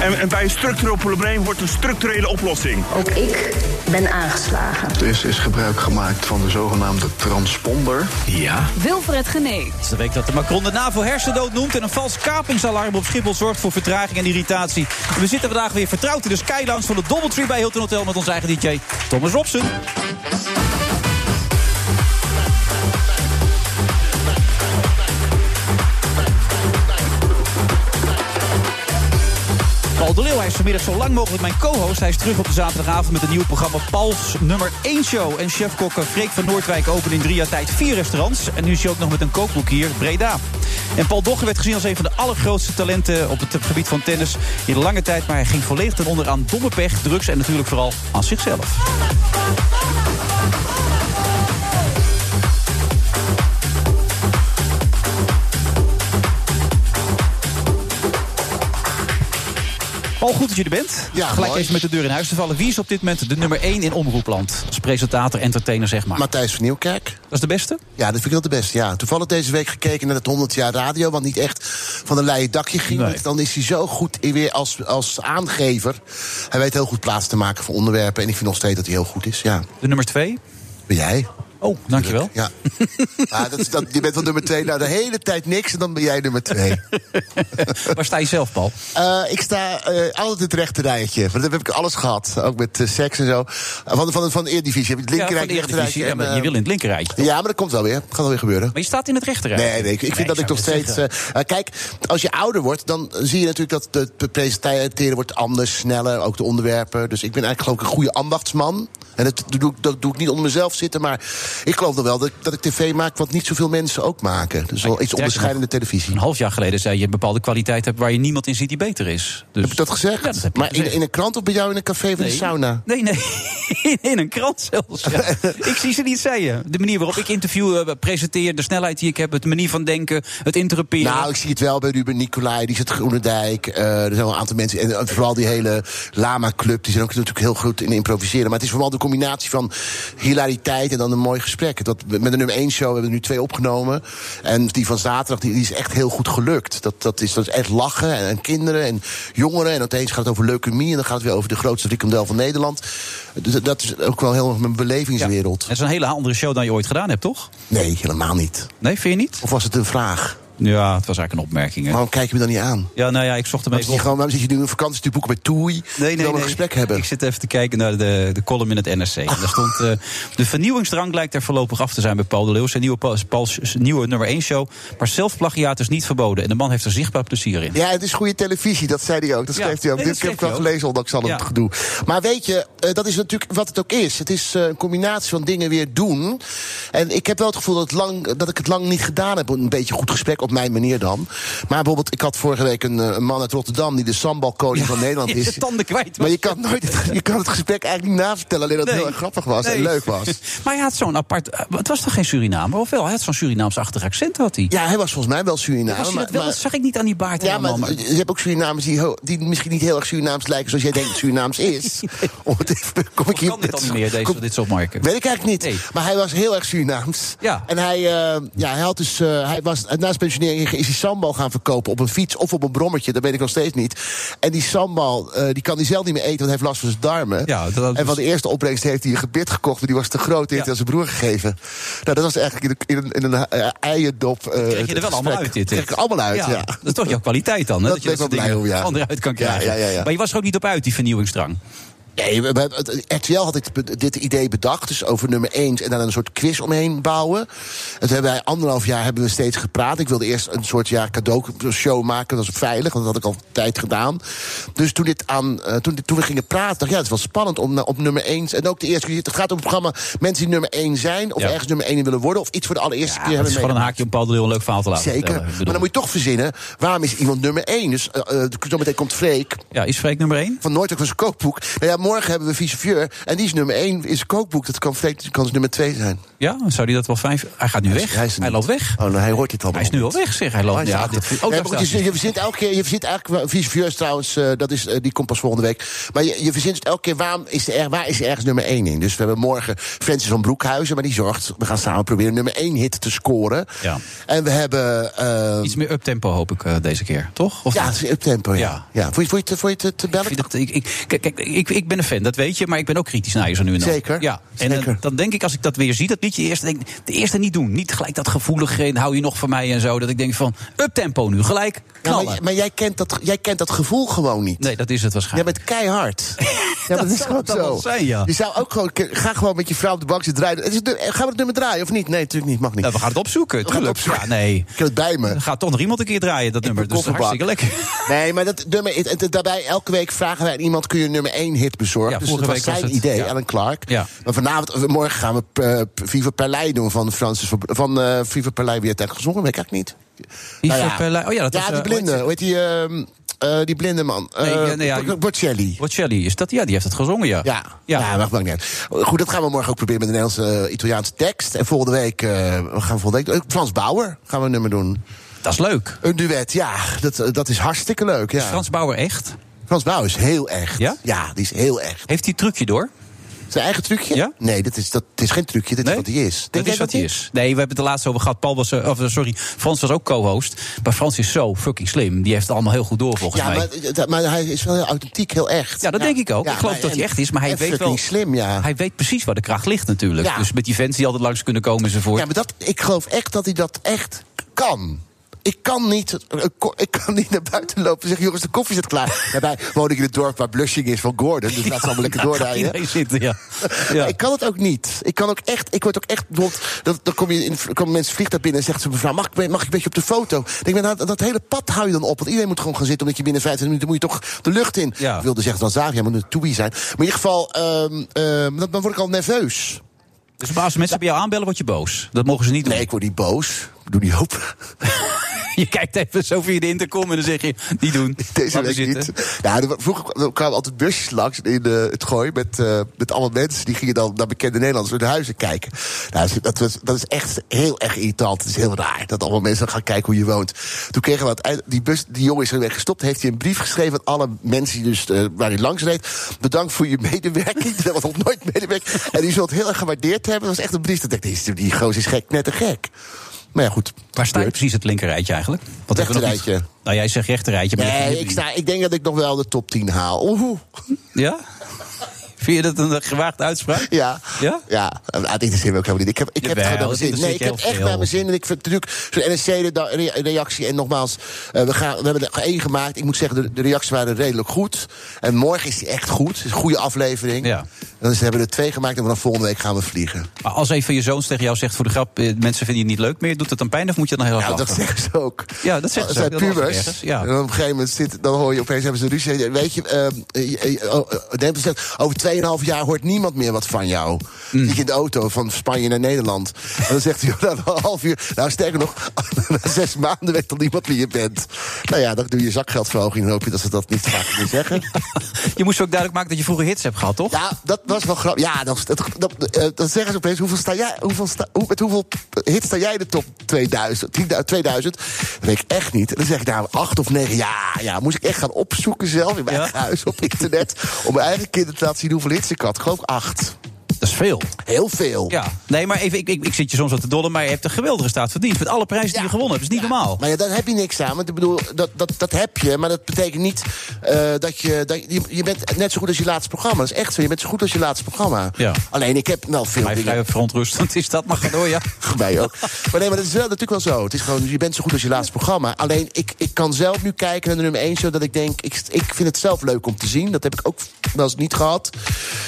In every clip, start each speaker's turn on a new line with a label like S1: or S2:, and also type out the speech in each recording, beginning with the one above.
S1: En, en bij een structureel probleem wordt een structurele oplossing.
S2: Ook ik ben aangeslagen.
S3: Er is, is gebruik gemaakt van de zogenaamde transponder.
S4: Ja.
S5: Wilfred Genee.
S6: Het is de week dat de Macron de NAVO hersendood noemt... en een vals kapingsalarm op Schiphol zorgt voor vertraging en irritatie. En we zitten vandaag weer vertrouwd in de skylounge van de Doubletree bij Hilton Hotel... met onze eigen DJ Thomas Robson. Paul de Leeuw. Hij is vanmiddag zo lang mogelijk mijn co-host. Hij is terug op de zaterdagavond met een nieuw programma Pauls nummer 1 show. En chefkok Freek van Noordwijk opent in drie jaar tijd vier restaurants. En nu is hij ook nog met een kookboek hier, Breda. En Paul Dogger werd gezien als een van de allergrootste talenten op het gebied van tennis in lange tijd. Maar hij ging volledig ten onder aan domme pech, drugs en natuurlijk vooral aan zichzelf. Paul, goed dat je er bent.
S7: Ja,
S6: Gelijk
S7: mooi.
S6: even met de deur in huis te vallen. Wie is op dit moment de nummer 1 in omroepland? Als presentator, entertainer, zeg maar.
S7: Matthijs van Nieuwkerk.
S6: Dat is de beste?
S7: Oh, Ja, dat vind ik wel de beste. Ja. Toevallig deze week gekeken naar het 100 jaar radio. Wat niet echt van een leien dakje ging.
S6: Nee.
S7: Want Dan is hij zo goed in weer als, als aangever. Hij weet heel goed plaats te maken voor onderwerpen. En ik vind nog steeds dat hij heel goed is. Ja.
S6: De nummer 2?
S7: Ben jij?
S6: Oh, dankjewel.
S7: Ja. Ah, dat, is- dat, je bent wel nummer twee. Nou, de hele tijd niks. En dan ben jij nummer twee.
S6: Waar sta je zelf, Paul?
S7: Eh, ik sta eh, altijd in het rechte rijtje. Want dat heb ik alles gehad. Ook met eh, seks en zo. Van, van, van de Eredivisie. Heb ik het
S6: Ja, van
S7: linkerrijtje,
S6: de Eredivisie.
S7: rechterrijtje.
S6: Ja,
S7: en,
S6: maar je
S7: eh,
S6: wil in het linkerrijtje.
S7: ja, maar dat komt wel weer. Gaat wel weer gebeuren.
S6: Maar je staat in het rechterrijtje.
S7: Nee, nee, ik, ik vind dat ik
S6: zou
S7: nog
S6: net
S7: steeds.
S6: zeggen.
S7: eh, eh, kijk, als je ouder wordt, dan zie je natuurlijk dat het pre- presenteren wordt anders, sneller, ook de onderwerpen. Dus ik ben eigenlijk geloof ik een goede ambachtsman. En dat doe, ik- dat doe ik niet onder mezelf zitten, maar ik geloof dan wel dat, dat ik tv maak wat niet zoveel mensen ook maken. Dus wel iets
S6: sterker
S7: onderscheidende televisie.
S6: Een half jaar geleden zei je een bepaalde kwaliteit hebt waar je niemand in ziet die beter is. Dus...
S7: Heb ik dat gezegd?
S6: Ja, dat heb je
S7: maar in,
S6: gezegd.
S7: in een krant of bij jou in een café van de sauna?
S6: Nee, nee. In een krant zelfs. ja. ik zie ze niet zeggen. De manier waarop ik interview eh, presenteer, de snelheid die ik heb, de manier van denken, het interruperen.
S7: Nou, ik zie het wel bij Ruben Nicolai, die zit Groenendijk. eh, er zijn wel een aantal mensen. En eh, vooral die hele Lama-club, die zijn ook natuurlijk heel goed in improviseren. Maar het is vooral de combinatie van hilariteit en dan een mooi gesprek. Dat, met de nummer 1 show hebben we er nu twee opgenomen. En die van zaterdag die, die is echt heel goed gelukt. Dat, dat, is, dat is echt lachen en, en kinderen en jongeren. En opeens gaat het over leukemie en dan gaat het weer over de grootste rikondel van Nederland. Dus dat- dat is ook wel heel erg mijn belevingswereld.
S6: Dat is een hele andere show dan je ooit gedaan hebt, toch?
S7: Nee, helemaal niet.
S6: Nee, vind je niet?
S7: Of was het een vraag?
S6: Ja, het was eigenlijk een opmerking. hè.
S7: Waarom kijk je me dan niet aan?
S6: Ja, nou ja, ik zocht hem
S7: Maar
S6: even
S7: zit je
S6: op.
S7: gewoon, waarom zit je nu een vakantie te boeken bij Toei?
S6: Nee, nee,
S7: dan
S6: nee.
S7: een gesprek hebben.
S6: Ik zit even te kijken naar de, de column in het NRC. En daar stond, eh, de vernieuwingsdrang lijkt er voorlopig af te zijn bij Paul de Leeuw. Zijn nieuwe, pa- Pauls nieuwe nummer 1 show. Maar zelfplagiaat is niet verboden. En de man heeft er zichtbaar plezier in.
S7: Ja, het is goede televisie, dat zei hij ook. Dat
S6: Ja,
S7: schreef hij ook.
S6: nee,
S7: Dit
S6: dat
S7: heb ik
S6: schreef
S7: wel
S6: hij
S7: gelezen, ondanks al
S6: Ja.
S7: het gedoe. Maar weet je, eh, dat is natuurlijk wat het ook is. Het is eh, een combinatie van dingen weer doen. En ik heb wel het gevoel dat, het lang, dat ik het lang niet gedaan heb. Een beetje goed gesprek, op mijn manier dan. Maar bijvoorbeeld, ik had vorige week een, eh, een man uit Rotterdam... die de sambalkoning van Nederland
S6: die is
S7: is.
S6: de tanden kwijt was.
S7: Maar je kan, nooit het, je kan het gesprek eigenlijk niet navertellen. Alleen dat het
S6: Nee.
S7: heel erg grappig was en
S6: Nee.
S7: leuk was.
S6: maar hij had zo'n apart... eh, Het was toch geen Surinamer? Of wel? Hij had zo'n Surinaams-achtig accent, had hij.
S7: Ja, hij was volgens mij wel Suriname.
S6: was hij
S7: maar-
S6: dat wel?
S7: maar-
S6: Dat zag ik niet aan die baard
S7: Ja,
S6: helemaal,
S7: maar
S6: maar-
S7: je hebt ook Surinamers die, heel- die misschien niet heel erg Surinaams lijken zoals jij denkt dat Surinaams is. Om het even, kom ik hier
S6: kan dit
S7: met-
S6: dan niet meer, deze,
S7: kom-
S6: dit soort marken?
S7: Weet ik eigenlijk niet.
S6: Nee.
S7: Maar hij was heel erg Surinaams.
S6: Ja.
S7: En hij, eh, ja, hij had dus, eh, hij was, naast pensionering is hij sambal gaan verkopen op een fiets of op een brommetje. Dat weet ik nog steeds niet. En die sambal, eh, die kan hij zelf niet meer eten, want hij heeft last van zijn darmen.
S6: Ja, dat- dat
S7: en van
S6: was-
S7: de eerste opbrengst heeft hij een gebit gekocht, maar die was te groot. Die heeft hij
S6: Ja.
S7: aan zijn broer gegeven. Nou, dat was eigenlijk in een, in een, in een eh, eiendop. eh,
S6: Krijg je er
S7: het
S6: wel allemaal
S7: gesprek.
S6: uit, dit?
S7: Krijg ik er allemaal uit, ja.
S6: Dat is toch jouw kwaliteit dan, hè?
S7: Dat
S6: je
S7: ben ik wel
S6: soort
S7: blij
S6: dingen
S7: om, ja.
S6: Onderuit kan
S7: Ja,
S6: krijgen.
S7: ja, ja, ja.
S6: Maar je was er ook niet op uit, die vernieuwingsdrang.
S7: Nee, we- we- het- RTL had dit, be- dit idee bedacht, dus over nummer 1 en daar een soort quiz omheen bouwen. Het hebben wij anderhalf jaar hebben we steeds gepraat. Ik wilde eerst een soort ja, cadeaushow maken, dat was veilig, want dat had ik al een tijd gedaan. Dus toen, dit aan, eh, toen, dit- toen we gingen praten, dacht ik, ja, het is wel spannend om na- op nummer 1. En ook de eerste keer, het gaat om het programma mensen die nummer 1 zijn, of
S6: Ja.
S7: ergens nummer 1 willen worden, of iets voor de allereerste keer
S6: het
S7: hebben
S6: is gewoon een
S7: meegemaakt.
S6: haakje om Paul de Leeuw een leuk verhaal te laten
S7: Zeker.
S6: vertellen. Ik
S7: Maar
S6: eh, bedoel-
S7: dan moet je toch verzinnen, waarom is iemand nummer 1? Dus eh, eh, zometeen komt Freek
S6: Ja, is Freek nummer 1?
S7: van Nooit ook van zijn kookboek. Nou ja, morgen hebben we Viceveur. En die is nummer 1 in zijn kookboek. Dat kan, dat kan dus nummer 2 zijn.
S6: Ja, zou die dat wel fijn vinden? Hij gaat nu
S7: Hij is-
S6: weg.
S7: hij
S6: Hij,
S7: is er niet.
S6: loopt weg.
S7: Oh, nou, hij hoort dit allemaal.
S6: Hij is nu al weg, zeg. Hij loopt. ja, dit, oh,
S7: Ja,
S6: daar
S7: maar goed,
S6: staat
S7: je,
S6: hij.
S7: je verzint elke keer, je verzint eigenlijk, wel- Vies Vuur is trouwens, eh, dat is, eh, die komt pas volgende week. Maar je, je verzint het elke keer, waarom is er, waar is er ergens nummer 1 in? Dus we hebben morgen Francis van Broekhuizen, maar die zorgt, we gaan samen proberen nummer 1 hit te scoren.
S6: Ja.
S7: En we hebben, eh,
S6: Iets meer uptempo hoop ik eh, deze keer, toch? Of
S7: ja,
S6: niet?
S7: het is uptempo, ja. ja.
S6: Ja.
S7: Vond je, vond je, het- vond je het te
S6: Ik
S7: bellen?
S6: vind dat- ik, ik, kijk, kijk, ik, ik ben een fan, dat weet je, maar ik ben ook kritisch naar je zo nu en dan.
S7: Zeker,
S6: Ja, en
S7: zeker.
S6: Dan, dan denk ik, als ik dat weer zie, dat liedje eerst, denk, ik, de eerste niet doen. Niet gelijk dat gevoelig, eh, hou je nog van mij en zo. Dat ik denk van, uptempo nu, gelijk
S7: Ja,
S6: knallen.
S7: maar, maar jij, kent dat, jij kent dat gevoel gewoon niet.
S6: nee, dat is het
S7: Jij
S6: waarschijnlijk.
S7: bent keihard. Ja, maar
S6: Dat
S7: dat is
S6: zou
S7: gewoon
S6: het dan
S7: zo.
S6: wel zijn, ja.
S7: Je zou ook gewoon. Ga gewoon met je vrouw op de bank zitten draaien. Het is, het- gaan we het nummer draaien of niet? Nee, natuurlijk niet. Mag niet.
S6: Nou, we gaan het opzoeken,
S7: We gaan het
S6: tuurlijk.
S7: opzoeken.
S6: Ja, nee.
S7: Ik heb het bij me.
S6: Dan gaat toch nog iemand een keer draaien, dat nummer.
S7: mijn
S6: Dus dat is hartstikke
S7: kofferbak.
S6: lekker.
S7: Nee, maar dat nummer. het- het- daarbij elke week vragen wij aan iemand: kun je een nummer 1 hit bezorgen?
S6: Ja,
S7: dus dat
S6: vorige
S7: was
S6: week
S7: zijn
S6: was het,
S7: idee,
S6: ja.
S7: Alan Clark.
S6: Ja.
S7: Maar vanavond, of morgen gaan we eh, Viva Perlei doen van Francis van, van eh, Viva Perlei. Wie het eigenlijk gezongen? Weet ik eigenlijk niet.
S6: Viva Perlei- oh ja, dat was,
S7: Nou die
S6: eh,
S7: blinde.
S6: hoe
S7: Hoe heet die? ehm, eh, die blinde man.
S6: Nee, nou
S7: Eh,
S6: ja, nee, ja,
S7: Bocelli.
S6: Wat Shelley is dat? Ja, die heeft het gezongen, ja.
S7: Ja, ja.
S6: ja.
S7: maar maakt niet uit. Goed, dat gaan we morgen ook proberen met de Nederlandse eh, Italiaanse tekst. En volgende week, eh, we gaan volgende week eh, Frans Bauer gaan we een nummer doen.
S6: Dat is leuk.
S7: Een duet, ja, dat, eh, dat is hartstikke leuk. Ja.
S6: Is Frans Bauer echt?
S7: Frans Bauer is heel echt.
S6: Ja?
S7: die is heel echt.
S6: Heeft hij het trucje door?
S7: Zijn eigen trucje?
S6: Ja?
S7: Nee, dat is, dat is geen trucje, dat is wat hij is.
S6: dat
S7: jij
S6: is wat hij
S7: niet?
S6: is. Nee, we hebben het er laatst over gehad. Paul was, eh, of, eh, sorry, Frans was ook co-host. Maar Frans is zo fucking slim. Die heeft het allemaal heel goed door, volgens
S7: Ja,
S6: mij.
S7: maar, eh, dat- maar hij is wel heel authentiek, heel echt.
S6: ja, dat denk ik ook.
S7: Ja,
S6: ik geloof
S7: maar-
S6: dat hij
S7: en-
S6: echt is, maar hij
S7: en
S6: weet wel...
S7: fucking slim, ja.
S6: Hij weet precies waar de kracht ligt natuurlijk.
S7: Ja.
S6: Dus met die fans die altijd langs kunnen komen enzovoort.
S7: Ja, maar dat, ik geloof echt dat hij dat echt kan. Ik kan niet, eh, ik kan niet naar buiten lopen en zeggen: jongens, de koffie zit klaar. Daarbij woon ik in het dorp waar Blushing is van Gordon. Dus laat ze allemaal lekker
S6: Daar gaat
S7: doorrijden.
S6: iedereen zitten, ja.
S7: Maar
S6: ja.
S7: Ik kan het ook niet. Ik kan ook echt. Ik word ook echt. Bijvoorbeeld, dat, dan kom je in, komen mensen vliegt daar binnen en zegt ze mevrouw, mag ik, mag ik een beetje op de foto? Ik denk, nou, dat, dat hele pad hou je dan op. Want iedereen moet gewoon gaan zitten. Omdat je binnen 15 minuten moet je toch de lucht in.
S6: Ja.
S7: Ik wilde zeggen, dan zagen jij moet een toebie zijn. Maar in ieder geval, ehm, ehm, dat, dan word ik al nerveus.
S6: Dus maar als mensen bij jou aanbellen, word je boos. Dat mogen ze niet doen.
S7: Nee, ik word niet boos. Ik Doe niet open.
S6: Je kijkt even zo via de intercom en dan zeg je... Die doen.
S7: Deze
S6: Laat maar
S7: week
S6: zitten.
S7: niet. Ja, er wa- vroeger kwa- er kwamen altijd busjes langs in eh, het gooi met, eh, met allemaal mensen. Die gingen dan naar bekende Nederlanders hun huizen kijken. Nou, dat, was, dat is echt heel erg irritant. Het is heel raar dat allemaal mensen gaan kijken hoe je woont. Toen kregen we aan het eind- die bus, die jongen is er weer gestopt. Heeft hij een brief geschreven aan alle mensen die dus, eh, waar hij langs reed. Bedankt voor je medewerking. Dat was nog nooit medewerking. En die zult het heel erg gewaardeerd hebben. Dat was echt een brief. Dat dacht ik, die- die gozer is gek, net een gek. Maar ja, goed.
S6: Waar sta je
S7: Gebeurt.
S6: precies het linkerrijtje eigenlijk? Wat hebben we nog niet-
S7: Rechterrijtje.
S6: Nou, jij zegt rechterrijtje. Maar dat heb
S7: Nee,
S6: je
S7: ik,
S6: niet.
S7: sta, ik denk dat ik nog wel de top 10 haal. Oeh.
S6: Ja? Vind je dat een gewaagde uitspraak?
S7: Ja.
S6: Ja?
S7: Ja. Nou, dit is hem ook helemaal niet. Ik heb, ik heb het
S6: Jawel,
S7: gewoon naar mijn
S6: dat
S7: zin. Nee, ik
S6: interesseert
S7: heb
S6: je heel
S7: echt naar mijn
S6: veel.
S7: zin. En ik vind natuurlijk zo'n NSC-reactie. En nogmaals, eh, we, gaan, we hebben er één gemaakt. Ik moet zeggen, de, de reacties waren redelijk goed. En morgen is die echt goed. Het is een goede aflevering.
S6: Ja.
S7: En Dan is- hebben we er twee gemaakt en vanaf volgende week gaan we vliegen.
S6: Maar als een van je zoons tegen jou zegt voor de grap... eh, mensen vinden je niet leuk meer, doet het dan pijn of moet je dan heel hard
S7: Ja, dat
S6: lachen?
S7: zeggen ze ook.
S6: Ja, dat zeggen ze
S7: zijn
S6: ook. Dat was
S7: pubers.
S6: ergens, ja.
S7: En dan op een gegeven moment zit, dan hoor je opeens hebben ze ruzie. Weet je, ehm, eh, eh, oh, eh, Dempsey zegt, over 2,5 jaar hoort niemand meer wat van jou.
S6: Mm.
S7: Zit je in de auto van Spanje naar Nederland. En dan zegt hij oh, na een half uur, nou sterker nog, na zes maanden weet dan niemand wie je bent. Nou ja, dan doe je zakgeldverhoging en hoop je dat ze dat niet vaak meer zeggen.
S6: Je moest ook duidelijk maken dat je vroeger hits hebt gehad, toch?
S7: Ja, dat was wel grappig. Ja, dan, dat, dat- eh, dan zeggen ze opeens, hoeveel sta jij, hoeveel sta, hoe, met hoeveel hits sta jij in de top 2000? 10.000, 2000? Dat weet ik echt niet. En dan zeg ik, nou, acht of negen. Ja, ja, moest ik echt gaan opzoeken zelf in mijn
S6: Ja.
S7: eigen huis op internet. Om mijn eigen kinderen te laten zien hoeveel hits ik had. Ik geloof acht.
S6: Dat is veel.
S7: Heel veel.
S6: Ja. Nee, maar even, ik, ik, ik zit je soms wat te dollen, maar je hebt een geweldige staat verdiend. Met alle prijzen die je gewonnen hebt. Dat is niet normaal.
S7: Maar ja, daar heb je niks aan. Want ik bedoel, dat, dat, dat heb je. Maar dat betekent niet eh, dat je. Dat, je, je bent net zo goed als je laatste programma. Dat is echt zo. Je bent zo goed als je laatste programma.
S6: Ja.
S7: Alleen ik heb wel veel
S6: Mij
S7: dingen.
S6: vrij verontrustend is dat, maar ga door, ja.
S7: Mij ook. Maar nee, maar dat is wel natuurlijk wel zo. Het is gewoon, je bent zo goed als je laatste programma. Alleen ik, ik kan zelf nu kijken naar de nummer 1, zodat ik denk, ik, ik vind het zelf leuk om te zien. Dat heb ik ook wel eens niet gehad.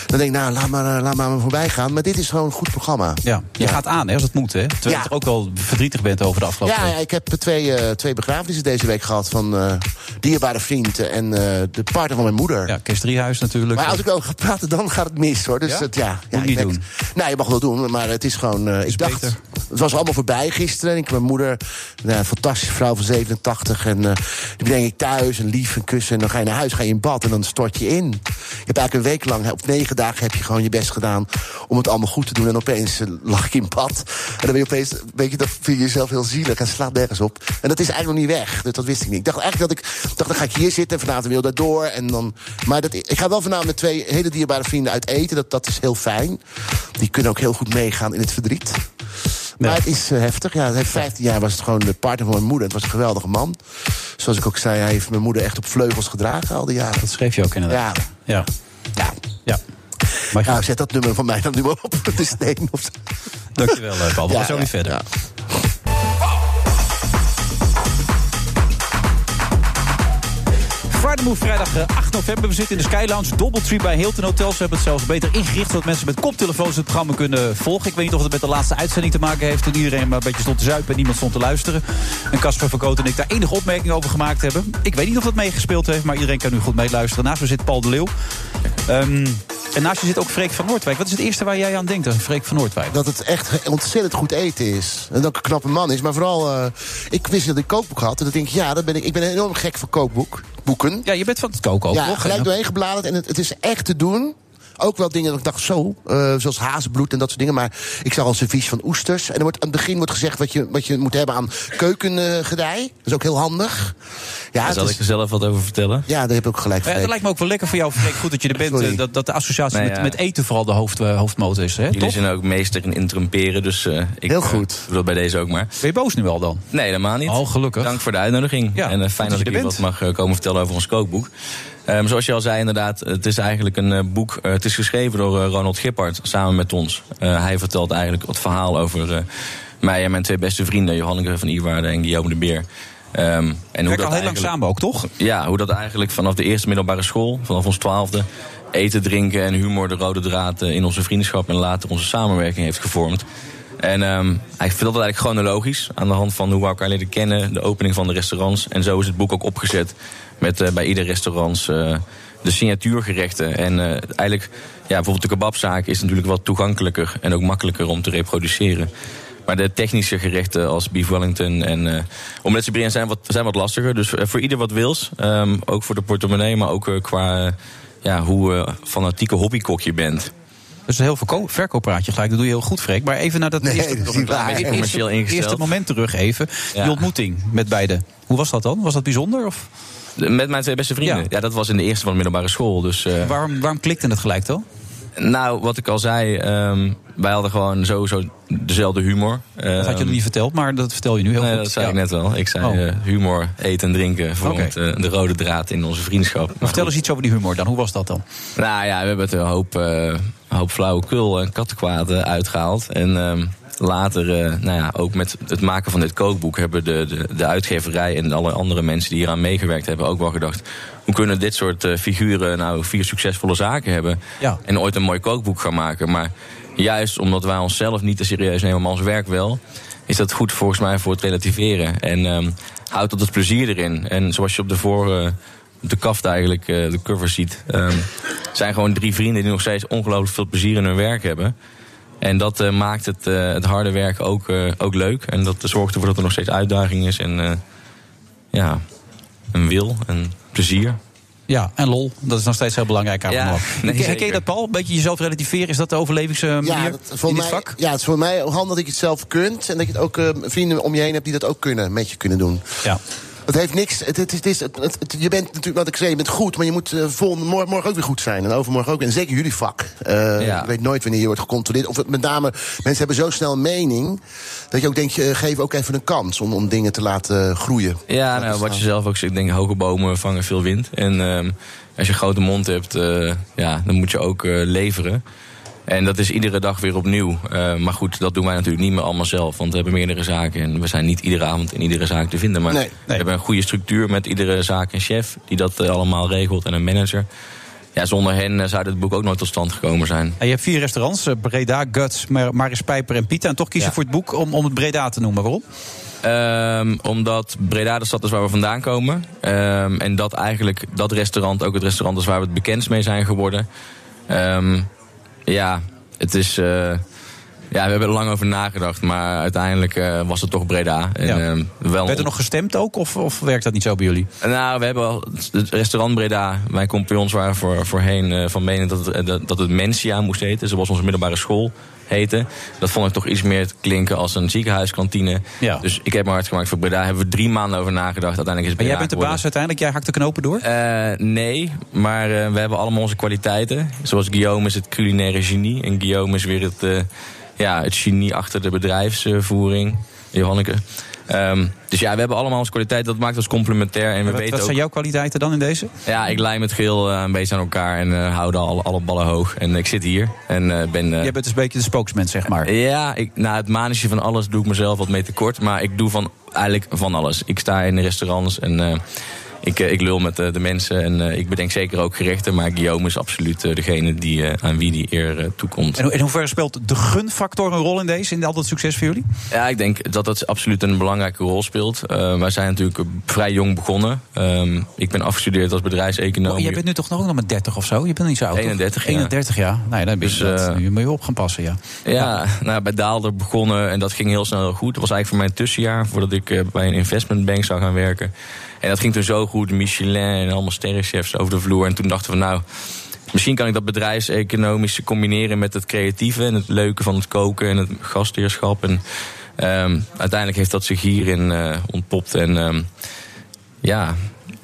S7: Dan denk ik, nou, laat maar, eh, laat maar me voorbij gaan. Maar dit is gewoon een goed programma.
S6: Ja, je gaat aan hè, als het moet. Hè? Terwijl
S7: Ja.
S6: je toch ook wel verdrietig bent over de afgelopen
S7: Ja,
S6: week.
S7: ja, ik heb twee, eh, twee begrafenissen deze week gehad van eh, dierbare vrienden en eh, de partner van mijn moeder.
S6: Ja, Kees Driehuis natuurlijk.
S7: Maar als ik ook ga praten, dan gaat het mis hoor. Dus
S6: Ja?
S7: dat, ja, ja,
S6: Moet
S7: ik
S6: niet
S7: merk-
S6: doen.
S7: Nou, je mag wel doen, maar het is gewoon. eh, ik dacht,
S6: beter.
S7: het was allemaal voorbij gisteren. En ik mijn moeder, nou, een fantastische vrouw van 87. En eh, die breng ik thuis en lief en kussen. En dan ga je naar huis, ga je in bad en dan stort je in. Je hebt eigenlijk een week lang, of negen dagen, heb je gewoon je best gedaan om het allemaal goed te doen. En opeens eh, lag ik in bad. En dan ben je opeens, weet je, dan vind je jezelf heel zielig en het slaat nergens op. En dat is eigenlijk nog niet weg. Dus dat wist ik niet. Ik dacht eigenlijk dat ik dacht, dan ga ik hier zitten en vanavond wil daardoor. En dan, maar dat, ik ga wel vanavond met twee hele dierbare vrienden uit eten. Dat, dat is heel fijn. Die kunnen ook heel goed meegaan in het verdriet. Maar het is eh, heftig. Ja, hij heeft 15 jaar was het gewoon de partner van mijn moeder. Het was een geweldige man. Zoals ik ook zei, hij heeft mijn moeder echt op vleugels gedragen al die jaren.
S6: Dat schreef je ook inderdaad.
S7: Ja.
S6: Ja.
S7: Ja,
S6: ja. Maar
S7: nou, zet dat nummer van mij dan nu maar op. Het is nee, of zo.
S6: dankjewel, eh, Paul. We gaan
S7: Ja,
S6: zo weer
S7: ja,
S6: verder.
S7: ja.
S6: Friday Move vrijdag eh, 8 november. We zitten in de Skylounge. Doubletree bij Hilton Hotels. Ze hebben het zelfs beter ingericht... zodat mensen met koptelefoons het programma kunnen volgen. Ik weet niet of het met de laatste uitzending te maken heeft... toen iedereen maar een beetje stond te zuipen en niemand stond te luisteren. En Casper van Koot en ik daar enige opmerkingen over gemaakt hebben. Ik weet niet of dat meegespeeld heeft, maar iedereen kan nu goed meeluisteren. Naast me zit Paul de Leeuw. Ehm, en naast je zit ook Freek van Noordwijk. Wat is het eerste waar jij aan denkt, aan Freek van Noordwijk?
S7: Dat het echt ontzettend goed eten is. En dat ik een knappe man is. Maar vooral, eh, ik wist dat ik kookboek had. En dan denk ik, ja, dan ben ik, ik ben enorm gek voor kookboek. Boeken.
S6: Ja, je bent van het koken ook,
S7: Ja,
S6: toch?
S7: gelijk
S6: En-
S7: doorheen gebladerd. En het, het is echt te doen. Ook wel dingen dat ik dacht, zo, eh, zoals hazenbloed en dat soort dingen. Maar ik zag al een servies van oesters. En er wordt, aan het begin wordt gezegd wat je, wat je moet hebben aan keukengedij. Dat is ook heel handig. Ja,
S4: Daar
S7: het
S4: zal
S7: is-
S4: ik er zelf wat over vertellen.
S7: ja daar heb ik ook gelijk
S6: Ja,
S7: van.
S6: dat lijkt me ook wel lekker voor jou, Freek. Goed dat je er bent.
S7: Sorry.
S6: eh, Dat, dat de associatie
S4: Nee,
S6: met,
S4: Nou ja.
S6: met eten vooral de hoofd, eh, hoofdmotor is. Hè?
S4: Jullie
S6: Toch?
S4: zijn ook meester in interrumperen, dus eh, ik
S7: Heel
S4: eh,
S7: goed.
S4: doe dat bij deze ook maar.
S6: Ben je boos nu al dan?
S4: Nee, helemaal niet.
S6: Oh, gelukkig.
S4: Dank voor de uitnodiging.
S6: Ja,
S4: en eh,
S6: goed
S4: fijn dat
S6: dat je
S4: ik
S6: er
S4: hier
S6: bent.
S4: wat mag eh, komen vertellen over ons kookboek. Ehm, zoals je al zei, inderdaad, het is eigenlijk een eh, boek. eh, het is geschreven door eh, Ronald Gippard samen met ons. Eh, hij vertelt eigenlijk het verhaal over eh, mij en mijn twee beste vrienden, Johanneke van Iwaarde en Guillaume de Beer. Ehm, en hoe
S6: Kijk al
S4: dat
S6: heel lang
S4: eigenlijk-
S6: samen ook, toch?
S4: ja, hoe dat eigenlijk vanaf de eerste middelbare school, vanaf ons twaalfde, eten, drinken en humor de rode draad eh, in onze vriendschap en later onze samenwerking heeft gevormd. En ehm, hij vertelt het eigenlijk chronologisch aan de hand van hoe we elkaar leren kennen, de opening van de restaurants. En zo is het boek ook opgezet met eh, bij ieder restaurant eh, de signatuurgerechten. En eh, eigenlijk, ja, bijvoorbeeld de kebabzaak is natuurlijk wat toegankelijker en ook makkelijker om te reproduceren. Maar de technische gerechten als beef wellington en eh omelette Siberian zijn wat, zijn wat lastiger. Dus eh, voor ieder wat wils. Ehm, ook voor de portemonnee, maar ook eh, qua eh, ja, hoe eh, fanatieke hobbykok je bent.
S6: Dus een heel verko- verkooppraatje gelijk. Dat doe je heel goed, Freek. Maar even naar dat
S7: Nee,
S6: eerste,
S7: dat is
S6: nog een
S7: niet
S6: klein
S7: waar.
S6: beetje- eerste,
S4: Commercieel ingesteld.
S6: eerste moment terug even.
S4: Ja.
S6: Die ontmoeting met beide. Hoe was dat dan? Was dat bijzonder? Of
S4: De- Met mijn twee beste vrienden.
S6: Ja.
S4: Ja, dat was in de eerste van de middelbare school. Dus, eh,
S6: waarom, waarom klikte het gelijk dan?
S4: nou, wat ik al zei, ehm, wij hadden gewoon sowieso dezelfde humor. Ehm,
S6: Dat had je nog niet verteld, maar dat vertel je nu heel
S4: Nee,
S6: goed.
S4: dat zei
S6: Ja.
S4: ik net wel. Ik zei
S6: Oh.
S4: eh, humor, eten en drinken vormt
S6: Oké.
S4: eh, de rode draad in onze vriendschap. Maar
S6: Vertel eens iets over die humor dan. Hoe was dat dan?
S4: Nou ja, we hebben het een hoop, eh, een hoop flauwekul en kattenkwaad eh, uitgehaald. En ehm, later, eh, nou ja, ook met het maken van dit kookboek... hebben de, de, de uitgeverij en alle andere mensen die hieraan meegewerkt hebben... ook wel gedacht, hoe kunnen dit soort eh, figuren nou vier succesvolle zaken hebben...
S6: Ja.
S4: en ooit een mooi kookboek gaan maken. Maar juist omdat wij onszelf niet te serieus nemen, maar ons werk wel... is dat goed volgens mij voor het relativeren. En ehm houdt dat het plezier erin. En zoals je op de voor... eh, op de kaft eigenlijk eh, de cover ziet. ehm, zijn gewoon drie vrienden die nog steeds ongelooflijk veel plezier in hun werk hebben. En dat eh, maakt het, eh, het harde werk ook, eh, ook leuk. En dat zorgt ervoor dat er nog steeds uitdaging is. En eh, ja, een wil en plezier.
S6: Ja, en lol. Dat is nog steeds heel belangrijk aan
S4: Ja,
S6: humor.
S4: nee,
S6: ken, ken je
S4: zeker.
S6: dat, Paul? Een beetje jezelf relativeren. Is dat de overlevingsmanier
S7: Ja,
S6: manier
S7: dat,
S6: in
S7: voor
S6: dit
S7: mij,
S6: vak?
S7: ja, het is voor mij handig dat je het zelf kunt. En dat je het ook eh, vrienden om je heen hebt die dat ook kunnen, met je kunnen doen.
S6: Ja.
S7: Het heeft niks. Het, het, het is, het, het- het- je bent natuurlijk, wat ik zei, je bent goed. Maar je moet eh, volgende, mor- morgen ook weer goed zijn. En overmorgen ook. weer. En zeker jullie vak. Eh,
S4: Ja.
S7: Je weet nooit wanneer je wordt gecontroleerd. Of het- met name, mensen hebben zo snel een mening. Dat je ook denkt, eh, geef ook even een kans om, om dingen te laten groeien.
S4: Ja, nou, wat je zelf ook zegt, ik denk hoge bomen vangen veel wind. En ehm, als je een grote mond hebt, eh, ja, dan moet je ook eh, leveren. En dat is iedere dag weer opnieuw. Eh, maar goed, dat doen wij natuurlijk niet meer allemaal zelf. Want we hebben meerdere zaken en we zijn niet iedere avond in iedere zaak te vinden. Maar
S7: Nee, nee.
S4: we hebben een goede structuur met iedere zaak en chef die dat eh, allemaal regelt en een manager. ja, zonder hen eh, zou dit boek ook nooit tot stand gekomen zijn.
S6: En Ah, je hebt vier restaurants, eh, Breda, Guts, Mar- Maris Pijper en Pita. En toch kiezen
S4: Ja.
S6: voor het boek om, om het Breda te noemen. Waarom?
S4: Ehm, omdat Breda de stad is waar we vandaan komen. Ehm, en dat eigenlijk dat restaurant ook het restaurant is waar we het bekendst mee zijn geworden. Ehm, ja, het is. eh, ja, we hebben er lang over nagedacht, maar uiteindelijk eh, was het toch Breda. En,
S6: Ja.
S4: ehm, wel
S6: Werd er nog gestemd ook of, of werkt dat niet zo bij jullie?
S4: Nou, we hebben al het restaurant Breda. Mijn compagnons waren voor, voorheen eh, van mening dat, het- eh, dat, dat het Mensia moest heten. Zoals onze middelbare school heette. Dat vond ik toch iets meer klinken als een ziekenhuiskantine.
S6: Ja.
S4: Dus ik heb me hard gemaakt voor Breda. Hebben we drie maanden over nagedacht. Uiteindelijk is het
S6: Maar jij
S4: Breda
S6: bent de
S4: geworden.
S6: baas uiteindelijk, jij hakt de knopen door.
S4: Eh, nee, maar eh, we hebben allemaal onze kwaliteiten. Zoals Guillaume is het culinaire genie. En Guillaume is weer het, eh, ja, het genie achter de bedrijfsvoering. Johanneke. Ehm, dus ja, we hebben allemaal onze kwaliteiten. Dat maakt ons complementair. En we
S6: wat
S4: weten
S6: wat
S4: ook...
S6: zijn jouw kwaliteiten dan in deze?
S4: Ja, ik lijm het geheel eh, een beetje aan elkaar en eh hou dan alle, alle ballen hoog. En ik zit hier en eh, ben... eh,
S6: jij bent dus een beetje de spokesman, zeg maar.
S4: ja, ik, na het manisje van alles doe ik mezelf wat mee tekort. Maar ik doe van, eigenlijk van alles. Ik sta in de restaurants en eh, ik, eh, ik lul met eh, de mensen. En eh, ik bedenk zeker ook gerechten. Maar Guillaume is absoluut eh, degene die, eh, aan wie die eer eh, toekomt.
S6: En ho- in hoeverre speelt de gunfactor een rol in deze, in al dat succes voor jullie?
S4: Ja, ik denk dat dat absoluut een belangrijke rol speelt. Eh, wij zijn natuurlijk vrij jong begonnen. Ehm, ik ben afgestudeerd als bedrijfseconoom.
S6: Oh, jij bent nu toch nog ook nog maar 30 of zo? Je bent niet zo oud. toch?
S4: 31, ja.
S6: 31, ja. Nou ja, dan ben je
S4: Dus,
S6: dat-
S4: eh,
S6: nu moet je op gaan passen, ja.
S4: Ja, nou, bij Daalder begonnen en dat ging heel snel heel goed. Dat was eigenlijk voor mijn tussenjaar voordat ik eh, bij een investmentbank zou gaan werken. En dat ging toen zo goed, Michelin en allemaal sterrenchefs over de vloer. En toen dachten we, nou, misschien kan ik dat bedrijfseconomische combineren met het creatieve en het leuke van het koken en het gastheerschap. En ehm, uiteindelijk heeft dat zich hierin eh, ontpopt. En ehm, ja,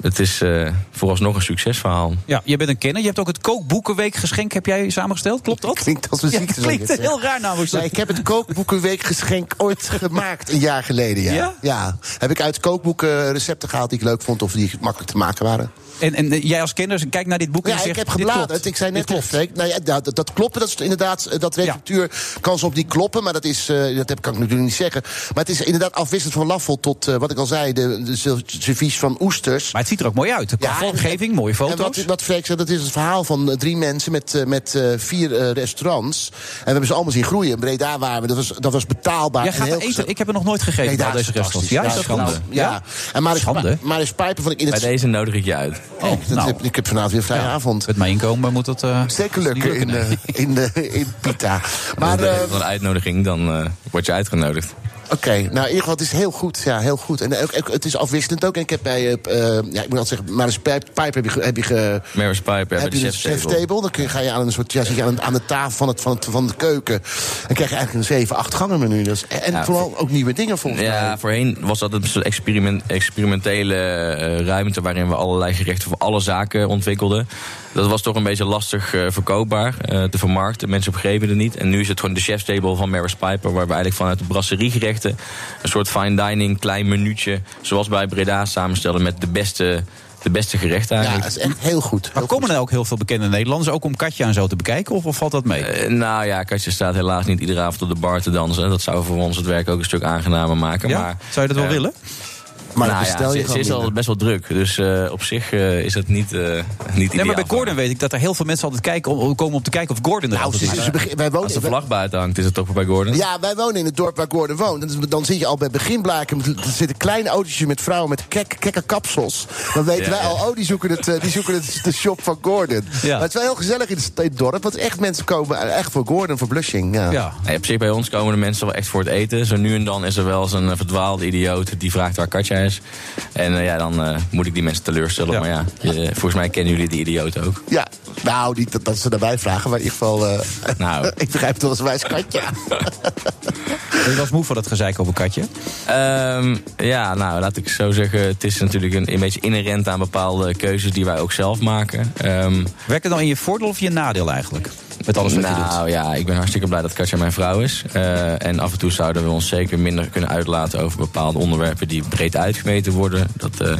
S4: het is eh, vooralsnog een succesverhaal.
S6: Ja, je bent een kenner. Je hebt ook het kookboekenweekgeschenk heb jij samengesteld, klopt dat?
S7: Klinkt als een
S6: Ja,
S7: ziekte.
S6: klinkt
S7: zoiets, hè?
S6: heel raar namelijk.
S7: Ja, ik heb het kookboekenweekgeschenk ooit gemaakt, een jaar geleden. Ja.
S6: Ja?
S7: Heb ik uit kookboeken recepten gehaald die ik leuk vond of die makkelijk te maken waren.
S6: En, en eh, jij als kenner kijkt naar dit boek en
S7: Ja,
S6: je zegt...
S7: ik heb
S6: dit
S7: gebladerd.
S6: klopt.
S7: Ik zei net al,
S6: Dit klopt.
S7: Freek. Nou ja, dat, dat- dat kloppen, dat is inderdaad, eh, dat receptuur kan soms niet kloppen, maar dat is, eh, dat heb, kan ik natuurlijk niet zeggen. Maar het is inderdaad afwisselend van laffel tot, eh, wat ik al zei, de, de ser- servies van oesters.
S6: Maar het ziet er ook mooi uit. Qua
S7: Ja,
S6: vormgeving,
S7: en-
S6: mooie
S7: En wat,
S6: foto's.
S7: wat Freek zei, dat is het verhaal van eh, drie mensen met, eh, met eh, vier eh, restaurants. En we hebben ze allemaal zien groeien. In Breda waren we, dat was, dat was betaalbaar.
S6: Jij
S7: en
S6: gaat
S7: heel
S6: er eten.
S7: gezellig.
S6: Ik heb er nog nooit gegeten bij
S7: Breda
S6: al
S7: is
S6: deze restaurants.
S7: fantastisch.
S6: Ja, is
S7: Breda
S6: dat schande?
S7: Ja. En Maris,
S6: Schande.
S7: Maris Pijper vond ik in
S4: Bij
S7: het...
S4: deze nodig ik je uit.
S7: Oh, dat
S6: nou.
S7: heb- ik heb vanavond weer vrije avond.
S6: Met mijn inkomen moet dat... eh,
S7: Zeker
S6: niet
S7: lukken in,
S6: nee.
S7: eh, in, eh, in Pita. Maar,
S4: Als
S7: eh,
S4: het echt wel een uitnodiging, dan eh, word je uitgenodigd.
S7: oké, nou in ieder geval, het is heel goed. Ja, heel goed. En eh, ook- ook- het is afwisselend ook. En ik heb bij, eh, p- eh, ja, ik moet altijd zeggen, Maris Pij- Pijper heb je, ge- heb je, ge,
S4: Maris Pipe, ja, bij
S7: heb
S4: de
S7: je een
S4: chef's table.
S7: cheftable. Dan kun je, ga je aan een soort, ja, zit je aan, aan de tafel van, het, van, het, van de keuken. En krijg je eigenlijk een 7, 8 gangen menu. Dat is- en en
S4: Ja,
S7: vooral ook nieuwe dingen volgens mij.
S4: Ja, voorheen was dat een soort experiment, experimentele eh, ruimte waarin we allerlei gerechten voor alle zaken ontwikkelden. Dat was toch een beetje lastig eh, verkoopbaar eh, te vermarkten. Mensen begrepen het niet. En nu is het gewoon de chef's table van Maris Piper, waar we eigenlijk vanuit de brasseriegerechten een soort fine dining, klein minuutje, zoals bij Breda samenstellen met de beste, de beste gerechten
S7: Ja,
S4: eigenlijk.
S7: dat is echt heel goed.
S6: Maar
S7: Heel
S6: komen er ook heel veel bekende Nederlanders, ook om Katja en zo te bekijken? Of, of valt dat mee?
S4: Eh, nou ja, Katja staat helaas niet iedere avond op de bar te dansen. Dat zou voor ons het werk ook een stuk aangenamer maken.
S6: ja?
S4: Maar,
S6: Zou je dat wel
S4: eh,
S6: willen?
S7: goed. Maar
S4: nou
S7: dat
S4: ja,
S7: bestel je
S4: ze, ze
S7: gewoon
S4: is al
S7: minder.
S4: best wel druk. Dus eh, op zich eh, is dat niet, eh niet
S6: Nee,
S4: ideaal
S6: maar bij
S4: voor
S6: Gordon
S4: haar.
S6: weet ik dat er heel veel mensen altijd kijken, om- komen om te kijken of Gordon er
S7: Nou,
S6: altijd
S7: ze,
S6: is.
S7: ze begin- wij wonen,
S4: Als de vlag buiten hangt, is het toch bij Gordon?
S7: Ja, wij wonen in het dorp waar Gordon woont. En dus- dan zit je al bij beginblaken. Er zitten kleine autootjes met vrouwen met kek, kekke kapsels. Dan weten
S4: Ja,
S7: wij
S4: ja.
S7: al, oh, die zoeken, het, eh, die zoeken het, de shop van Gordon.
S6: Ja.
S7: Maar het is wel heel gezellig in het, in het dorp. Want echt mensen komen echt voor Gordon, voor Blushing. Ja.
S6: Ja.
S4: Nee, op zich bij ons komen de mensen wel echt voor het eten. Zo nu en dan is er wel eens een eh, verdwaalde idioot die vraagt waar Katja is. En eh, ja, dan eh, moet ik die mensen teleurstellen.
S6: Ja.
S4: Maar ja, je- volgens mij kennen jullie die idioot ook.
S7: Ja. nou, niet dat, dat ze naar mij vragen, maar in ieder geval... eh,
S4: Nou.
S7: ik begrijp het wel als een wijs katje.
S6: Je was moe van dat gezeik over Katje.
S4: Ehm, ja, nou, laat ik zo zeggen. Het is natuurlijk een, een beetje inherent aan bepaalde keuzes die wij ook zelf maken. Ehm,
S6: Werkt het dan in je voordeel of je nadeel eigenlijk? Met alles wat je doet.
S4: Nou ja, ik ben hartstikke blij dat Katja mijn vrouw is. Eh, en af en toe zouden we ons zeker minder kunnen uitlaten over bepaalde onderwerpen die breed uitgemeten worden. Dat, eh,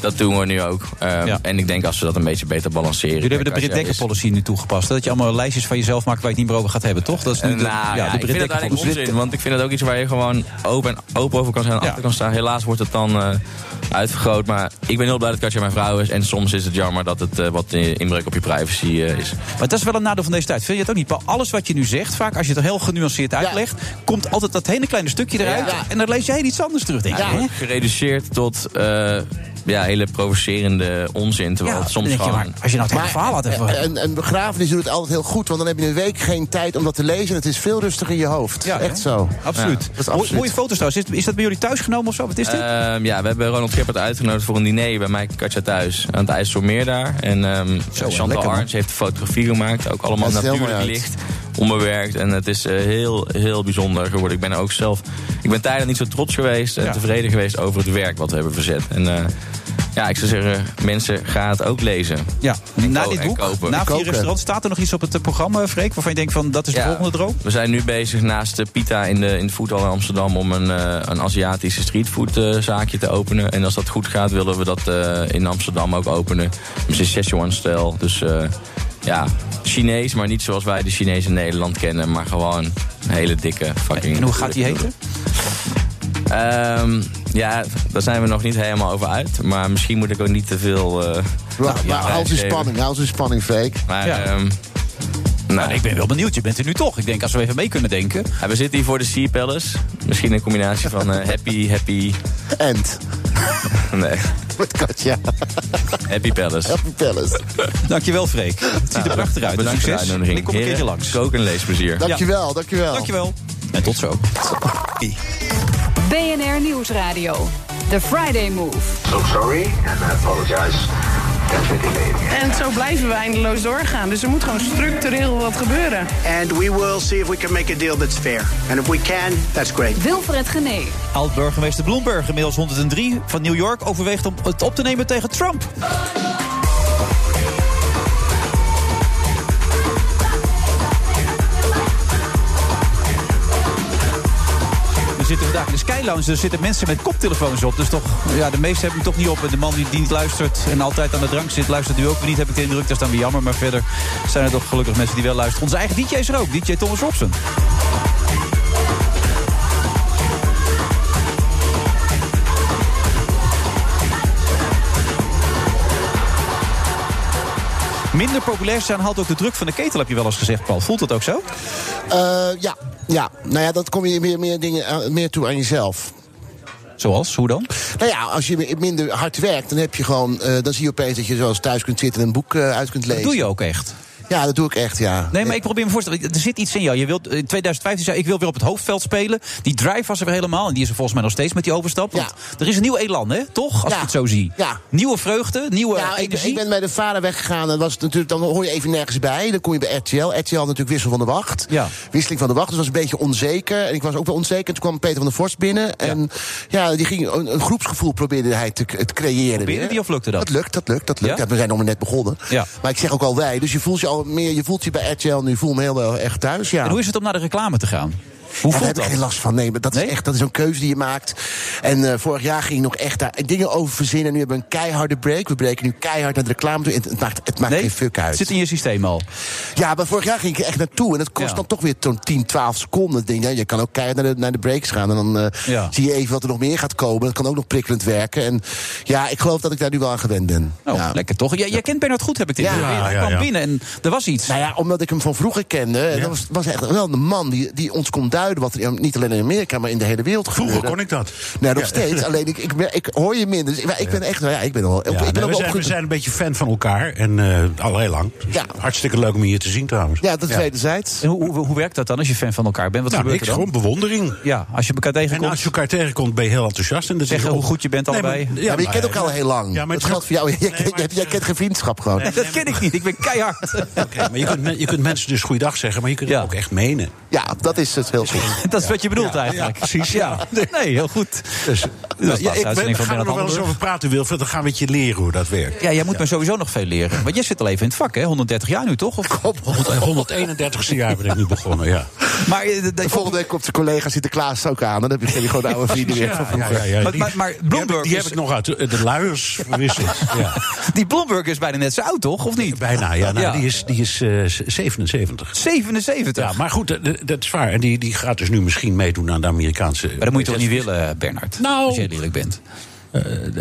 S4: dat doen we nu ook. Eh,
S6: Ja.
S4: En ik denk als we dat een beetje beter balanceren.
S6: Jullie hebben de
S4: Katja
S6: Brit Dekker
S4: is-
S6: policy nu toegepast. hè? Dat je allemaal lijstjes van jezelf maakt waar je het niet meer over gaat hebben, toch? Dat is nu
S4: Eh,
S6: de,
S4: nou, ja,
S6: de
S4: ik vind het eigenlijk onzin, want ik vind het ook iets waar je gewoon open, en open over kan zijn en
S6: Ja.
S4: achter kan staan. Helaas wordt het dan eh, uitvergroot, maar ik ben heel blij dat Katja mijn vrouw is. En soms is het jammer dat het eh, wat eh, inbreuk op je privacy eh, is.
S6: Maar dat is wel een nadeel van deze tijd. Vind je het ook niet? Paul? Alles wat je nu zegt, vaak als je het heel genuanceerd uitlegt, komt altijd dat hele kleine stukje eruit.
S7: Ja.
S6: En dan lees jij iets anders terug, denk ik.
S4: Het
S6: hè?
S4: wordt gereduceerd tot eh, ja, hele provocerende onzin. Terwijl
S6: Ja,
S4: het
S6: dan
S4: soms
S6: denk je,
S4: gewoon...
S6: maar als je nou het hele verhaal had even...
S7: eh, een, een begrafenis doet het altijd heel goed, want dan heb je een week geen tijd om dat te lezen. Het is veel rustiger in je hoofd.
S6: Ja,
S7: Echt
S6: hè?
S7: zo.
S6: Absoluut.
S7: Ja, dat is
S6: Mooi-
S7: absoluut.
S6: Mooie foto's trouwens. Is, is dat bij jullie thuis genomen of zo? Wat is dit?
S4: Ehm, ja, we hebben Ronald Gippert uitgenodigd voor een diner bij mij Katja thuis. Aan het IJsselmeer daar. En ehm, Chantal
S6: lekker, man.
S4: Arns heeft de fotografie gemaakt. Ook allemaal
S7: Dat is heel
S4: natuurlijk
S7: mooi uit.
S4: licht, onbewerkt. En het is eh, heel, heel bijzonder geworden. Ik ben er ook zelf... Ik ben tijden niet zo trots geweest en
S6: Ja.
S4: tevreden geweest over het werk wat we hebben verzet. En eh, ja, ik zou zeggen, mensen, gaan het ook lezen.
S6: ja, na
S4: ko-
S6: dit
S4: en
S6: boek,
S4: kopen.
S6: na vier
S7: Koken.
S6: restaurants, staat er nog iets op het eh, programma, Freek? Waarvan je denkt van, dat is de
S4: Ja.
S6: volgende droom?
S4: We zijn nu bezig naast de Pita in de, in de voetbal in Amsterdam om een, eh een Aziatische streetfoodzaakje zaakje te openen. En als dat goed gaat, willen we dat eh, in Amsterdam ook openen. Dus Misschien Szechuan-stijl. Dus eh, ja, Chinees, maar niet zoals wij de Chinees in Nederland kennen. Maar gewoon een hele dikke fucking...
S6: En hoe gaat die heten?
S4: Ehm, ja, daar zijn we nog niet helemaal over uit. Maar misschien moet ik ook niet te veel... eh,
S7: Maar,
S4: ja,
S7: maar hou ze
S4: prijsgeven.
S7: in Nou, spanning, hou ze in spanning, fake.
S4: Maar...
S6: Ja.
S4: ehm, nou,
S6: Nou, ik ben wel benieuwd. Je bent er nu toch. Ik denk, als we even mee kunnen denken.
S4: ja, we zitten hier voor de Sea Palace. Misschien een combinatie van eh, happy, happy...
S7: End.
S4: Nee,
S7: Met Katja.
S4: Happy Palace. Nou,
S7: Happy Palace.
S6: Dankjewel, Freek. Het ziet er prachtig uit. Een
S4: Bedankt voor de
S6: succes.
S4: uitnodiging.
S6: Ik kom een keertje
S4: Heren,
S6: langs.
S4: Kook en leesplezier.
S7: Dankjewel, dankjewel.
S6: Dankjewel. En tot zo.
S5: BNR Nieuwsradio. The Friday Move.
S8: So sorry and I apologize. That's the delay.
S9: En zo blijven we eindeloos doorgaan. Dus er moet gewoon structureel wat gebeuren.
S10: And we will see if we can make a deal that's fair. And if we can, that's great.
S5: Wilfred Gené.
S6: Oud-burgemeester Bloomberg, inmiddels 103 van New York, overweegt om het op te nemen tegen Trump. We zitten vandaag in de Sky Lounge, er zitten mensen met koptelefoons op. Dus toch, ja, de meesten hebben hem toch niet op. En de man die, die niet luistert en altijd aan de drank zit, luistert nu ook weer niet. Heb ik de indruk, dat is dan weer jammer. Maar verder zijn er toch gelukkig mensen die wel luisteren. Onze eigen DJ is er ook, DJ Thomas Robson. Minder populair zijn haalt ook de druk van de ketel, heb je wel eens gezegd, Paul. Voelt dat ook zo?
S7: Eh, ja, ja, nou ja, dat kom je meer, meer, dingen, aan- meer toe aan jezelf.
S6: Zoals? Hoe dan?
S7: Nou ja, als je mi- minder hard werkt, dan heb je gewoon. eh, dan zie je opeens dat je zoals thuis kunt zitten en een boek eh, uit kunt lezen.
S6: Dat doe je ook echt.
S7: Ja, dat doe ik echt, ja. Eh,
S6: Nee, maar ik probeer me voor te stellen. Er zit iets in jou. Je wilt, in 2015 zei je, ik wil weer op het hoofdveld spelen. Die drive was er weer helemaal. En die is er volgens mij nog steeds met die overstap. Want
S7: Ja.
S6: Er is een nieuw elan, hè? Toch? Als
S7: Ja.
S6: ik het zo zie.
S7: Ja.
S6: Nieuwe vreugde, nieuwe
S7: Nou, ik,
S6: energie.
S7: ik ben bij de vader weggegaan en was het natuurlijk, dan hoor je even nergens bij. Dan kom je bij RTL. RTL had natuurlijk wissel van de wacht.
S6: Ja.
S7: Wisseling van de wacht, dus was een beetje onzeker. En ik was ook wel onzeker. En toen kwam Peter van der Vorst binnen. En ja, die ging, een, een groepsgevoel probeerde hij te, te creëren.
S6: Probeerde
S7: weer.
S6: die of lukte dat?
S7: Dat lukt, dat lukt, dat lukt.
S6: Ja?
S7: Ja, we zijn nog maar net begonnen.
S6: Ja.
S7: Maar ik zeg ook al wij. Dus je voelt je al meer, je voelt je bij RTL nu, voel me heel wel echt thuis. Ja.
S6: En hoe is het om naar de reclame te gaan? Hoe
S7: Ja, daar
S6: voelt
S7: heb ik
S6: dat?
S7: geen last van. Nee, maar dat
S6: Nee?
S7: is echt dat is een keuze die je maakt. En eh, vorig jaar ging ik nog echt daar dingen over verzinnen. Nu hebben we een keiharde break. We breken nu keihard naar de reclame toe. En het maakt, het maakt geen fuck uit.
S6: Het zit in je systeem al.
S7: Ja, maar vorig jaar ging ik er echt naartoe. En dat kost
S6: Ja.
S7: dan toch weer zo'n 10, 12 seconden. Dat Ding. Ja, je kan ook keihard naar de, naar de breaks gaan. En dan eh,
S6: Ja.
S7: zie je even wat er nog meer gaat komen. Dat kan ook nog prikkelend werken. En ja, ik geloof dat ik daar nu wel aan gewend ben.
S6: Nou,
S7: ja.
S6: lekker toch? Jij, jij kent Bernard goed, heb ik dit.
S7: Ja.
S6: idee. Hij
S1: Ja, ja,
S6: kwam
S1: ja.
S6: binnen en er was iets.
S7: Nou ja, omdat ik hem van vroeger kende. En dat was, was echt wel een man die, die ons kon duiden. Wat er niet alleen in Amerika, maar in de hele wereld
S1: Vroeger
S7: gebeurde.
S1: kon ik dat.
S7: Nou, nog
S1: Ja.
S7: steeds. Alleen ik, ik, ben- ik hoor je minder. Dus ik, maar ik ben echt. Nou ja, ik ben al.
S1: Ja,
S7: ik ben ook
S1: nee, we, zijn, we
S7: opgegroeid-
S1: zijn een beetje fan van elkaar. En eh, al heel lang. Dus
S7: Ja.
S1: Hartstikke leuk om je hier te zien trouwens.
S7: Ja, dat is wederzijds.
S6: En hoe, hoe, hoe werkt dat dan als je fan van elkaar bent? Wat
S1: Nou,
S6: gebeurt
S1: niks,
S6: er dan?
S1: gewoon bewondering.
S6: Ja, als je elkaar
S1: En
S6: tegenkomt.
S1: als je elkaar tegenkomt, ben je heel enthousiast. En dan
S6: Zeggen
S1: zeg je,
S6: hoe
S1: oh,
S6: goed je bent allebei.
S1: maar-
S7: Ja, maar je
S1: maar-
S7: kent elkaar al heel lang.
S1: Ja, maar
S7: dat
S1: het
S7: geldt voor jou. Jij,
S1: Nee,
S7: kent-
S1: maar-
S7: jij kent geen vriendschap gewoon.
S1: Nee.
S6: Dat ken ik niet. Ik ben keihard.
S1: Oké, maar je kunt, men- je kunt mensen dus goeiedag zeggen, maar je kunt
S6: Ja.
S1: het ook echt menen.
S7: Ja, dat is het heel
S6: dat is wat je bedoelt
S11: Ja,
S6: eigenlijk.
S11: ja, precies, ja.
S6: Nee, heel goed. Dus,
S11: Nou, ja, ik ben, daar gaan we nog wel eens over praten, Wilfred. Dan gaan we het je leren hoe dat werkt.
S6: Ja, jij moet me sowieso nog veel leren. Want jij zit al even in het vak, hè? 130 jaar nu, toch? Of...
S11: 131ste jaar ben ik nu begonnen, ja.
S6: Maar,
S7: eh,
S6: eh,
S7: de volgende week komt de collega Sinterklaas ook aan. Dan heb je geen gewoon de oude vrienden weer. van
S11: Ja, ja,
S7: vroeger.
S11: ja, die- die heb, ik- die
S6: is-
S11: heb ik nog uit de de luiers verwisseld. Ja.
S6: Die Bloomberg is bijna net zo oud, toch? Of niet?
S11: Bijna, ja. Nou,
S6: Ja.
S11: Die is, die is eh, z- 77.
S6: 77?
S11: Ja, maar goed, eh, d- dat is waar. En die, die gaat dus nu misschien meedoen aan de Amerikaanse... Maar
S6: dat moet je toch niet willen, Bernard?
S11: Nou...
S6: Als jij eerlijk bent.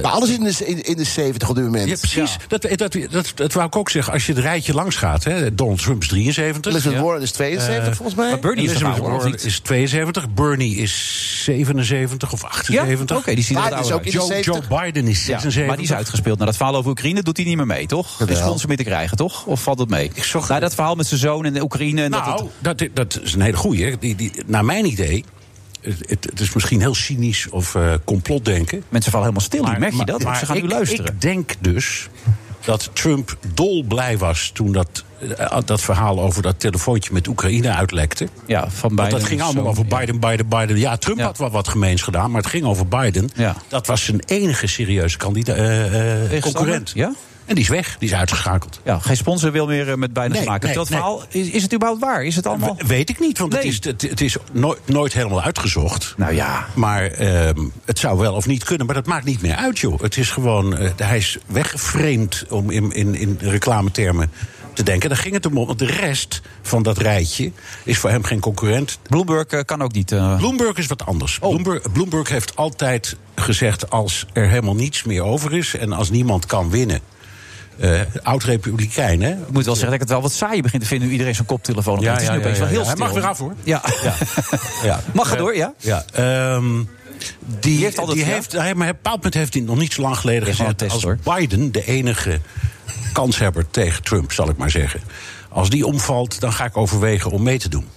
S7: Maar alles in de, in, in de 70 op dit moment.
S11: Ja, precies. Dat, dat, dat, dat wou ik ook zeggen. Als je het rijtje langs gaat, hè, Donald Trump is 73.
S7: Elizabeth
S11: Ja.
S7: Warren is 72
S11: Eh,
S7: volgens mij.
S11: Maar Bernie is,
S7: Elizabeth
S11: nog ouder,
S7: Warren
S11: of niet? is 72. Bernie is 77 of 78.
S6: Ja? Oké, die ziet er
S11: Maar
S6: wat
S11: is
S6: ouder
S11: ook
S6: uit.
S11: in de Joe, Joe Biden is
S6: Ja,
S11: 76.
S6: maar die is uitgespeeld. Nou, dat verhaal over Oekraïne doet hij niet meer mee, toch? Is sponsor mee te krijgen, toch? Of valt dat mee? Ik nou, dat verhaal met zijn zoon en de Oekraïne. En dat
S11: Nou,
S6: het-
S11: dat, dat is een hele goeie. hè. Die, die, naar mijn idee... Het, het- het is misschien heel cynisch of eh, complotdenken.
S6: Mensen vallen helemaal stil,
S11: maar,
S6: merk je
S11: maar-
S6: dat?
S11: Maar
S6: Ze gaan nu
S11: ik-
S6: luisteren.
S11: Ik denk dus dat Trump dolblij was toen dat, eh, dat verhaal over dat telefoontje met Oekraïne uitlekte.
S6: Ja, van
S11: Want
S6: Biden
S11: dat ging
S6: is
S11: allemaal
S6: zo,
S11: over Biden, Biden, Biden. Ja, Trump had wel wat gemeens gedaan, maar het ging over Biden.
S6: Ja.
S11: Dat was zijn enige serieuze kandida- eh, eh, concurrent.
S6: Ja?
S11: En die is weg, die is uitgeschakeld.
S6: Ja, geen sponsor wil meer eh, met bijna
S11: Nee,
S6: te maken.
S11: nee,
S6: dat
S11: nee.
S6: verhaal, is, is het überhaupt waar? Is het allemaal...
S11: We- weet ik niet, want
S6: Nee.
S11: het is, het, het is nooit, nooit helemaal uitgezocht.
S6: Nou ja.
S11: Maar ehm, het zou wel of niet kunnen, maar dat maakt niet meer uit, joh. Het is gewoon, eh, hij is weggeframed om in, in, in reclametermen te denken. Daar ging het om, want de rest van dat rijtje is voor hem geen concurrent.
S6: Bloomberg eh, kan ook niet... eh, Oh.
S11: Bloomberg is wat anders. Bloomberg, Bloomberg heeft altijd gezegd: als er helemaal niets meer over is en als niemand kan winnen. eh Oud-republikein, hè?
S6: Ik moet wel zeggen dat ik het wel wat saai begin te vinden... hoe iedereen zijn koptelefoon op
S11: Ja,
S6: heeft. Het
S11: ja,
S6: is nu opeens
S11: ja,
S6: wel heel
S11: ja. Hij
S6: stil.
S11: mag weer af, hoor.
S6: Ja.
S11: Ja.
S6: Mag het door, ja?
S11: Ja. ehm, die, die heeft
S6: altijd- ja.
S11: heeft, hij, maar op een bepaald moment heeft hij nog niet zo lang geleden
S6: gewoon
S11: gezegd...
S6: een
S11: als
S6: test,
S11: Biden de enige kanshebber tegen Trump, zal ik maar zeggen... als die omvalt, dan ga ik overwegen om mee te doen.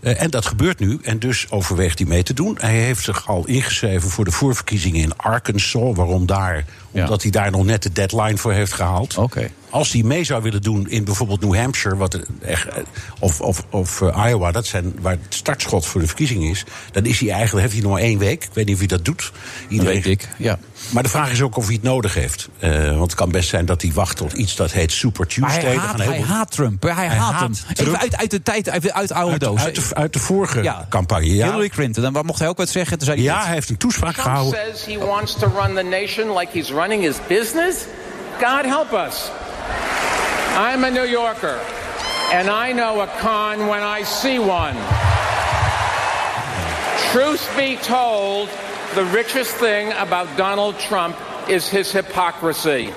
S11: Eh, en dat gebeurt nu, en dus overweegt hij mee te doen. Hij heeft zich al ingeschreven voor de voorverkiezingen in Arkansas. Waarom daar? Omdat hij daar nog net de deadline voor heeft gehaald.
S6: Oké.
S11: Als hij mee zou willen doen in bijvoorbeeld New Hampshire wat een echt, eh, of, of, of eh, Iowa, dat zijn waar het startschot voor de verkiezing is, dan is hij eigenlijk, heeft hij nog maar één week. Ik weet niet of hij dat doet. Iedereen.
S6: weet ik, ja.
S11: Maar de vraag is ook of hij het nodig heeft. Eh, want het kan best zijn dat hij wacht tot iets dat heet Super
S6: Maar
S11: Tuesday.
S6: hij
S11: Er
S6: haat,
S11: gaan heel
S6: hij
S11: veel-
S6: haat Trump. Hij, haat, hem.
S11: haat
S6: Even
S11: Trump.
S6: uit, uit de tijd, uit, uit oude doos.
S11: uit, de, uit de vorige
S6: Ja.
S11: campagne. Ja,
S6: Hillary Clinton, dan mocht hij ook wat zeggen. Toen zei hij
S11: ja,
S6: dit.
S11: hij heeft een toespraak
S12: Trump
S11: gehouden.
S12: says he wants to run the nation like he's running his business? God help us. I'm a New Yorker, and I know a con when I see one. Truth be told, the richest thing about Donald Trump is his hypocrisy.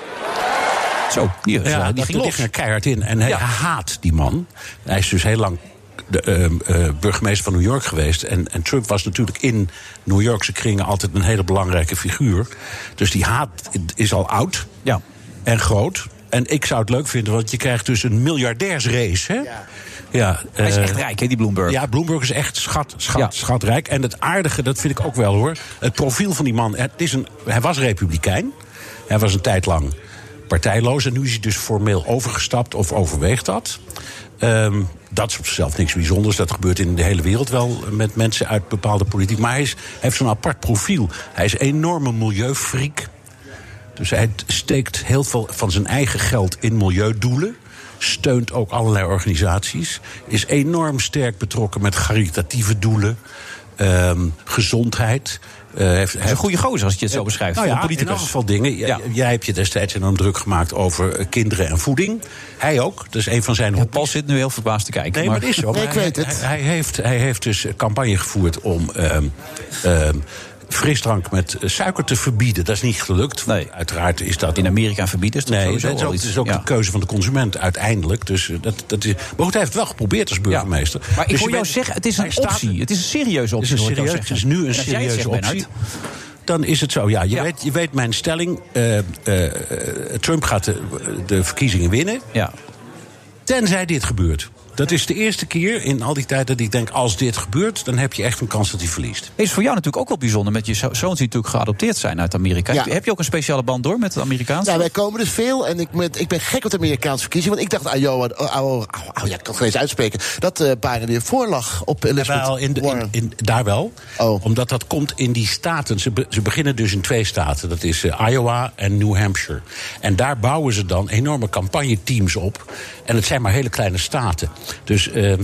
S6: Zo, die,
S11: Ja,
S6: ja, die
S11: eh, dat
S6: ging
S11: ligt
S6: los.
S11: er keihard in. En hij
S6: Ja.
S11: haat die man. Hij is dus heel lang de, eh, eh, burgemeester van New York geweest. En, en Trump was natuurlijk in New Yorkse kringen altijd een hele belangrijke figuur. Dus die haat is al oud
S6: Ja.
S11: en groot. En ik zou het leuk vinden, want je krijgt dus een miljardairsrace. Hè? Ja.
S6: Hij is
S11: eh,
S6: echt rijk, hè, die Bloomberg.
S11: ja, Bloomberg is echt schat, schat,
S6: Ja.
S11: schatrijk. En het aardige, dat vind ik ook wel hoor. Het profiel van die man. Het is een, hij was republikein. Hij was een tijd lang partijloos. En nu is hij dus formeel overgestapt of overweegt dat. Ehm, dat is op zichzelf niks bijzonders. Dat gebeurt in de hele wereld wel met mensen uit bepaalde politiek. Maar hij, is, hij heeft zo'n apart profiel. Hij is een enorme milieufreak. Dus hij steekt heel veel van zijn eigen geld in milieudoelen. Steunt ook allerlei organisaties. Is enorm sterk betrokken met caritatieve doelen. ehm, gezondheid. eh, heeft,
S6: Hij is een goede gozer, als je het zo beschrijft.
S11: nou
S6: voor
S11: ja,
S6: een
S11: in
S6: politicus.
S11: elk geval dingen. J- Jij hebt je destijds enorm druk gemaakt over eh, kinderen en voeding. Hij ook. Dat is een van zijn hobby's.
S6: Paul zit nu heel verbaasd te kijken.
S11: Nee, maar het is zo.
S7: Nee, ik
S11: Hij-
S7: weet het.
S11: Hij, hij heeft, hij heeft dus campagne gevoerd om ehm, ehm, frisdrank met suiker te verbieden. Dat is niet gelukt. want
S6: Nee.
S11: Uiteraard is dat
S6: In Amerika verbieden is dat
S11: Nee,
S6: sowieso
S11: dat is
S6: al
S11: ook,
S6: iets.
S11: dat is ook
S6: Ja.
S11: de keuze van de consument uiteindelijk. Dus eh, dat, dat is, maar goed, hij heeft het wel geprobeerd als burgemeester.
S6: Maar ik
S11: Dus
S6: hoor
S11: je
S6: jou
S11: bent-
S6: zeggen, het is
S11: hij
S6: een
S11: staat-
S6: optie. Het is een serieuze
S11: Het
S6: optie,
S11: is, een
S6: hoor ik jou
S11: serieus, het
S6: zeggen.
S11: is nu een
S6: Dat jij het
S11: serieuze optie.
S6: zegt, Bernard.
S11: Dan is het zo, ja. Je,
S6: Ja.
S11: Weet, je weet mijn stelling. eh, eh, Trump gaat de, de verkiezingen winnen.
S6: Ja.
S11: Tenzij dit gebeurt. Dat is de eerste keer in al die tijd dat ik denk: als dit gebeurt, dan heb je echt een kans dat hij verliest.
S6: Is voor jou natuurlijk ook wel bijzonder met je zo- zoons die natuurlijk geadopteerd zijn uit Amerika.
S7: Ja.
S6: Heb je ook een speciale band door met het Amerikaanse?
S7: Ja, wij komen dus veel en ik, met, ik ben gek op de Amerikaanse verkiezingen. Want ik dacht, ah, joh, oh, oh, oh, oh, ja, ik kan het geen eens uitspreken. Dat eh Biden weer voorlag op eh, Elizabeth
S11: Wel, in de- in- in- daar wel.
S7: Oh.
S11: Omdat dat komt in die staten. Ze, be- ze beginnen dus in twee staten. Dat is eh, Iowa en New Hampshire. En daar bouwen ze dan enorme campagneteams op. En het zijn maar hele kleine staten. Dus eh,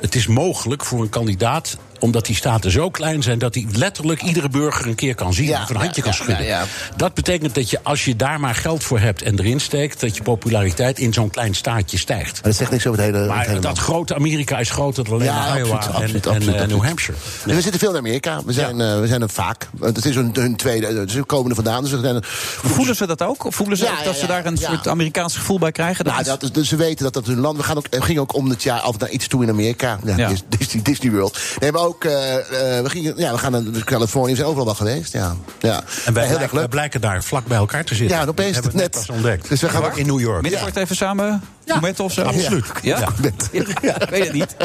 S11: het is mogelijk voor een kandidaat omdat die staten zo klein zijn dat hij letterlijk iedere burger een keer kan zien. of een handje kan schudden. Dat betekent dat je, als je daar maar geld voor hebt en erin steekt. dat je populariteit in zo'n klein staatje stijgt.
S7: Maar dat zegt niks over het hele.
S11: Maar
S7: het hele
S11: dat
S7: land.
S11: grote Amerika is groter dan alleen
S7: Ja,
S11: maar Iowa
S7: absoluut,
S11: en,
S7: absoluut,
S11: en, eh,
S7: absoluut,
S11: New
S7: absoluut.
S11: Hampshire.
S7: En We zitten veel in Amerika. We zijn, eh, we zijn er vaak. Want Het is hun, hun tweede. Ze komen er vandaan. Dus we zijn er-
S6: Voelen ze dat ook? Of voelen ze
S7: Ja,
S6: ook
S7: ja,
S6: Dus dat ze
S7: ja,
S6: daar een
S7: ja.
S6: soort Amerikaans gevoel bij krijgen?
S7: Nou,
S6: is-
S7: dat is, dus ze weten dat dat hun land. We gaan ook, we gingen ook om het jaar af naar iets toe in Amerika. Ja,
S6: Ja.
S7: Dis- Disney, Disney World. Nee, maar ook. eh, eh, we, gingen, ja, we gaan naar Californië. We zijn overal wel geweest. Ja. Ja.
S11: En wij,
S7: heel erg
S11: blijken, wij blijken daar vlak bij elkaar te zitten.
S7: Ja, en
S11: Dat
S7: opeens
S11: hebben we
S7: net.
S11: pas ontdekt.
S7: Dus we gaan
S11: Ja,
S7: ook-
S11: in New York.
S6: Binnenkort even samen ja. of zo?
S11: Absoluut.
S6: Ja? Dus
S11: Ja.
S6: Ja, ik weet het niet.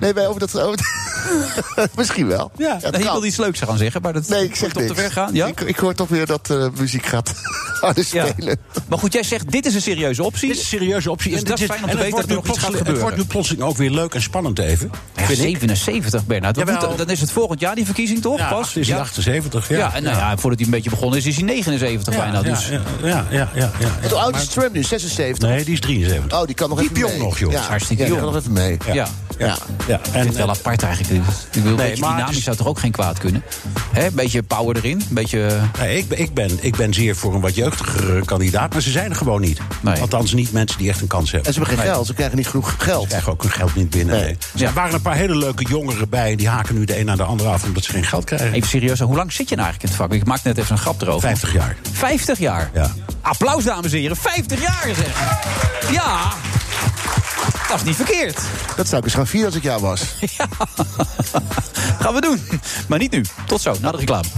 S7: Nee, wij over dat. over dat- Misschien wel.
S6: Ja, nou, ik wilde iets leuks gaan zeggen, maar dat
S7: Nee, ik zeg
S6: moet op de
S7: niks.
S6: weg gaan. Ja?
S7: Ik, ik hoor toch weer dat eh, muziek gaat harder spelen.
S6: Maar goed, jij zegt dit is een serieuze optie. Dit is
S11: een serieuze optie.
S6: Dus
S11: En
S6: dat is
S11: dit-
S6: fijn om
S11: en
S6: te
S11: het
S6: weten dat
S11: wordt
S6: er
S11: nu
S6: nog iets gaat
S11: plotseling-
S6: gebeuren.
S11: Het wordt nu plotseling ook weer leuk en spannend even.
S6: Ja,
S11: vind ik.
S6: 77, Bernard. Wat
S11: Jawel.
S6: moet- Nou, dan is het volgend jaar die verkiezing, toch?
S11: Ja,
S6: Pas?
S11: het is in 78, ja.
S6: en nou ja, voordat hij een beetje begonnen is, is hij 79 bijna.
S11: ja,
S6: Dus.
S11: ja, ja, ja, ja, ja.
S7: Hoe oud is Trump nu? 76?
S11: Nee, die is 73.
S7: Oh, die kan nog
S11: Die
S7: even
S11: jong
S7: mee.
S11: nog, joh.
S7: Ja,
S6: Hartstikke
S7: ja, die
S6: jong.
S7: kan nog even mee.
S6: Ja.
S7: Ja.
S11: Ja, en,
S6: ik
S11: eh,
S6: vind het wel apart eigenlijk. Ik wil,
S11: Nee,
S6: een beetje
S11: maar dus het
S6: dynamisch
S11: is-
S6: zou toch ook geen kwaad kunnen? Hè, Een beetje power erin. Een beetje...
S11: Nee, ik, ben- ik, ben, ik ben zeer voor een wat jeugdigere kandidaat, maar ze zijn er gewoon niet. Althans, niet mensen die echt een kans hebben.
S7: En ze hebben geen
S11: Nee.
S7: geld. Ze krijgen niet genoeg geld.
S11: Ze krijgen ook hun geld niet binnen.
S7: Nee.
S11: nee. Dus Er waren een paar hele leuke jongeren bij. en Die haken nu de een naar de andere af omdat ze geen geld krijgen.
S6: Even serieus, hoe lang zit je nou eigenlijk in het vak? Ik maak net even een grap erover.
S11: 50 jaar.
S6: 50 jaar?
S11: Ja.
S6: Applaus, dames en heren. 50 jaar, zeg. Ja. Dat is niet verkeerd.
S7: Dat zou ik eens gaan vieren als ik jou was.
S6: Gaan we doen. Maar niet nu. Tot zo, na de reclame.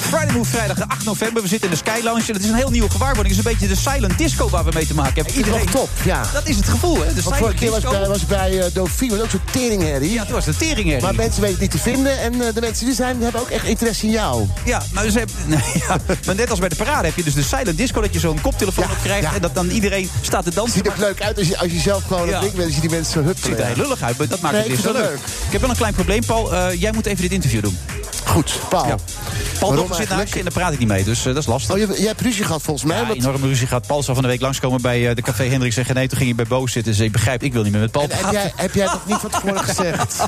S6: Friday Move vrijdag de 8 november. We zitten in de Sky Lounge. Dat is een heel nieuwe gewaarwording. Het is een beetje de silent disco waar we mee te maken hebben. Iedereen
S7: Nog top, ja.
S6: Dat is het gevoel, hè? De
S7: Want vorige
S6: silent
S7: keer was ik
S6: disco.
S7: bij, was ik bij eh, Dauphine, was ook zo'n teringherrie.
S6: Ja, toen was de teringherrie.
S7: Maar mensen weten het niet te vinden en eh, de mensen die er zijn hebben ook echt interesse in jou.
S6: Ja, maar, ze hebben, nou ja, maar net als bij de parade heb je dus de silent disco... dat je zo'n koptelefoon op krijgt en dat dan iedereen staat te dansen.
S7: Ziet er leuk uit als je, als je zelf gewoon
S6: Ja.
S7: een ding bent, als je die mensen zo huppelen.
S6: ziet er heel lullig uit, maar dat maakt
S7: Nee,
S6: het
S7: ik
S6: weer zo
S7: vond
S6: leuk.
S7: het
S6: Ik heb wel een klein probleem, Paul. Eh, jij moet even dit interview doen.
S7: Goed, Paul.
S6: Ja. Paul
S7: Waarom
S6: Dokker zit
S7: eigenlijk?
S6: naast je en daar praat ik niet mee, dus eh, dat is lastig.
S7: Oh, je, jij hebt ruzie gehad volgens mij.
S6: Ja,
S7: want-
S6: enorme ruzie gaat Paul zou van de week langskomen bij eh, de Café Hendricks. Zeggen nee, toen ging hij bij Boos zitten. Dus ik begrijp, ik wil niet meer met Paul
S7: En heb, jij, heb jij dat niet van tevoren gezegd?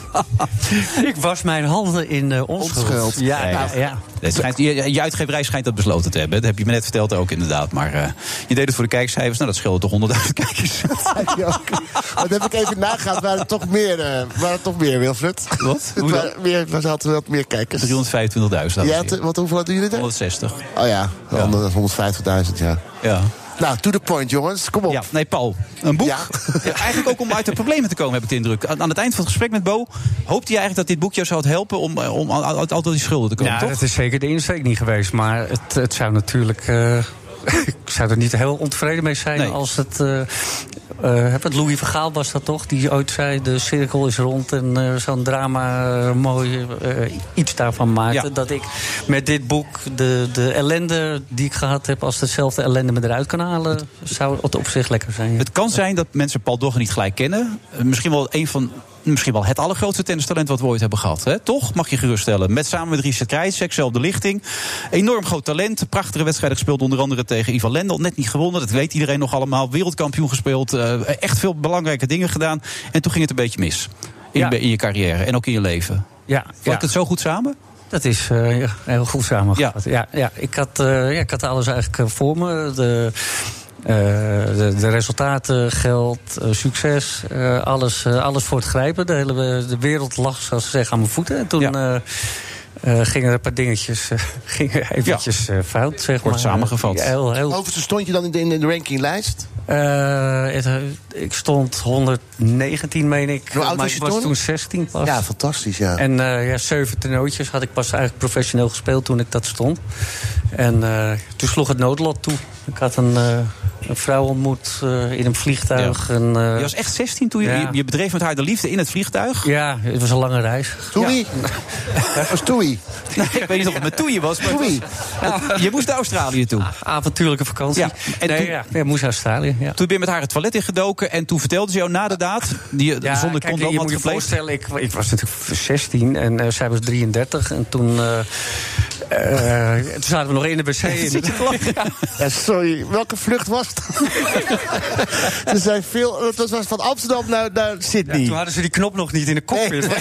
S13: Ik was mijn handen in eh onschuld.
S7: Onschuld.
S13: Ja,
S6: Nee,
S13: ja,
S6: ja.
S13: ja.
S6: Het schijnt, je, je uitgeverij schijnt dat besloten te hebben. Dat heb je me net verteld ook inderdaad. Maar eh, je deed het voor de kijkcijfers. Nou, dat scheelde toch 100.000 kijkers.
S7: Zei je ook. Maar dat heb ik even nagegaan. Waren het toch meer, eh waren het toch meer Wilfred?
S6: Wat?
S7: Het
S6: Hoe dan?
S7: waren meer, we hadden wat meer kijkers.
S6: 325.000. dames en
S7: Jij
S6: heren.
S7: had, eh, wat, hoeveel hadden jullie er?
S6: 160.
S7: Oh ja, 150.000, ja.
S6: Ja.
S7: Nou, to the point, jongens. Kom op.
S6: Ja, nee, Paul. Een boek. Ja, eigenlijk ook om uit de problemen te komen, heb ik de indruk. Aan aan het eind van het gesprek met Bo hoopte je eigenlijk dat dit boek jou zou helpen om, eh, om uit, uit al die schulden te komen.
S13: ja
S6: toch?
S13: dat is zeker de insteek niet geweest. Maar het, het zou natuurlijk. eh, ik zou er niet heel ontevreden mee zijn als het. eh eh, wat Louis Vergaal was dat toch? Die ooit zei: de cirkel is rond en eh, zo'n drama eh, mooi eh, iets daarvan maakte. Dat ik met dit boek de, de ellende die ik gehad heb, als dezelfde ellende me eruit kan halen, zou het op zich lekker zijn. ja.
S6: Het kan zijn dat mensen Paul Dogge niet gelijk kennen. Eh, Misschien wel een van. Misschien wel het allergrootste tennistalent wat we ooit hebben gehad. Hè? Toch? Mag je geruststellen. Met samen met Richard Krijs, seksueel op de lichting. Enorm groot talent. Prachtige wedstrijden gespeeld. Onder andere tegen Ivan Lendl. Net niet gewonnen. Dat weet iedereen nog allemaal. Wereldkampioen gespeeld. eh, echt veel belangrijke dingen gedaan. En toen ging het een beetje mis. In,
S13: Ja.
S6: je, in je carrière en ook in je leven.
S13: Ja,
S6: Vlakt het zo goed samen?
S13: Dat is eh, ja, heel goed samengevat. Ja. Ja, ik, had, eh, ja, ik had alles eigenlijk eh, voor me. De, eh, de, de resultaten, geld, eh, succes, eh, alles, eh, alles voor het grijpen. De hele eh, de wereld lag, zoals ze zeggen, aan mijn voeten. En toen eh, eh, gingen er een paar dingetjes eh, gingen eventjes eh, fout, zeg
S6: Kort
S13: maar.
S6: samengevat.
S13: Heel, heel
S7: Overigens stond je dan in de, in de rankinglijst.
S13: eh, het, eh, ik stond 119, meen ik.
S7: Hoe oud
S13: maar
S7: was je
S13: ik was
S7: toen?
S13: toen 16 pas.
S7: Ja, fantastisch, ja.
S13: En eh, ja, zeven toernooitjes had ik pas eigenlijk professioneel gespeeld toen ik dat stond. En eh, toen sloeg het noodlot toe. Ik had een, eh, een vrouw ontmoet eh, in een vliegtuig. En, eh,
S6: je was echt 16 toen je,
S13: Ja.
S6: je, je bedreef met haar de liefde in het vliegtuig.
S13: Ja, het was een lange reis.
S7: Toei? Dat was Toei.
S6: ik weet niet of het met Toei was, maar het was- Nou, je moest naar Australië toe.
S13: Ah, Avontuurlijke vakantie.
S6: Ja. En
S13: Nee,
S6: toen,
S13: ja, ja, moest naar Australië. Ja.
S6: toen ben je met haar het toilet ingedoken en toen vertelde ze jou na de daad, die je zonder
S13: kijk,
S6: condoom
S13: je
S6: had
S13: moet je
S6: gepleegd.
S13: voorstellen, ik, ik was natuurlijk 16 en eh, zij was 33. En toen, eh, eh, toen zaten we nog in de wc. in de-
S7: Ja, sorry, welke vlucht was het? er zijn veel, dat was van Amsterdam naar, naar Sydney.
S13: toen hadden ze die knop nog niet in de cockpit.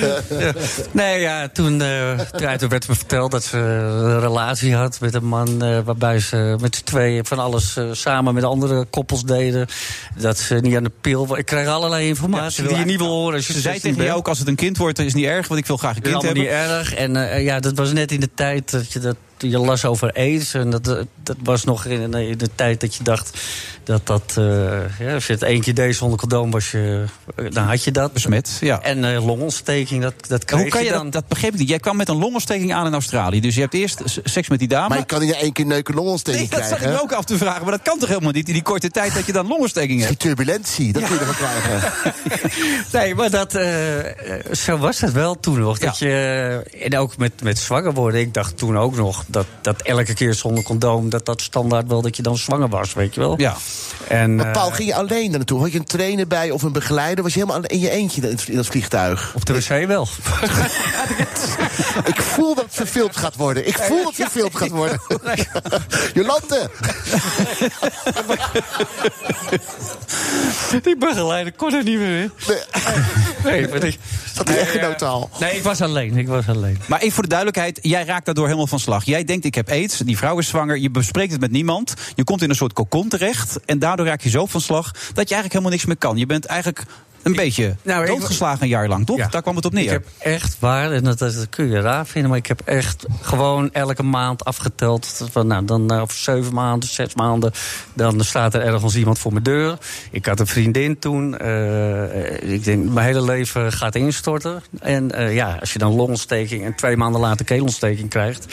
S13: Ja. Nee, ja, toen, eh, ja, toen werd me verteld dat ze een relatie had met een man... eh, waarbij ze met z'n tweeën van alles eh, samen met andere koppels deden. Dat ze niet aan de pil... wa- Ik krijg allerlei informatie die je niet wil horen. Als je
S6: Ze zei
S13: 16
S6: tegen
S13: bent.
S6: jou ook, als het een kind wordt, dan is het niet erg, want ik wil graag een
S13: Dat is
S6: kind
S13: allemaal
S6: hebben.
S13: niet erg. En eh, ja, dat was net in de tijd dat je dat je las over aids. En dat, eh, dat was nog in, eh, in de tijd dat je dacht dat dat... eh, ja, als je het eentje deed zonder condoom, was je, eh, dan had je dat.
S6: Besmet, ja.
S13: En eh, longontsteking, dat, dat
S6: En
S13: kreeg
S6: Hoe kan je
S13: dan.
S6: dat, dat begreep ik niet. Jij kwam met een longontsteking aan in Australië. Dus je hebt eerst s- seks met die dame. Ah, Maar je
S7: kan niet één keer neuken longontsteking
S6: nee, dat zat
S7: krijgen,
S6: ik
S7: hè?
S6: me ook af te vragen. Maar dat kan toch helemaal niet in die korte tijd dat je dan longontsteking hebt?
S7: Die turbulentie, dat kun je ervan krijgen.
S13: Nee, maar dat, eh, eh, zo was dat wel toen nog. Dat je, en ook met, met zwanger worden. Ik dacht toen ook nog dat, dat elke keer zonder condoom... dat dat standaard wel dat je dan zwanger was, weet je wel.
S6: Ja.
S13: En,
S7: Maar Paul,
S13: eh,
S7: ging je alleen daar naartoe? Had je een trainer bij of een begeleider? Was je helemaal in je eentje in dat vliegtuig?
S13: Op de wc wel.
S7: ik voel dat het verfilmd gaat worden. Ik voel dat het verfilmd gaat worden. Jolante!
S13: Die begeleider kon er niet meer in. Nee, maar die-
S7: dat is echt een notaal.
S13: Nee, ik was alleen. Ik was alleen.
S6: Maar even voor de duidelijkheid, jij raakt daardoor helemaal van slag. Jij denkt, ik heb aids, die vrouw is zwanger, je bespreekt het met niemand. Je komt in een soort cocon terecht en daardoor raak je zo van slag... dat je eigenlijk helemaal niks meer kan. Je bent eigenlijk een beetje
S13: nou, ik-
S6: doodgeslagen een jaar lang, toch? Daar kwam het op neer.
S13: Ik heb echt waar, en dat, dat kun je raar vinden, maar ik heb echt gewoon elke maand afgeteld. Van, nou, dan eh, over zeven maanden, zes maanden, dan staat er ergens iemand voor mijn deur. Ik had een vriendin toen. eh, ik denk, mijn hele leven gaat instorten. En eh, ja, als je dan longontsteking en twee maanden later keelontsteking krijgt,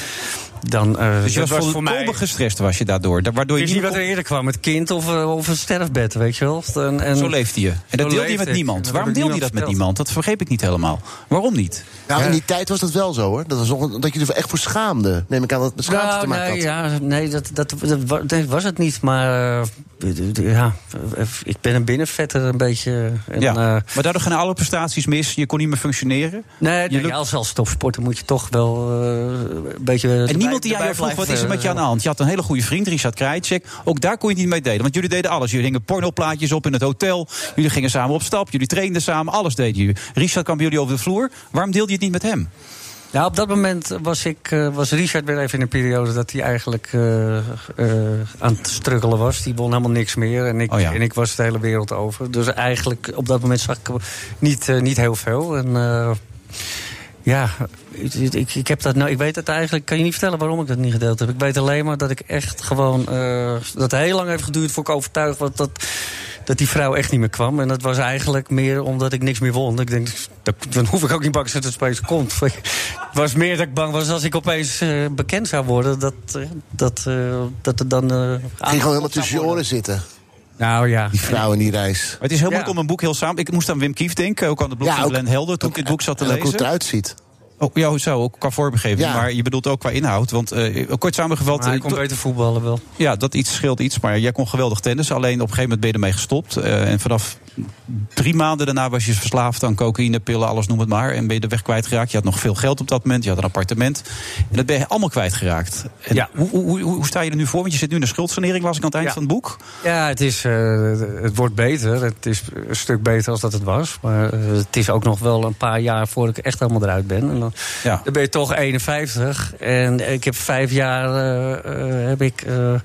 S13: dan. eh,
S6: dus je
S13: dat
S6: was volkomen gestrest was je daardoor. da- Waardoor
S13: Ik wist
S7: Dus
S6: je
S13: niet wat er eerder kwam, het kind of, eh, of een sterfbed, weet je wel. En, en
S6: Zo leefde je. En dat deelde je met niemand. Waarom deelde je dat met niemand? Dat vergeet ik niet helemaal. Waarom niet?
S7: Nou, in die tijd was dat wel zo, hoor. Dat, was nog- dat je er echt voor schaamde. Neem ik aan dat het met schaamte te maken had.
S13: nee, Nou, ja, nee, dat, dat, dat wa- nee, was het niet. Maar eh, d- d- ja, eh, ik ben een binnenvetter een beetje. En,
S6: ja.
S13: eh,
S6: maar daardoor gaan alle prestaties mis. Je kon niet meer functioneren.
S13: nee, nee, als, als topsporter moet je toch wel eh, een beetje...
S6: En niemand die aan jou vroeg, wat is er met
S13: eh,
S6: je aan de hand? Je had een hele goede vriend, Richard Krajicek. Ook daar kon je het niet mee delen, want jullie deden alles. Jullie hingen pornoplaatjes op in het hotel. Jullie gingen samen op stap, jullie trainden samen. Alles deden jullie. Richard kwam bij jullie over de vloer. Waarom deelde je het niet met hem?
S13: Nou, op dat moment was, ik, eh, was Richard weer even in een periode dat hij eigenlijk eh, eh, aan het struggelen was. Die won helemaal niks meer. En ik,
S6: Oh ja.
S13: en ik was de hele wereld over. Dus eigenlijk op dat moment zag ik niet, eh, niet heel veel. En eh, ja, ik, ik, ik heb dat nou, ik weet het eigenlijk. Kan je niet vertellen waarom ik dat niet gedeeld heb. Ik weet alleen maar dat ik echt gewoon. eh, dat het heel lang heeft geduurd voor ik overtuigd was dat. Dat die vrouw echt niet meer kwam. En dat was eigenlijk meer omdat ik niks meer won. Ik denk, dat- dan hoef ik ook niet bang te zijn dat het space komt. Het was meer dat ik bang was als ik opeens eh, bekend zou worden. Dat, eh, dat, eh, dat er dan... eh,
S7: Ging gewoon helemaal tussen je oren zitten.
S13: Nou ja.
S7: Die vrouw in die reis.
S6: Het is heel moeilijk om een boek heel samen... Ik moest aan Wim Kief denken, ook aan de blog
S7: Ja,
S6: van
S7: ook-
S6: Glenn Helder... toen ik dit boek zat te
S7: En ook hoe
S6: lezen.
S7: het eruit ziet.
S6: Oh, ja, zo, ook qua voorbegeving.
S7: Ja.
S6: Maar je bedoelt ook qua inhoud. Want eh, kort samengevat...
S13: Maar hij
S6: eh,
S13: kon
S6: to-
S13: beter voetballen wel.
S6: Ja, dat iets scheelt iets. Maar jij kon geweldig tennis. Alleen op een gegeven moment ben je ermee gestopt. Eh, en vanaf drie maanden daarna was je verslaafd aan cocaïne, pillen, alles noem het maar. En ben je de weg kwijtgeraakt. Je had nog veel geld op dat moment. Je had een appartement. En dat ben je allemaal kwijtgeraakt. En hoe, hoe, hoe, hoe sta je er nu voor? Want je zit nu in de schuldsanering, las ik aan het eind
S13: Ja.
S6: van het boek.
S13: Ja, het, is, eh, het wordt beter. Het is een stuk beter als dat het was. Maar eh, het is ook nog wel een paar jaar voordat ik echt helemaal eruit ben. En dan, dan ben je toch 51. En ik heb vijf jaar eh, eh, heb ik, eh, eh,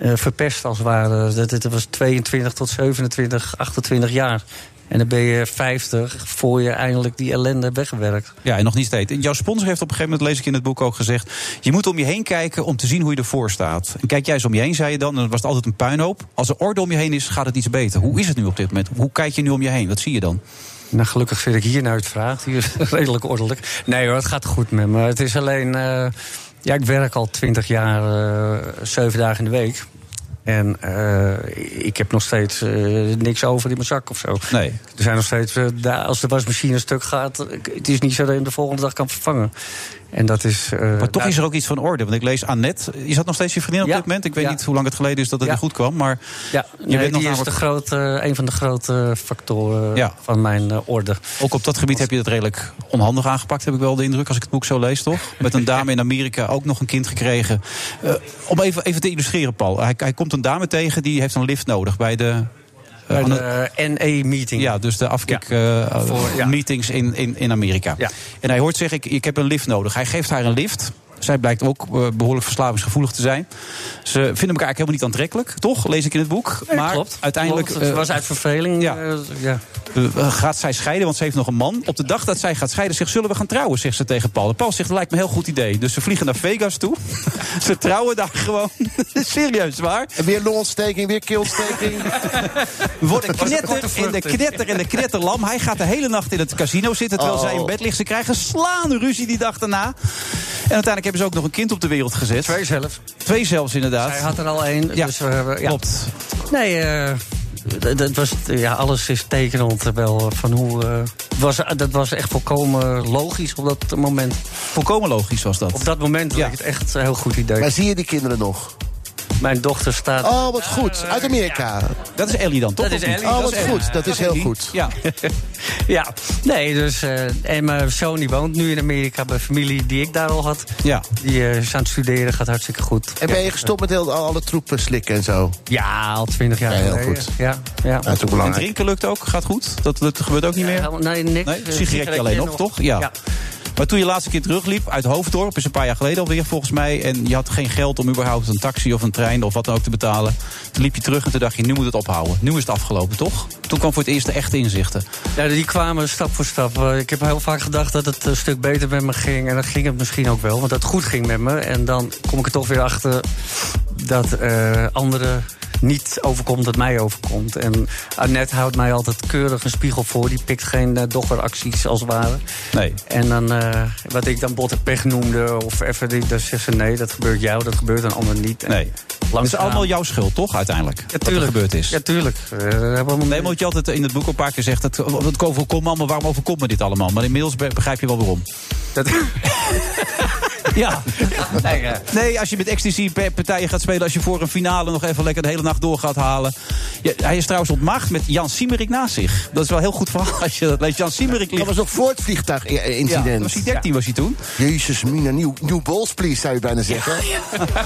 S13: verpest als het ware. Dat, dat was 22 tot 27, 28 jaar. En dan ben je 50 voor je eindelijk die ellende hebt weggewerkt.
S6: Ja, en nog niet steeds. En jouw sponsor heeft op een gegeven moment, lees ik in het boek ook gezegd... je moet om je heen kijken om te zien hoe je ervoor staat. En kijk jij eens om je heen, zei je dan, en dat was het altijd een puinhoop. Als er orde om je heen is, gaat het iets beter. Hoe is het nu op dit moment? Hoe kijk je nu om je heen? Wat zie je dan?
S13: Nou, gelukkig vind ik hier nou het vraag. Hier is redelijk ordelijk. Nee hoor, het gaat goed met me. Het is alleen... eh, ja, ik werk al twintig jaar, eh, zeven dagen in de week. En eh, ik heb nog steeds eh, niks over in mijn zak of zo.
S6: Nee.
S13: Er zijn nog steeds... eh, daar- als de wasmachine een stuk gaat... eh, het is niet zo dat je hem de volgende dag kan vervangen. En dat is... eh,
S6: Maar toch
S13: nou,
S6: is er ook iets van orde. Want ik lees Annette. Is dat nog steeds je vriendin op dit moment? Ik weet niet hoe lang het geleden is dat het weer goed kwam. Maar
S13: Ja,
S6: je
S13: nee,
S6: bent nog
S13: die is
S6: namelijk-
S13: de grote, een van de grote factoren
S6: Ja.
S13: van mijn eh, orde.
S6: Ook op dat gebied heb je het redelijk onhandig aangepakt, heb ik wel de indruk, als ik het boek zo lees, toch? Met een dame in Amerika, ook nog een kind gekregen. Eh, om even, even te illustreren, Paul. Hij, hij komt een dame tegen, die heeft een lift nodig bij de...
S13: Bij de NE-meeting.
S6: Ja, dus de
S13: Voor- ja.
S6: afkik-meetings in, in, in Amerika. En hij hoort zeggen, ik, ik heb een lift nodig. Hij geeft haar een lift. Zij blijkt ook eh, behoorlijk verslavingsgevoelig te zijn. Ze vinden elkaar eigenlijk helemaal niet aantrekkelijk, toch? Lees ik in het boek.
S13: Nee,
S6: maar
S13: klopt.
S6: uiteindelijk
S13: Klopt. Het
S6: eh,
S13: was uit verveling. Ja. ja.
S6: eh, gaat zij scheiden, want ze heeft nog een man. Op de dag dat zij gaat scheiden, zegt zullen we gaan trouwen, zegt ze tegen Paul. En Paul zegt, lijkt me een heel goed idee. Dus ze vliegen naar Vegas toe. ze trouwen daar gewoon. Serieus waar.
S7: En weer longontsteking, weer keelsteking.
S6: We worden knetter in de knetter en de knetterlam. Hij gaat de hele nacht in het casino zitten terwijl
S7: Oh.
S6: zij in bed ligt. Ze krijgen slaande ruzie die dag daarna. En uiteindelijk hebben ze ook nog een kind op de wereld gezet. Twee
S13: zelfs.
S6: Twee zelfs inderdaad.
S13: Hij had er al één.
S6: Ja,
S13: Dus we hebben, ja.
S6: klopt.
S13: Nee, eh, d- d- het was, ja, alles is tekenend eh, wel eh, van hoe... eh, het was, dat was echt volkomen logisch op dat moment.
S6: Volkomen logisch was dat.
S13: Op dat moment leek het echt een heel goed idee.
S7: Maar zie je die kinderen nog?
S13: Mijn dochter staat...
S7: Oh, wat goed. Uit Amerika.
S6: Dat is Ellie dan, toch?
S13: Dat is
S6: Of niet?
S13: Ellie. dat
S7: Oh, wat
S13: is Ellie.
S7: goed. Dat is heel goed.
S6: Ja.
S13: ja, nee, dus... eh, en mijn zoon die woont nu in Amerika bij familie die ik daar al had.
S6: Ja.
S13: Die eh, is aan het studeren, gaat hartstikke goed.
S7: En ben je gestopt met heel, alle troepen slikken en zo?
S13: Ja, al twintig jaar
S7: Ja, heel
S13: geleden.
S7: goed.
S13: Ja, ja.
S7: Dat is ook
S6: En
S7: belangrijk.
S6: drinken lukt ook, gaat goed. Dat, dat gebeurt ook niet meer.
S13: Nee, niks. Eh,
S6: Nee, sigaretje alleen nog, toch? Ja.
S13: ja.
S6: Maar toen je laatste keer terugliep uit Hoofddorp, is een paar jaar geleden alweer volgens mij. En je had geen geld om überhaupt een taxi of een trein of wat dan ook te betalen. Toen liep je terug en toen dacht je, nu moet het ophouden. Nu is het afgelopen, toch? Toen kwam voor het eerst de echte inzichten.
S13: Ja, die kwamen stap voor stap. Eh, Ik heb heel vaak gedacht dat het een stuk beter met me ging. En dat ging het misschien ook wel, want dat het goed ging met me. En dan kom ik er toch weer achter dat eh, anderen niet overkomt dat mij overkomt. En Annette houdt mij altijd keurig een spiegel voor. Die pikt geen eh, doggeracties als het ware.
S6: Nee.
S13: En dan, eh, wat ik dan botte pech noemde, of even, die- dan zegt ze nee, dat gebeurt jou, dat gebeurt een ander niet. En
S6: Nee. Het is
S13: langzaam-
S6: allemaal jouw schuld, toch, uiteindelijk? Wat er
S13: tuurlijk.
S6: gebeurd is.
S13: Ja, tuurlijk. Eh,
S6: Nee, want je altijd in het boek een paar keer zegt... Het, het overkomt me allemaal, waarom overkomt me dit allemaal? Maar inmiddels be- begrijp je wel waarom.
S13: Dat...
S6: ja. Nee, als je met XTC-partijen gaat spelen... als je voor een finale nog even lekker de hele nacht door gaat halen. Ja, hij is trouwens ontmaagd met Jan Siemerik naast zich. Dat is wel een heel goed verhaal als je dat leest. Jan Siemerik ligt...
S7: Dat was nog voor het vliegtuigincident.
S6: Ja, was hij 13 was hij toen.
S7: Jezus, Mina, new, new balls please, zou je bijna zeggen.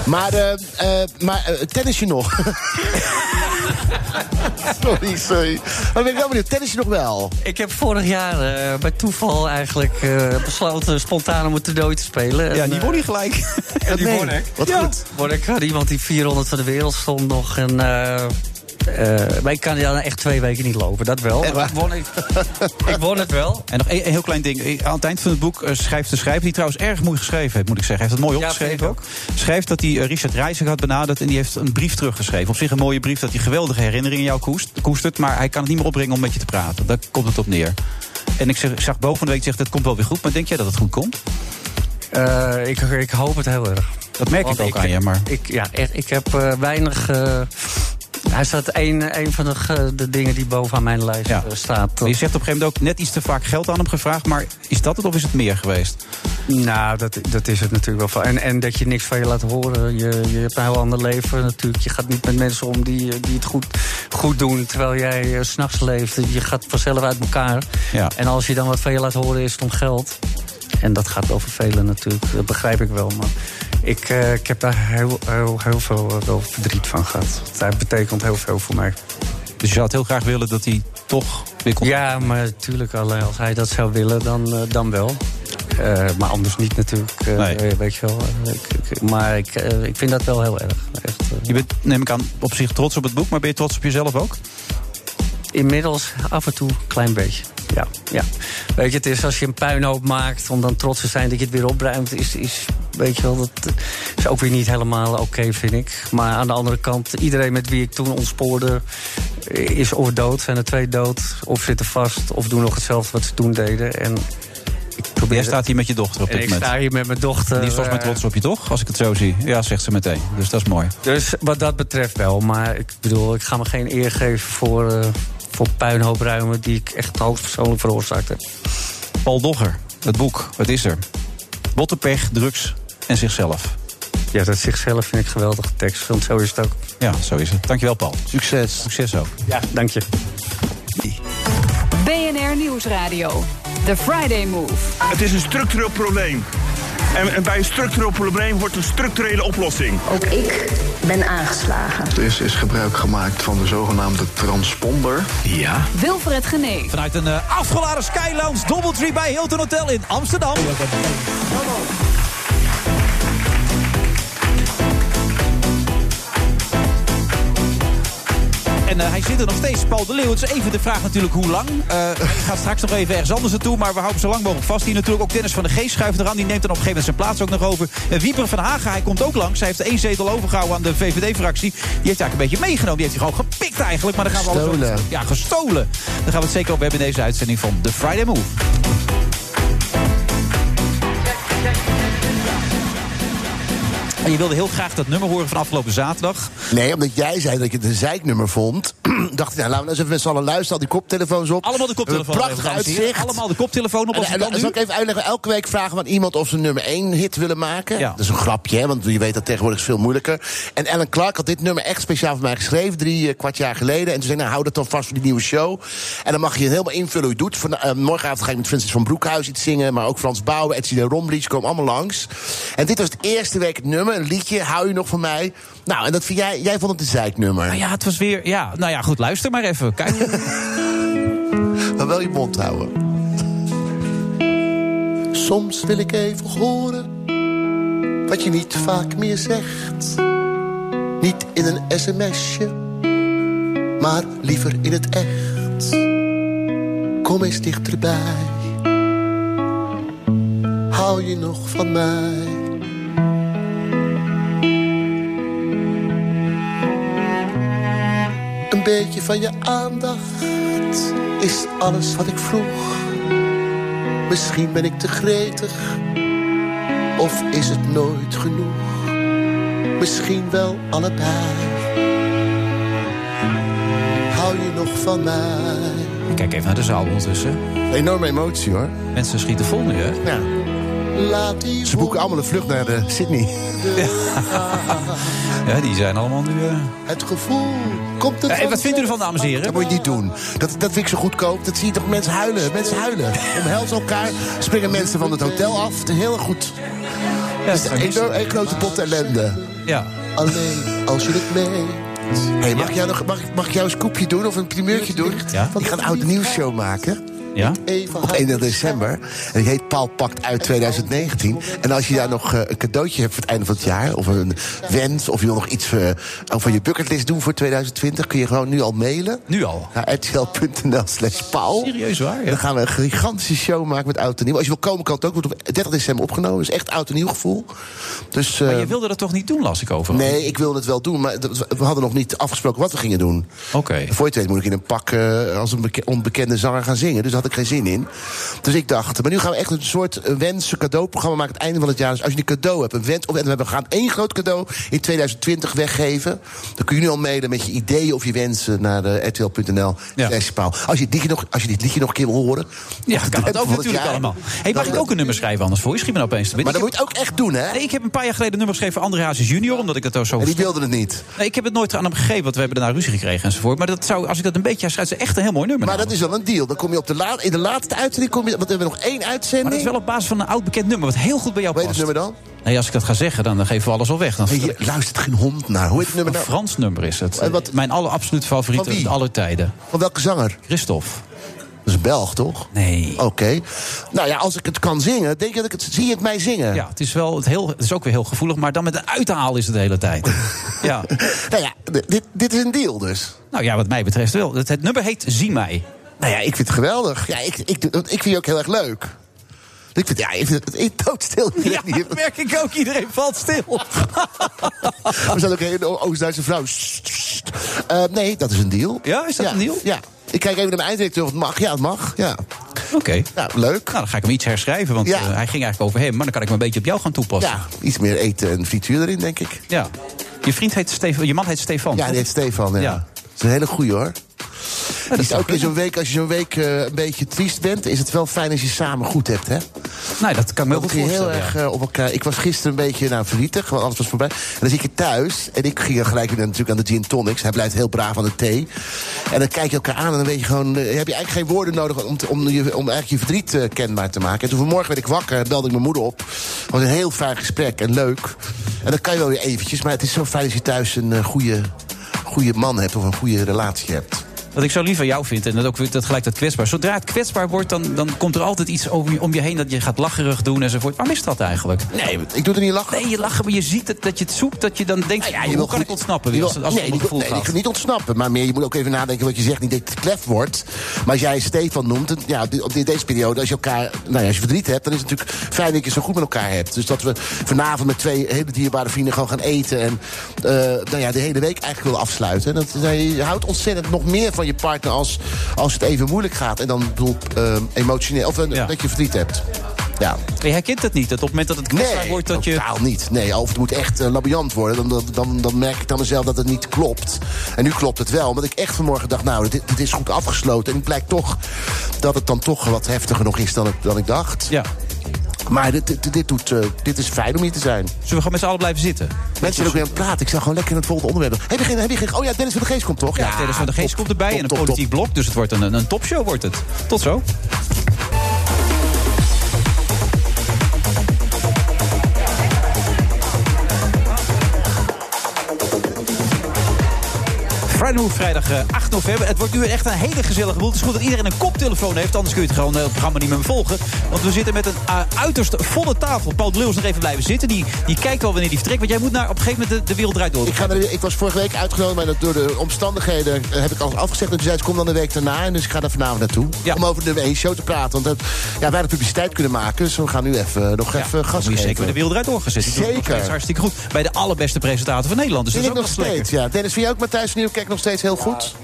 S7: Maar, eh eh, maar eh, tennis je nog? sorry, sorry. Maar ben ik wel benieuwd, tennis je nog wel?
S13: Ik heb vorig jaar eh, bij toeval eigenlijk eh, besloten spontaan om het toernooi te spelen.
S6: Ja,
S13: En,
S6: die
S13: eh,
S6: won hij gelijk.
S13: en die won ik.
S7: Wat
S6: Ja.
S7: goed.
S13: Word ik had iemand die 400 van de wereld stond nog. En, eh, eh, maar ik kan dan echt twee weken niet lopen, dat wel.
S6: Echt waar?
S13: Maar won ik, ik won het wel.
S6: En nog een, een heel klein ding. Eh, Aan het eind van het boek eh, schrijft de schrijver... die trouwens erg mooi geschreven heeft, moet ik zeggen. Hij heeft het mooi
S13: Ja,
S6: opgeschreven
S13: vind
S6: ook. Schrijft dat hij eh, Richard Reiziger had benaderd... en die heeft een brief teruggeschreven. Op zich een mooie brief dat hij geweldige herinneringen jou koest, koestert... maar hij kan het niet meer opbrengen om met je te praten. Daar komt het op neer. En ik, zeg, ik zag Bo van de week zeggen, dat komt wel weer goed... maar denk jij dat het goed komt?
S13: Eh, ik, ik hoop het heel erg.
S6: Dat merk
S13: Want
S6: ik ook aan je, maar...
S13: Ik, ja, echt, ik heb eh, weinig... eh, hij staat één een van de, ge- de dingen die bovenaan mijn lijst
S6: Ja.
S13: eh, staat.
S6: Je zegt op een gegeven moment ook net iets te vaak geld aan hem gevraagd... maar is dat het of is het meer geweest?
S13: Nou, dat, dat is het natuurlijk wel. En, en dat je niks van je laat horen. Je, je hebt een heel ander leven natuurlijk. Je gaat niet met mensen om die, eh, die het goed, goed doen... terwijl jij eh, s s'nachts leeft. Je gaat vanzelf uit elkaar.
S6: Ja.
S13: En als je dan wat van je laat horen is het om geld. En dat gaat wel vervelen natuurlijk. Dat begrijp ik wel. Maar ik, eh, ik heb daar heel, heel, heel veel eh, wel verdriet van gehad. Dat betekent heel veel voor mij.
S6: Dus je zou het heel graag willen dat hij toch weer komt.
S13: Ja, maar natuurlijk, alleen als hij dat zou willen, dan, eh, dan wel. Eh, maar anders niet natuurlijk, eh,
S6: Nee.
S13: weet je wel. Eh, ik- ik- maar ik, eh, ik vind dat wel heel erg. Echt, eh.
S6: Je bent, neem ik aan, op zich trots op het boek... maar ben je trots op jezelf ook?
S13: Inmiddels af en toe een klein beetje. Ja, ja. Weet je, het is als je een puinhoop maakt om dan trots te zijn dat je het weer opruimt, is, is Weet je wel, dat is ook weer niet helemaal oké, vind ik. Maar aan de andere kant, iedereen met wie ik toen ontspoorde... eh, is of dood, zijn er twee dood, of zitten vast... of doen nog hetzelfde wat ze toen deden. En ik probeer...
S6: Jij staat hier met je dochter op dit
S13: En ik
S6: moment.
S13: sta hier met mijn dochter.
S6: Die is volgens mij
S13: eh,
S6: trots op je, toch? Als ik het zo zie. Ja, zegt ze meteen. Dus dat is mooi.
S13: Dus wat dat betreft wel. Maar ik bedoel, ik ga me geen eer geven voor, eh, voor puinhoop ruimen... die ik echt hoogstpersoonlijk veroorzaakt heb.
S6: Paul Dogger, het boek. Wat is er? Bottenpech, drugs en zichzelf.
S13: Ja, dat zichzelf vind ik geweldige tekst. Want zo is het ook.
S6: Ja, zo is het. Dankjewel, Paul.
S7: Succes.
S6: Succes ook.
S13: Ja, dank je.
S5: BNR Nieuwsradio. The Friday Move.
S1: Het is een structureel probleem. En, en bij een structureel probleem wordt een structurele oplossing.
S2: Ook ik ben aangeslagen.
S3: Er is, is gebruik gemaakt van de zogenaamde transponder. Ja.
S5: Wilfred Genee.
S6: Vanuit een eh, afgeladen Skylounge Doubletree bij Hilton Hotel in Amsterdam. En eh, hij zit er nog steeds, Paul de Leeuw. Het is even de vraag natuurlijk hoe lang. Eh, hij gaat straks nog even ergens anders naartoe, maar we houden hem zo lang mogelijk vast. Hier natuurlijk ook Dennis van de Geest schuift eraan. Die neemt dan op een gegeven moment zijn plaats ook nog over. Eh, Wieper van Hagen, hij komt ook langs. Hij heeft één zetel overgehouden aan de VVD-fractie. Die heeft eigenlijk een beetje meegenomen. Die heeft hij gewoon gepikt eigenlijk. Maar dan gaan we alles
S7: Gestolen.
S6: over- Ja, gestolen. Daar gaan we het zeker over hebben in deze uitzending van The Friday Move. En je wilde heel graag dat nummer horen van afgelopen zaterdag.
S7: Nee, omdat jij zei dat ik het een zeiknummer vond. dacht ik, nou, laten we nou eens even met z'n allen luisteren. Al die koptelefoons op.
S6: Allemaal de koptelefoon
S7: Een
S6: op,
S7: prachtig
S6: dames en heren.
S7: uitzicht.
S6: Allemaal de koptelefoon op, als
S7: En,
S6: het
S7: en,
S6: kan
S7: dan
S6: nu.
S7: zal ik even uitleggen. Elke week vragen we aan iemand of ze een nummer 1 hit willen maken.
S6: Ja.
S7: Dat is een grapje, hè, want je weet dat tegenwoordig is veel moeilijker. En Alan Clark had dit nummer echt speciaal voor mij geschreven. Drie eh, kwart jaar geleden. En toen zei ik, nou, hou dat dan vast voor die nieuwe show. En dan mag je helemaal invullen hoe je het doet. Van, eh, morgenavond ga ik met Francis van Broekhuis iets zingen. Maar ook Frans Bouwen, Etsy de Rombly. Ze komen allemaal langs. En dit was het eerste week het nummer. Een liedje, hou je nog van mij? Nou, en dat vind jij, jij vond het een zeiknummer.
S6: Nou ja, het was weer... Ja, nou ja, goed, luister maar even. Kijk.
S7: Maar wel je mond houden. Soms wil ik even horen wat je niet vaak meer zegt. Niet in een sms'je, maar liever in het echt. Kom eens dichterbij. Hou je nog van mij? Een beetje van je aandacht is alles wat ik vroeg. Misschien ben ik te gretig, of is het nooit genoeg? Misschien wel allebei. Hou je nog van mij?
S6: Kijk even naar de zaal ondertussen.
S7: Enorme emotie hoor.
S6: Mensen schieten vol nu, hè?
S7: Ja. Laat die Ze boeken allemaal een vlucht naar eh, Sydney.
S6: Ja, die zijn allemaal nu... eh,
S7: Het gevoel komt het
S6: Ja, en
S7: van
S6: Eh, wat vindt u ervan,
S7: zelf?
S6: dames en heren?
S7: Dat moet je niet doen. Dat, dat vind ik zo goedkoop. Dat zie je toch mensen huilen. Mensen huilen. Omhelzen elkaar. Springen mensen van het hotel af. Het is heel erg goed. Het is een enorm- een grote pot ellende.
S6: Ja.
S7: Alleen als je het meent. Hey, mag, ik jou nog, mag, ik- mag ik jou een scoopje doen of een primeurtje doen?
S6: Ja.
S7: Ik ga een oud nieuwsshow maken.
S6: Ja?
S7: Op 1 december. En die heet Paul Pakt uit 2019. En als je daar nog eh, een cadeautje hebt voor het einde van het jaar... of een wens, of je wil nog iets eh, ook van je bucketlist doen voor 2020... kun je gewoon nu al mailen.
S6: Nu al?
S7: Naar rtl.nl slash paul.
S6: Serieus waar, ja.
S7: Dan gaan we een gigantische show maken met Oud en Nieuw. Als je wil komen, kan het ook. Wordt op 30 december opgenomen. Dus echt Oud en Nieuw gevoel. Dus, eh,
S6: Maar je wilde dat toch niet doen, las ik over.
S7: Nee, ik wilde het wel doen, maar dat- we hadden nog niet afgesproken wat we gingen doen.
S6: Oké.
S7: Voor je het weet moet ik in een pak eh, als een beke- onbekende zanger gaan zingen. Dus daar had ik geen zin in. Dus ik dacht, maar nu gaan we echt een soort eh, wensen cadeauprogramma maken... het einde van het jaar. Dus als je een cadeau hebt, een wens... of en we gaan één groot cadeau in 2020 weggeven... dan kun je nu al mailen met je ideeën of je wensen naar eh, rtl.nl. slash Paul. Als, je dit liedje nog- als je dit liedje nog een keer wil horen...
S6: Ja, kan het ook
S7: van het
S6: natuurlijk
S7: jaar.
S6: allemaal. Hey, mag
S7: Dan-
S6: ik ook een nummer schrijven anders voor je? Schiet me nou opeens te binnen.
S7: Maar dat
S6: Ik
S7: moet je ook echt doen, hè?
S6: heb- Nee, ik heb een paar jaar geleden een nummer geschreven voor André Hazes junior... omdat ik dat zo...
S7: En die wilde het niet.
S6: Nee, ik heb het nooit aan hem gegeven, want we hebben daarna ruzie gekregen enzovoort. Maar dat zou, als ik dat een beetje schrijf, is echt een heel mooi nummer.
S7: Maar dat
S6: namelijk.
S7: is wel een deal. Dan kom je op de la- in de laatste uitzending. Kom je, want we hebben nog één uitzending.
S6: Maar dat is wel op basis van een oud bekend nummer, wat heel goed bij jou
S7: Hoe heet
S6: past.
S7: het nummer dan?
S6: Nee, als ik dat ga zeggen, dan dan geven we alles al weg. Dan
S7: Nee, je luistert geen hond naar. Hoe heet het nummer
S6: Een
S7: dan?
S6: Frans nummer is het.
S7: En wat-
S6: Mijn aller absoluut favoriete
S7: Van wie?
S6: uit alle tijden.
S7: Van welke zanger?
S6: Christophe.
S7: Dat is Belg, toch?
S6: Nee.
S7: Oké. Nou ja, als ik het kan zingen, denk ik dat ik het, zie je het mij zingen.
S6: Ja, het is, wel het, heel, het is ook weer heel gevoelig, maar dan met een uithaal is het de hele tijd. ja.
S7: Nou ja, d- dit, dit is een deal dus.
S6: Nou ja, wat mij betreft wel. Het, het nummer heet Zie mij.
S7: Nou ja, ik vind het geweldig. Ja, ik, ik, want ik vind je ook heel erg leuk. Ik vind, ja, ik vind het, ik doodstil.
S6: Ja, dat merk ik ook. Iedereen valt stil.
S7: Er staat ook een Oost-Duitse vrouw. Sst, sst. Eh, nee, dat is een deal.
S6: Ja, is dat een deal?
S7: Ja. Ik kijk even naar mijn eindredacteur of het mag. Ja, het mag. Ja.
S6: Oké.
S7: leuk. Nou,
S6: dan ga ik hem iets herschrijven, want
S7: Ja.
S6: eh, hij ging eigenlijk over hem. Maar dan kan ik hem een beetje op jou gaan toepassen. Ja,
S7: iets meer eten en frituur erin, denk ik.
S6: Ja. Je vriend heet Stefan, je man heet Stefan.
S7: Ja, die heet Stefan. Ja. Dat is een hele goeie hoor. Het is ook in zo'n week, als je zo'n week eh, een beetje triest bent, is het wel fijn als je samen goed hebt, hè?
S6: Nee, Nou, dat kan ik me ook
S7: Want
S6: wel
S7: je heel
S6: voorstellen,
S7: erg
S6: ja.
S7: eh, op elkaar. Ik was gisteren een beetje nou, verdrietig, want alles was voorbij. En dan zit je thuis en ik ging er gelijk weer natuurlijk aan de gin tonics. Hij blijft heel braaf aan de thee. En dan kijk je elkaar aan en dan weet je gewoon, eh, heb je eigenlijk geen woorden nodig om, te- om, je, om eigenlijk je verdriet eh, kenbaar te maken. En toen vanmorgen werd ik wakker, belde ik mijn moeder op. Het was een heel fijn gesprek en leuk. En dat kan je wel weer eventjes, maar het is zo fijn als je thuis een eh, goede, goede man hebt of een goede relatie hebt.
S6: Wat ik zo lief van jou vind, en dat ook weer- dat gelijk dat kwetsbaar. Zodra het kwetsbaar wordt, dan, dan komt er altijd iets om je, om je heen dat je gaat lacherig doen enzovoort. Waarom is dat eigenlijk?
S7: Nee, Oh, ik doe er niet lachen.
S6: Nee, je lachen, maar je ziet het, dat je het zoekt, dat je dan denkt,
S7: je
S6: hoe
S7: wil
S6: kan
S7: goed-
S6: ik ontsnappen?
S7: je
S6: Weer,
S7: wil-
S6: als het- als het
S7: nee,
S6: om
S7: niet-
S6: het gevoel
S7: nee,
S6: gaat.
S7: ik- niet ontsnappen. Maar meer, je moet ook even nadenken wat je zegt. Niet dat het klef wordt. Maar als jij Stefan noemt, dan- ja, op dit- deze periode, als je elkaar, nou ja, als je verdriet hebt, dan is het natuurlijk fijn dat je zo goed met elkaar hebt. Dus dat we vanavond met twee hele dierbare vrienden gewoon gaan eten. En eh, nou ja, de hele week eigenlijk willen afsluiten. En dat, nou, je houdt ontzettend nog meer van je partner als, als het even moeilijk gaat. En dan ik bedoel eh, emotioneel. Of eh, dat je verdriet hebt. Ja.
S6: Je herkent het niet, dat op het moment dat het kwetsbaar
S7: Nee,
S6: wordt, dat je...
S7: totaal niet. Nee, of het moet echt eh, labiant worden. Dan, dan, dan, dan merk ik dan mezelf dat het niet klopt. En nu klopt het wel. Omdat ik echt vanmorgen dacht, nou, dit, dit is goed afgesloten. En het blijkt toch dat het dan toch wat heftiger nog is dan, het- dan ik dacht.
S6: Ja.
S7: Maar dit, dit, dit doet, eh, dit is fijn om hier te zijn.
S6: Zullen we gewoon met z'n allen blijven zitten?
S7: Mensen zijn ook weer aan het praten. Ik zou gewoon lekker in het volgende onderwerp. Heb je geen... Heb je geen oh ja, Dennis van de Geest komt toch?
S6: Ja, Dennis van de Geest
S7: top,
S6: komt erbij
S7: top,
S6: en een
S7: top, top.
S6: politiek blok. Dus het wordt een, een topshow, wordt het. Tot zo. Vrijdag, vrijdag eh, 8 november. Het wordt nu echt een hele gezellige boel. Het is goed dat iedereen een koptelefoon heeft, anders kun je het gewoon eh, het programma niet meer volgen. Want we zitten met een eh, uiterst volle tafel. Paul de Leeuw is nog even blijven zitten. Die, die kijkt al wanneer die vertrekt. Want jij moet naar op een gegeven moment de, de wereld draait door.
S7: Ik, ga er- ik was vorige week uitgenodigd, maar dat door de omstandigheden eh, heb ik alles afgezegd. En toen zei ze, kom dan de week daarna. En dus ik ga daar vanavond naartoe. Om over de nummer 1 show te praten. Want dat, ja, wij hadden publiciteit kunnen maken. Dus we gaan nu even, nog even gas
S6: Moet je
S7: geven.
S6: zeker met de wereld draait door gaan zitten. Die doen het nog
S7: Zeker.
S6: steeds hartstikke goed. Bij de allerbeste presentator van Nederland. Dus
S7: Vind
S6: dat
S7: ik
S6: is
S7: nog
S6: ook wel lekker.
S7: steeds, ja. Dennis, vind je ook Matthijs van Nieuwkerk nog steeds heel goed?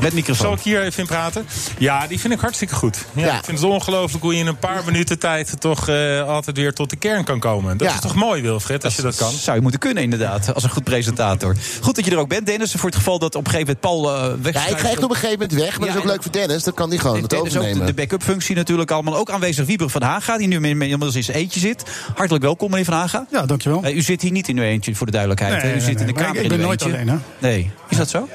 S6: Met microfoon.
S14: Zal ik hier even in praten? Ja, die vind ik hartstikke goed. Ja,
S7: Ja.
S14: Ik vind het ongelooflijk hoe je in een paar minuten tijd toch eh, altijd weer tot de kern kan komen. Dat
S6: Ja.
S14: is toch mooi, Wilfred, als je dat kan.
S6: Zou je moeten kunnen, inderdaad, als een goed presentator. Goed dat je er ook bent, Dennis. Voor het geval dat op een gegeven moment Paul eh weg
S7: Ja, ik ga echt op een gegeven moment weg. Maar dat is ook leuk voor Dennis. Dan kan die gewoon het
S6: Dat is ook de,
S7: overnemen.
S6: de backup functie natuurlijk allemaal. Ook aanwezig Wieber van Haga, die nu in- inmiddels in zijn eentje zit. Hartelijk welkom, meneer van Haga. Ja, dankjewel. u zit hier niet in uw eentje, voor de duidelijkheid.
S15: Nee,
S6: hè? u
S15: nee,
S6: zit in
S15: nee,
S6: de
S15: eh, maar
S6: kamer
S15: ik- ik
S6: in
S15: ben
S6: uw
S15: nooit
S6: eentje.
S15: alleen,
S6: Nee, is dat zo?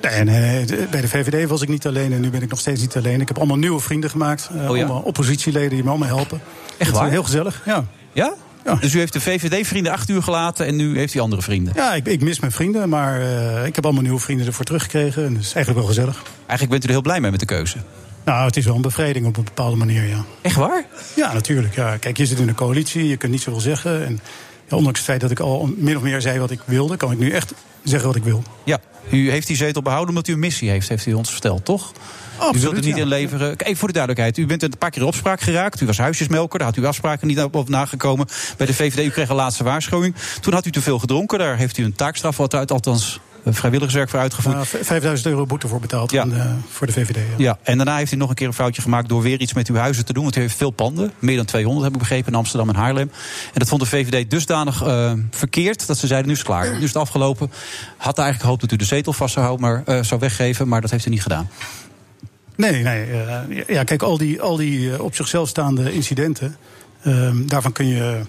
S15: Nee, nee, de- bij de VVD was ik niet alleen en nu ben ik nog steeds niet alleen. Ik heb allemaal nieuwe vrienden gemaakt. eh,
S6: Oh ja?
S15: Allemaal oppositieleden die me allemaal helpen. Echt
S6: waar?
S15: Heel gezellig, ja.
S6: Ja? Dus u heeft de VVD-vrienden acht uur gelaten en nu heeft u andere vrienden.
S15: Ja, ik, ik mis mijn vrienden, maar eh, ik heb allemaal nieuwe vrienden ervoor teruggekregen. En dat is eigenlijk wel gezellig.
S6: Eigenlijk bent u er heel blij mee met de keuze.
S15: Nou, het is wel een bevrediging op een bepaalde manier, ja.
S6: Echt waar?
S15: Ja, natuurlijk. Ja. Kijk, je zit in een coalitie, je kunt niet zoveel zeggen. En ja, ondanks het feit dat ik al min of meer zei wat ik wilde... kan ik nu echt zeggen wat ik wil.
S6: Ja, u heeft die zetel behouden omdat u een missie heeft, heeft u ons verteld, toch? u wilt
S15: Absoluut,
S6: het niet
S15: ja.
S6: inleveren. Even voor de duidelijkheid, u bent een paar keer in opspraak geraakt. U was huisjesmelker, daar had u afspraken niet op, op nagekomen. Bij de VVD, u kreeg een laatste waarschuwing. Toen had u te veel gedronken, daar heeft u een taakstraf wat uit, althans eh, vrijwilligerswerk voor uitgevoerd.
S15: Nou, v- 5000 euro boete voor betaald aan de- voor de VVD. ja.
S6: Ja, en daarna heeft u nog een keer een foutje gemaakt door weer iets met uw huizen te doen. Want u heeft veel panden, meer dan 200 heb ik begrepen, in Amsterdam en Haarlem. En dat vond de VVD dusdanig eh, verkeerd dat ze zeiden: nu is het klaar, nu is het afgelopen. Had eigenlijk gehoopt dat u de zetel vast zou, houden, maar, eh, zou weggeven, maar dat heeft u niet gedaan.
S15: Nee, nee. eh, ja, kijk, al die, al die eh, op zichzelf staande incidenten, ehm, daarvan kun je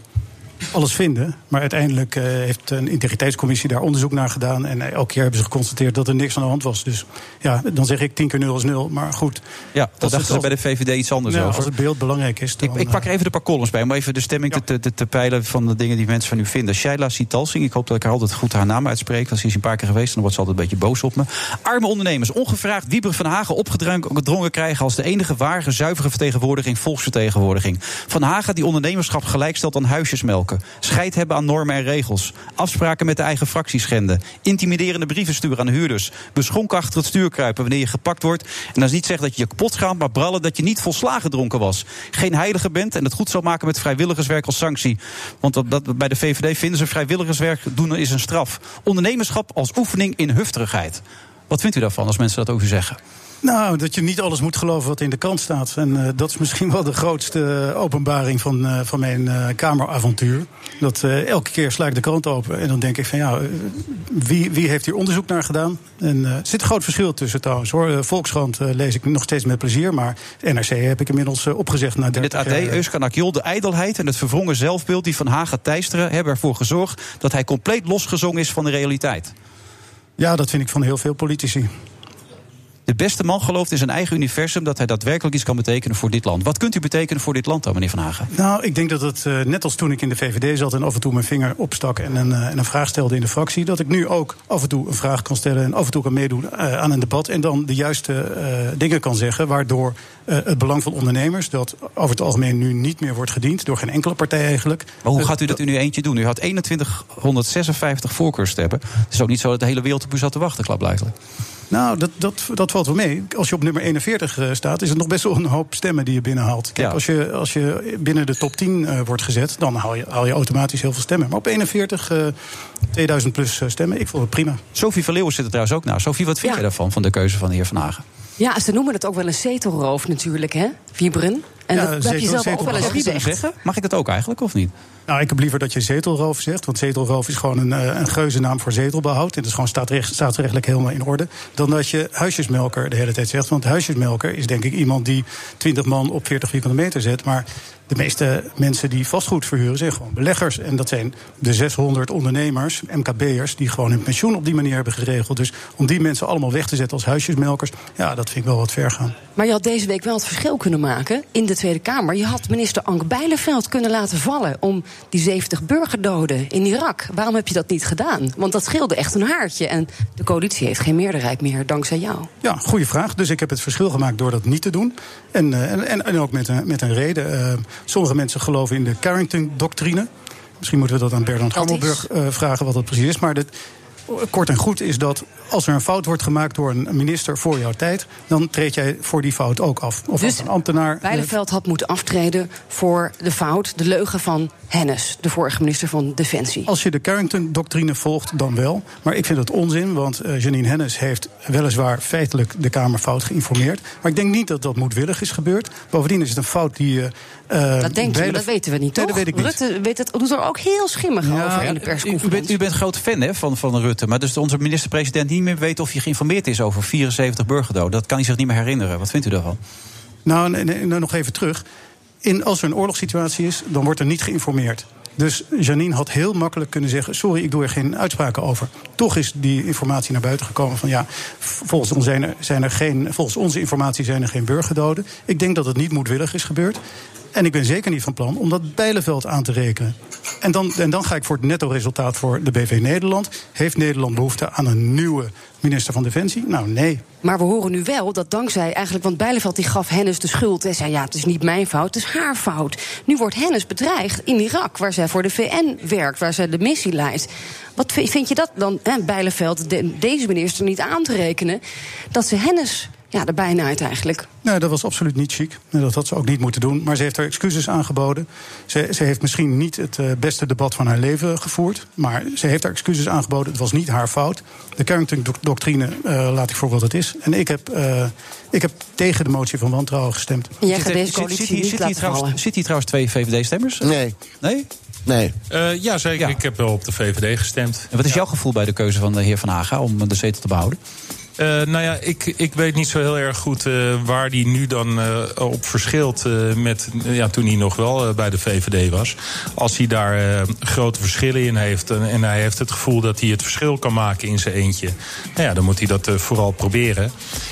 S15: alles vinden. Maar uiteindelijk eh, heeft een integriteitscommissie daar onderzoek naar gedaan. En eh, elke keer hebben ze geconstateerd dat er niks aan de hand was. Dus ja, dan zeg ik tien keer nul is nul. Maar goed.
S6: Ja, dat
S15: Als het-
S6: dachten ze bij de VVD iets anders
S15: Nou,
S6: over.
S15: als het beeld belangrijk is, dan...
S6: Ik, ik pak er even de paar columns bij om even de stemming te, te, te peilen van de dingen die mensen van u vinden. Shaila Sitalsing, ik hoop dat ik haar altijd goed haar naam uitspreek. Want ze is een paar keer geweest en dan wordt ze altijd een beetje boos op me. Arme ondernemers, ongevraagd Wieber van Hagen opgedrongen krijgen als de enige ware zuivere vertegenwoordiging volksvertegenwoordiging. Van Hagen die ondernemerschap gelijkstelt aan huisjesmelken. knokken. Scheid hebben aan normen en regels. Afspraken met de eigen fractie schenden. Intimiderende brieven sturen aan huurders. Beschonken achter het stuur kruipen wanneer je gepakt wordt. En dan is niet zeggen dat je je kapot gaat, maar brallen dat je niet volslagen dronken was. Geen heilige bent en het goed zal maken met vrijwilligerswerk als sanctie. Want wat, dat, bij de VVD vinden ze vrijwilligerswerk doen is een straf. Ondernemerschap als oefening in hufterigheid. Wat vindt u daarvan als mensen dat over u zeggen?
S15: Nou, dat je niet alles moet geloven wat in de krant staat. En eh, dat is misschien wel de grootste openbaring van, eh, van mijn eh, Kameravontuur. Dat eh, elke keer sla ik de krant open en dan denk ik van ja, eh, wie, wie heeft hier onderzoek naar gedaan? En eh, er zit een groot verschil tussen trouwens hoor. Eh, Volkskrant eh, lees ik nog steeds met plezier, maar NRC heb ik inmiddels eh, opgezegd. Na
S6: In het
S15: 30
S6: AD,
S15: jaar.
S6: Euskan Akjol, de ijdelheid en het verwrongen zelfbeeld die Van Haga teisteren... hebben ervoor gezorgd dat hij compleet losgezongen is van de realiteit.
S15: Ja, dat vind ik van heel veel politici.
S6: De beste man gelooft in zijn eigen universum dat hij daadwerkelijk iets kan betekenen voor dit land. Wat kunt u betekenen voor dit land dan, meneer Van Hagen?
S15: Nou, ik denk dat het eh, net als toen ik in de VVD zat en af en toe mijn vinger opstak en een, eh, en een vraag stelde in de fractie, dat ik nu ook af en toe een vraag kan stellen en af en toe kan meedoen eh, aan een debat en dan de juiste eh, dingen kan zeggen, waardoor eh, het belang van ondernemers, dat over het algemeen nu niet meer wordt gediend door geen enkele partij eigenlijk.
S6: Maar hoe gaat u dat in uw eentje doen? U had 2156 voorkeurstemmen. Het is ook niet zo dat de hele wereld op u zat te wachten, klaarblijkelijk.
S15: Nou, dat, dat, dat valt wel mee. Als je op nummer 41 eh, staat, is het nog best wel een hoop stemmen die je binnenhaalt. Kijk,
S6: Ja.
S15: als, je, als je binnen de top 10 eh, wordt gezet, dan haal je, haal je automatisch heel veel stemmen. Maar op 41, eh, 2000 plus eh, stemmen, ik vond het prima.
S6: Sophie van Leeuwen zit er trouwens ook naast. Sophie, wat vind jij daarvan, van de keuze van de heer Van Hagen?
S16: Ja, ze noemen het ook wel een zetelroof natuurlijk, hè? Vibren. En
S15: Ja,
S16: dat heb je
S15: zetel-
S16: zelf ook wel eens
S15: zetelroof.
S16: gezegd.
S6: Mag ik dat ook eigenlijk, of niet?
S15: Nou, ik heb liever dat je zetelroof zegt. Want zetelroof is gewoon een, eh, een geuzennaam voor zetelbehoud. En dat is gewoon staatsrecht, staatsrechtelijk helemaal in orde. Dan dat je huisjesmelker de hele tijd zegt. Want huisjesmelker is denk ik iemand die 20 man op 40 vierkante meter zet. Maar de meeste mensen die vastgoed verhuren zijn gewoon beleggers. En dat zijn de 600 ondernemers, MKB'ers... die gewoon hun pensioen op die manier hebben geregeld. Dus om die mensen allemaal weg te zetten als huisjesmelkers... ja, dat vind ik wel wat ver gaan.
S16: Maar je had deze week wel het verschil kunnen maken in de Tweede Kamer. Je had minister Ank Bijlenveld kunnen laten vallen om die 70 burgerdoden in Irak. Waarom heb je dat niet gedaan? Want dat scheelde echt een haartje. En de coalitie heeft geen meerderheid meer dankzij jou.
S15: Ja, goede vraag. Dus ik heb het verschil gemaakt door dat niet te doen. En, eh, en- en, en ook met een, met een reden. Eh, sommige mensen geloven in de Carrington-doctrine. Misschien moeten we dat aan Bertrand Gammelburg eh, vragen wat dat precies is. Maar dit, kort en goed is dat als er een fout wordt gemaakt door een minister voor jouw tijd... dan treed jij voor die fout ook af. Of als een ambtenaar...
S16: Bijlenveld Dus had moeten aftreden voor de fout, de leugen van Hennis, de vorige minister van Defensie.
S15: Als je de Carrington-doctrine volgt, dan wel. Maar ik vind het onzin, want eh, Janine Hennis heeft weliswaar feitelijk de Kamer fout geïnformeerd. Maar ik denk niet dat dat moedwillig is gebeurd. Bovendien is het een fout die. eh, eh,
S16: Dat denk je, maar
S15: Bijlen-
S16: dat weten we niet,
S15: Nee, dat
S16: toch?
S15: weet ik niet.
S16: Rutte weet het, doet er ook heel schimmig over in de
S6: u,
S16: persconferentie.
S6: bent, u bent groot fan hè, van, van Rutte. Maar dus onze minister-president niet meer weet of hij geïnformeerd is over 74 burgerdoden. Dat kan hij zich niet meer herinneren. Wat vindt u daarvan?
S15: Nou, nee, nee, nou, nog even terug. In, als er een oorlogssituatie is, dan wordt er niet geïnformeerd. Dus Janine had heel makkelijk kunnen zeggen: Sorry, ik doe er geen uitspraken over. Toch is die informatie naar buiten gekomen van ja. v- Volgens, ons zijn er, zijn er geen, volgens onze informatie zijn er geen burgerdoden. Ik denk dat het niet moedwillig is gebeurd. En ik ben zeker niet van plan om dat Bijlenveld aan te rekenen. En dan, en dan ga ik voor het netto resultaat voor de BV Nederland. Heeft Nederland behoefte aan een nieuwe minister van Defensie? Nou, nee.
S16: Maar we horen nu wel dat dankzij eigenlijk, want Bijleveld die gaf Hennis de schuld en zei ja, het is niet mijn fout, het is haar fout. Nu wordt Hennis bedreigd in Irak, waar zij voor de VN werkt, waar zij de missie leidt. Wat vi- vind je dat dan, hè, Bijleveld, de- deze minister niet aan te rekenen, dat ze Hennis ja, er bijna uit eigenlijk.
S15: Nee, dat was absoluut niet chic. Nee, dat had ze ook niet moeten doen. Maar ze heeft haar excuses aangeboden. Ze, ze heeft misschien niet het eh, beste debat van haar leven gevoerd. Maar ze heeft haar excuses aangeboden. Het was niet haar fout. De Carrington-doctrine eh, laat ik voor wat het is. En ik heb, eh, ik heb tegen de motie van wantrouwen gestemd.
S16: Jij gaat
S6: Zit-
S16: deze
S6: zit-
S16: coalitie
S6: zit hier-
S16: niet
S6: zit hier
S16: laten
S6: trouwens-
S16: vallen.
S6: Zit hier trouwens twee VVD-stemmers?
S7: Nee.
S6: Nee?
S7: Nee.
S14: Eh, ja, zeker. Ik heb wel op de VVD gestemd.
S6: En wat is jouw gevoel bij de keuze van de heer Van Haga om de zetel te behouden?
S14: Eh, nou ja, ik, ik weet niet zo heel erg goed eh, waar die nu dan eh, op verschilt eh, met eh, ja, toen hij nog wel eh, bij de VVD was. Als hij daar eh, grote verschillen in heeft en, en hij heeft het gevoel dat hij het verschil kan maken in zijn eentje, nou ja, dan moet hij dat eh, vooral proberen.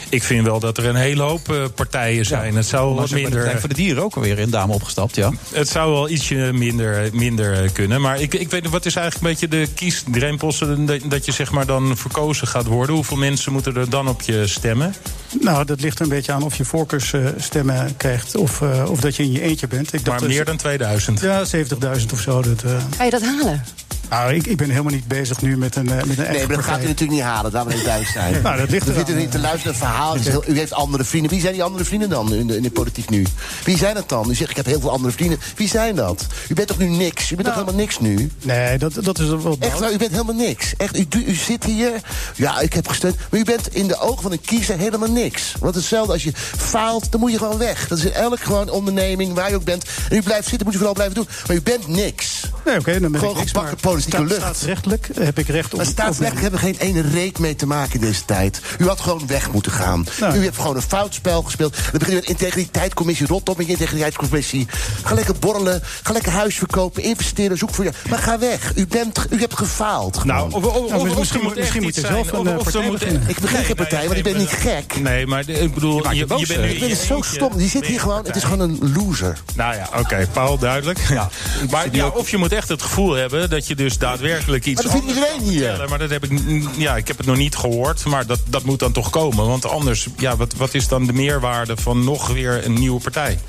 S14: Ik vind wel dat er een hele hoop eh, partijen zijn. het zou
S6: Maar
S14: wat
S6: ze hebben de
S14: minder.
S6: Partij voor de Dieren ook alweer in dame opgestapt, ja.
S14: Het zou wel ietsje minder, minder eh, kunnen. Maar ik, ik weet niet, wat is eigenlijk een beetje de kiesdrempels... eh, dat- dat je zeg maar dan verkozen gaat worden? Hoeveel mensen moeten er dan op je stemmen?
S15: Nou, dat ligt er een beetje aan of je voorkeursstemmen krijgt of, eh, of dat je in je eentje bent. Ik
S14: Maar meer dan 2000.
S15: Ja, 70.000 of zo. Dat, eh,
S16: Ga je dat halen?
S15: nou, ik, ik ben helemaal niet bezig nu met een, eh, met een
S7: Nee,
S15: eigen
S7: maar dat
S15: partij.
S7: gaat u natuurlijk niet halen. Laten we niet duidelijk zijn.
S15: Nou, dat ligt
S7: We
S15: er
S7: zitten
S15: aan.
S7: niet te luisteren naar verhalen. Het is heel- U heeft andere vrienden. Wie zijn die andere vrienden dan in de, in de politiek nu? Wie zijn dat dan? U zegt, ik heb heel veel andere vrienden. Wie zijn dat? U bent toch nu niks? U bent toch helemaal niks nu?
S15: Nou. Nee, dat, dat is wel...
S7: Echt waar, u bent helemaal niks. Echt, u, u zit hier, ja, ik heb gesteund. Maar u bent in de ogen van een kiezer helemaal niks. Want hetzelfde als je faalt, dan moet je gewoon weg. Dat is in elk gewoon onderneming, waar je ook bent. En u blijft zitten, moet je vooral blijven doen. Maar u bent niks.
S15: Nee, oké, dan ben
S7: gewoon
S15: ik niks,
S7: gebakken
S15: maar
S7: politieke
S15: staat-
S7: lucht.
S15: Staatsrechtelijk heb ik recht op...
S7: Maar staatsrecht hebben we geen ene reet mee te maken in deze tijd. U had gewoon weg moeten gaan.
S14: Nou.
S7: U hebt gewoon een fout spel gespeeld. Dan begint u met integriteitscommissie. Rot op met je integriteitscommissie. Ga lekker borrelen. Ga lekker huis verkopen. Investeren. Zoek voor je. Maar ga weg. U, bent, u hebt gefaald.
S14: Nou,
S7: gewoon.
S14: of, of, of, of ze moeten echt iets zijn, of- of ze eh, moeten-
S7: Ik begin geen partij, want ik ben niet gek.
S14: Nee, maar de- ik bedoel, je, eh, je bent nu...
S7: Ik ben zo stom. Die zit hier gewoon. Het is gewoon een loser.
S14: Nou ja, oké, Paul, duidelijk. Ja. Maar ja, of je moet echt het gevoel hebben dat je dus daadwerkelijk iets.
S7: Maar dat vindt
S14: anders
S7: iedereen
S14: kan
S7: hier.
S14: vertellen. Maar dat heb ik, n- ja, ik heb het nog niet gehoord, maar dat, dat moet dan toch komen. Want anders, ja, wat, wat is dan de meerwaarde van nog weer een nieuwe partij?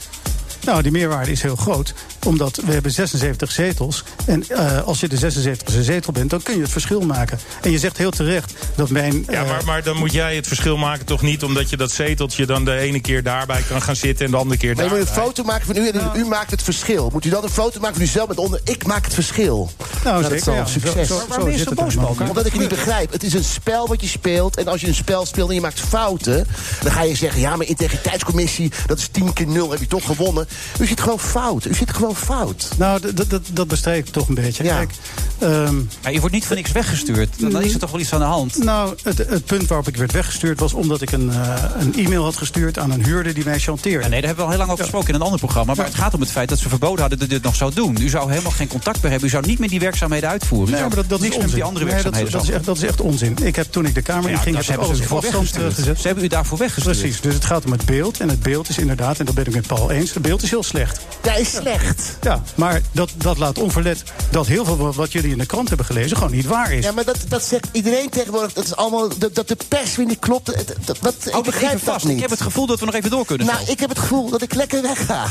S15: Nou, die meerwaarde is heel groot. Omdat we hebben 76 zetels. En eh, als je de 76e zetel bent, dan kun je het verschil maken. En je zegt heel terecht dat mijn... eh,
S14: Ja, maar, maar dan moet jij het verschil maken toch niet... omdat je dat zeteltje dan de ene keer daarbij kan gaan zitten... en de andere keer
S7: Maar je
S14: daar.
S7: moet een foto maken van u en u maakt het verschil. Moet u dan een foto maken van uzelf met onder ik maak het verschil?
S15: Nou,
S7: dat
S15: zeker,
S7: is al
S15: ja.
S7: een succes.
S15: Zo- zo- Maar waarom zo ben je zit zo het boos, er dan. Balkan?
S7: Omdat ik het niet begrijp. Het is een spel wat je speelt. En als je een spel speelt en je maakt fouten... dan ga je zeggen, ja, maar integriteitscommissie... dat is 10 keer 0, heb je toch gewonnen. U zit gewoon fout. U zit gewoon fout.
S15: Nou, dat- dat- dat- dat bestreek ik toch een beetje. Kijk, ehm,
S6: Ja, je wordt niet voor niks weggestuurd. Dan dan is er toch wel iets aan de hand.
S15: Nou, het, het punt waarop ik werd weggestuurd was omdat ik een, eh, een e-mail had gestuurd aan een huurder die mij chanteerde.
S6: Ja, nee, daar hebben we al heel lang over gesproken in een ander programma. Maar het gaat om het feit dat ze verboden hadden dat u dit nog zou doen. U zou helemaal geen contact meer hebben. U zou niet meer die werkzaamheden uitvoeren. U
S15: Nee,
S6: zou
S15: maar dat, dat
S6: niks
S15: is
S6: meer met
S15: onzin.
S6: die andere
S15: Nee, dat,
S6: werkzaamheden
S15: dat, is
S6: zou
S15: echt, dat is echt onzin. Ik heb toen ik de kamer
S6: Ja,
S15: inging, heb
S6: dat
S15: ik
S6: hebben
S15: alles
S6: ze
S15: op
S6: voor
S15: afstand
S6: weggestuurd.
S15: eh, gezet.
S6: Ze hebben u daarvoor weggestuurd.
S15: Precies, dus het gaat om het beeld. En het beeld is inderdaad, en dat ben ik met Paul eens, het beeld is heel slecht.
S7: Dat is slecht.
S15: Ja, maar dat, dat laat onverlet dat heel veel wat, wat jullie in de krant hebben gelezen gewoon niet waar is.
S7: Ja, maar dat, dat zegt iedereen tegenwoordig. Dat, is allemaal, dat, dat de pers weer niet klopt. Dat, dat, dat- ik
S6: Houd Oh, het
S7: begrijp
S6: even
S7: dat
S6: vast.
S7: niet.
S6: Ik heb het gevoel dat we nog even door kunnen
S7: Nou,
S6: gaan.
S7: ik heb het gevoel dat ik lekker wegga.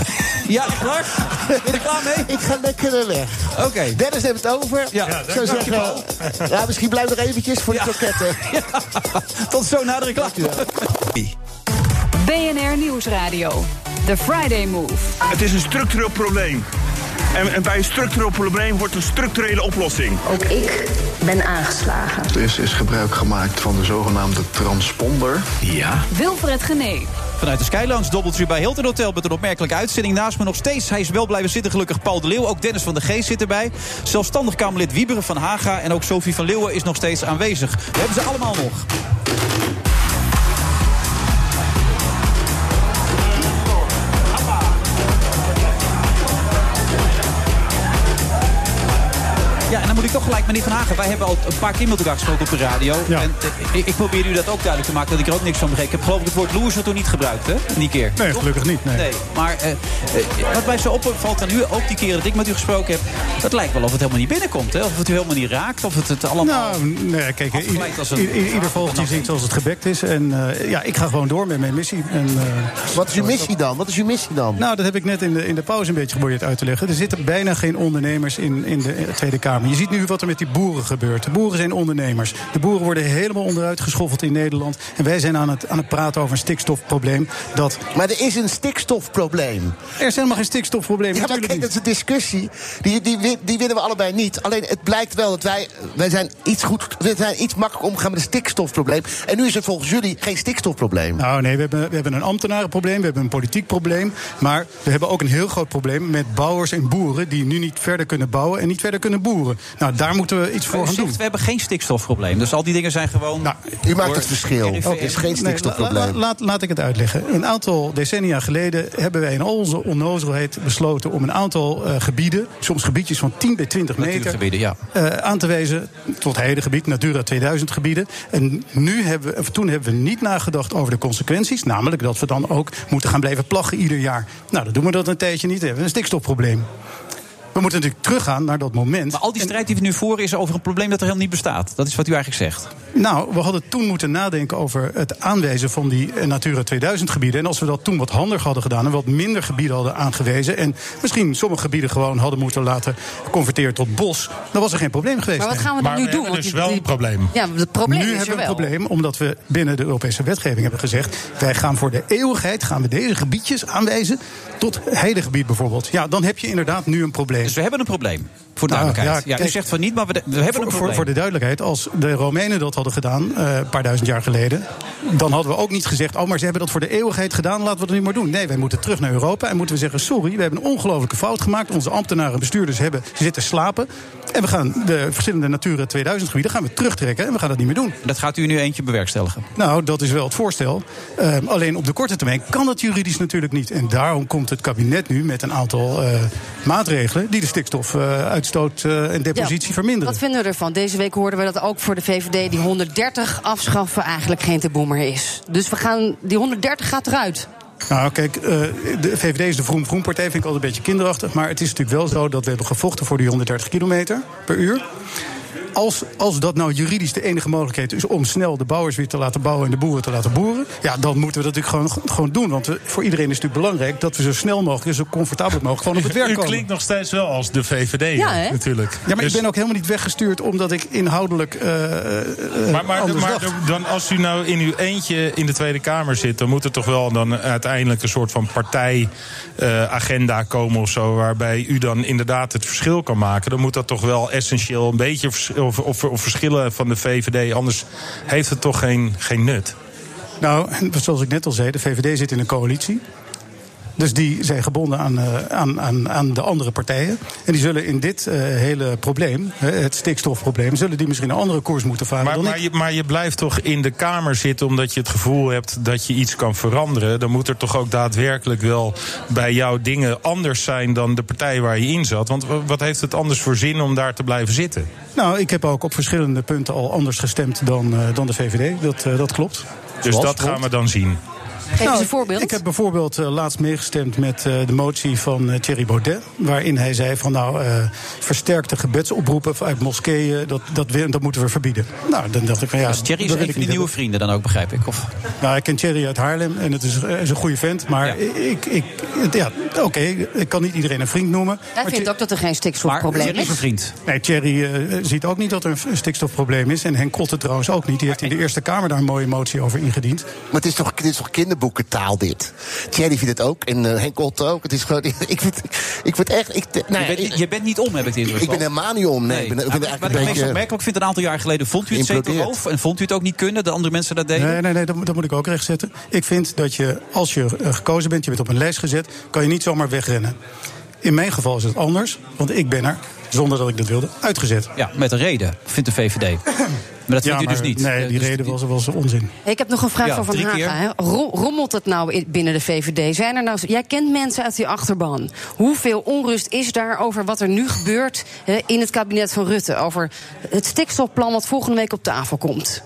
S6: Ja, klaar? Ben je klaar mee?
S7: Ik ga lekker weg.
S6: Oké.
S7: Dennis heeft het over.
S6: Ja,
S7: Zo
S6: dank je
S7: zeggen.
S6: wel.
S7: Ja, misschien blijf nog eventjes voor de kroketten.
S6: Tot zo na de reclame.
S5: BNR Nieuwsradio. The Friday Move.
S1: Het is een structureel probleem. En, en bij een structureel probleem wordt een structurele oplossing.
S2: Ook ik ben aangeslagen.
S3: Er is, is gebruik gemaakt van de zogenaamde transponder. Ja.
S5: Wilfred Genee.
S6: Vanuit de Skylands dobbelt u bij Hilton Hotel met een opmerkelijke uitzending. Naast me nog steeds. Hij is wel blijven zitten, gelukkig Paul de Leeuw. Ook Dennis van de Geest zit erbij. Zelfstandig Kamerlid Wieberen van Haga en ook Sophie van Leeuwen is nog steeds aanwezig. We hebben ze allemaal nog. Ja, en dan moet ik toch gelijk, meneer Van Hagen, wij hebben al een paar keer met elkaar gesproken op de radio. En eh, ik, ik probeer u dat ook duidelijk te maken, dat ik er ook niks van begreep. Ik heb geloof ik het woord loser toen niet gebruikt, hè? In die keer.
S15: Nee, gelukkig niet. Nee.
S6: Nee, maar eh, eh, wat mij zo opvalt aan u, ook die keren dat ik met u gesproken heb... dat lijkt wel of het helemaal niet binnenkomt, hè? Of het u helemaal niet raakt, of het het allemaal...
S15: Nou, nee, kijk, in
S6: Afgeleid als een-
S15: ieder geval die zingt zoals het gebekt is. En eh, ja, ik ga gewoon door met mijn missie. En, eh,
S7: Wat is uw missie dan? Wat is uw missie dan?
S15: Nou, dat heb ik net in de, in de pauze een beetje geprobeerd uit te leggen. Er zitten bijna geen ondernemers in, in de eh, Tweede Kamer. Je ziet nu wat er met die boeren gebeurt. De boeren zijn ondernemers. De boeren worden helemaal onderuit geschoffeld in Nederland. En wij zijn aan het, aan het praten over een stikstofprobleem. Dat...
S7: Maar er is een stikstofprobleem.
S15: Er is helemaal geen stikstofprobleem.
S7: Ja, maar kijk, dat is een discussie. Die, die, win- die winnen we allebei niet. Alleen het blijkt wel dat wij, wij zijn iets goed, we zijn iets makkelijk omgegaan met het stikstofprobleem. En nu is er volgens jullie geen stikstofprobleem.
S15: Nou nee, we hebben, we hebben een ambtenarenprobleem, we hebben een politiek probleem. Maar we hebben ook een heel groot probleem met bouwers en boeren... die nu niet verder kunnen bouwen en niet verder kunnen boeren. Nou, daar moeten we iets voor gaan
S6: u
S15: doen.
S6: zegt, we hebben geen stikstofprobleem, dus al die dingen zijn gewoon...
S7: Nou, u maakt
S6: door
S7: het verschil.
S6: RIVM.
S7: Ook is geen
S15: Nee, la- la- laat, laat ik het uitleggen. Een aantal decennia geleden hebben wij in al onze onnozelheid besloten om een aantal eh, gebieden, soms gebiedjes van 10 bij 20 meter,
S6: Natuurgebieden, ja.
S15: eh, aan te wijzen tot heden gebied, Natura 2000 gebieden. En nu hebben we, of toen hebben we niet nagedacht over de consequenties, namelijk dat we dan ook moeten gaan blijven plaggen ieder jaar. Nou, dan doen we dat een tijdje niet, dan hebben we een stikstofprobleem. We moeten natuurlijk teruggaan naar dat moment.
S6: Maar al die strijd die we nu voeren is over een probleem dat er helemaal niet bestaat. Dat is wat u eigenlijk zegt.
S15: Nou, we hadden toen moeten nadenken over het aanwijzen van die eh, Natura 2000 gebieden. En als we dat toen wat handiger hadden gedaan en wat minder gebieden hadden aangewezen. en misschien sommige gebieden gewoon hadden moeten laten converteren tot bos. dan was er geen probleem geweest.
S16: Maar wat gaan we dan
S15: dan
S16: nu doen? Want die- die- Ja, het probleem
S15: nu
S16: is
S15: hebben
S16: er
S15: we een
S16: wel.
S15: probleem, omdat we binnen de Europese wetgeving hebben gezegd... wij gaan voor de eeuwigheid gaan we deze gebiedjes aanwijzen tot heidegebied bijvoorbeeld. Ja, dan heb je inderdaad nu een probleem. Dus
S6: we hebben een probleem, voor
S15: Nou,
S6: duidelijkheid.
S15: ja,
S6: Ja, u
S15: kijk,
S6: zegt van niet, maar we, we hebben een
S15: voor,
S6: probleem.
S15: voor, voor de duidelijkheid, als de Romeinen dat hadden gedaan, eh, een paar duizend jaar geleden, dan hadden we ook niet gezegd: oh, maar ze hebben dat voor de eeuwigheid gedaan, laten we dat nu maar doen. Nee, wij moeten terug naar Europa en moeten we zeggen: sorry, we hebben een ongelofelijke fout gemaakt. Onze ambtenaren en bestuurders hebben zitten slapen. En we gaan de verschillende Natura 2000 gebieden gaan we terugtrekken en we gaan dat niet meer doen.
S6: Dat gaat u nu eentje bewerkstelligen.
S15: Nou, dat is wel het voorstel. Ehm, alleen op de korte termijn kan dat juridisch natuurlijk niet. En daarom komt het kabinet nu met een aantal eh, maatregelen die de stikstofuitstoot eh, en depositie
S16: Ja,
S15: verminderen.
S16: Wat vinden we ervan? Deze week hoorden we dat ook voor de VVD die 130 afschaffen eigenlijk geen taboe meer is. Dus we gaan, die 130 gaat eruit.
S15: Nou, kijk, eh, de VVD is de Vroom Vroom Partij, vind ik altijd een beetje kinderachtig. Maar het is natuurlijk wel zo dat we hebben gevochten voor die 130 kilometer per uur. Als, als dat nou juridisch de enige mogelijkheid is om snel de bouwers weer te laten bouwen en de boeren te laten boeren, ja, dan moeten we dat natuurlijk gewoon, gewoon doen. Want we- voor iedereen is het natuurlijk belangrijk dat we zo snel mogelijk en zo comfortabel mogelijk gewoon op het werk
S14: U
S15: komen.
S14: klinkt nog steeds wel als de VVD,
S15: Ja, hè?
S14: natuurlijk.
S15: Ja, maar
S14: Dus-
S15: ik ben ook helemaal niet weggestuurd omdat ik inhoudelijk. eh, eh,
S14: Maar, maar,
S15: anders
S14: maar
S15: dacht.
S14: dan als u nou in uw eentje in de Tweede Kamer zit, dan moet er toch wel dan uiteindelijk een soort van partijagenda komen of zo. Waarbij u dan inderdaad het verschil kan maken. Dan moet dat toch wel essentieel een beetje vers- of, of, of verschillen van de VVD. Anders heeft het toch geen, geen nut.
S15: Nou, zoals ik net al zei, de VVD zit in een coalitie. Dus die zijn gebonden aan, eh, aan, aan, aan de andere partijen. En die zullen in dit eh, hele probleem, hè, het stikstofprobleem, zullen die misschien een andere koers moeten varen
S14: Maar,
S15: dan
S14: maar,
S15: ik.
S14: je, maar je blijft toch in de Kamer zitten omdat je het gevoel hebt dat je iets kan veranderen. Dan moet er toch ook daadwerkelijk wel bij jou dingen anders zijn dan de partij waar je in zat. Want w- wat heeft het anders voor zin om daar te blijven zitten?
S15: Nou, ik heb ook op verschillende punten al anders gestemd dan, eh, dan de VVD. Dat, eh, dat klopt.
S14: Dus
S15: Zoals
S14: dat gaan we dan zien.
S16: Geef eens een voorbeeld.
S15: Nou, Ik heb bijvoorbeeld eh, laatst meegestemd met eh, de motie van eh, Thierry Baudet. Waarin hij zei van nou, eh, versterkte gebedsoproepen uit moskeeën, dat, dat, we- dat moeten we verbieden. Nou, dan dacht ik van ja,
S6: dus Thierry is
S15: dat wil
S6: een van
S15: ik
S6: die
S15: niet
S6: nieuwe vrienden dan ook, begrijp ik. Of...
S15: Nou, ik ken Thierry uit Haarlem en het is, hij is een goede vent. Maar ik, ik, het- ja, oké, ik kan niet iedereen een vriend noemen.
S16: Hij
S15: Maar
S16: vindt
S15: Thie-
S16: ook dat er geen stikstofprobleem is.
S6: vriend.
S15: Nee, Thierry eh, ziet ook niet dat er een stikstofprobleem is. En Henk Kotten trouwens ook niet. Die heeft in de Eerste Kamer daar een mooie motie over ingediend.
S7: Maar het is toch, dit is toch kinderboekentaal, dit? Thierry vindt het ook. En eh, Henk Otte ook. Het is gewoon, ik, vind, ik vind echt... Ik, nou,
S6: je, bent,
S7: ik-
S6: niet- je bent niet om, heb ik de indruk.
S7: Ik ben
S6: Paul.
S7: helemaal niet om, nee. Ik ben- ik
S6: Maar-
S7: vind
S6: maar
S7: eigenlijk
S6: wat
S7: een
S6: ik
S7: beetje-
S6: meest opmerkelijk vind, een aantal jaar geleden vond u het
S15: Geïmplodeerd.
S6: zetelroof... en vond u het ook niet kunnen, dat andere mensen dat deden?
S15: Nee, nee, nee, dat, dat moet ik ook recht zetten. Ik vind dat je, als je eh, gekozen bent, je bent op een lijst gezet, kan je niet zomaar wegrennen. In mijn geval is het anders, want ik ben er, zonder dat ik dat wilde, uitgezet.
S6: Ja, met een reden, vindt de VVD. Maar dat vindt
S15: Ja,
S6: u dus
S15: maar
S6: niet.
S15: Nee, die reden was, was onzin.
S16: Ik heb nog een vraag
S6: Ja,
S16: van Van
S6: drie keer.
S16: Haga. hè. Ro- rommelt het nou in- binnen de VVD? Zijn er nou, jij kent mensen uit die achterban. Hoeveel onrust is daar over wat er nu gebeurt hè, in het kabinet van Rutte? Over het stikstofplan wat volgende week op tafel komt.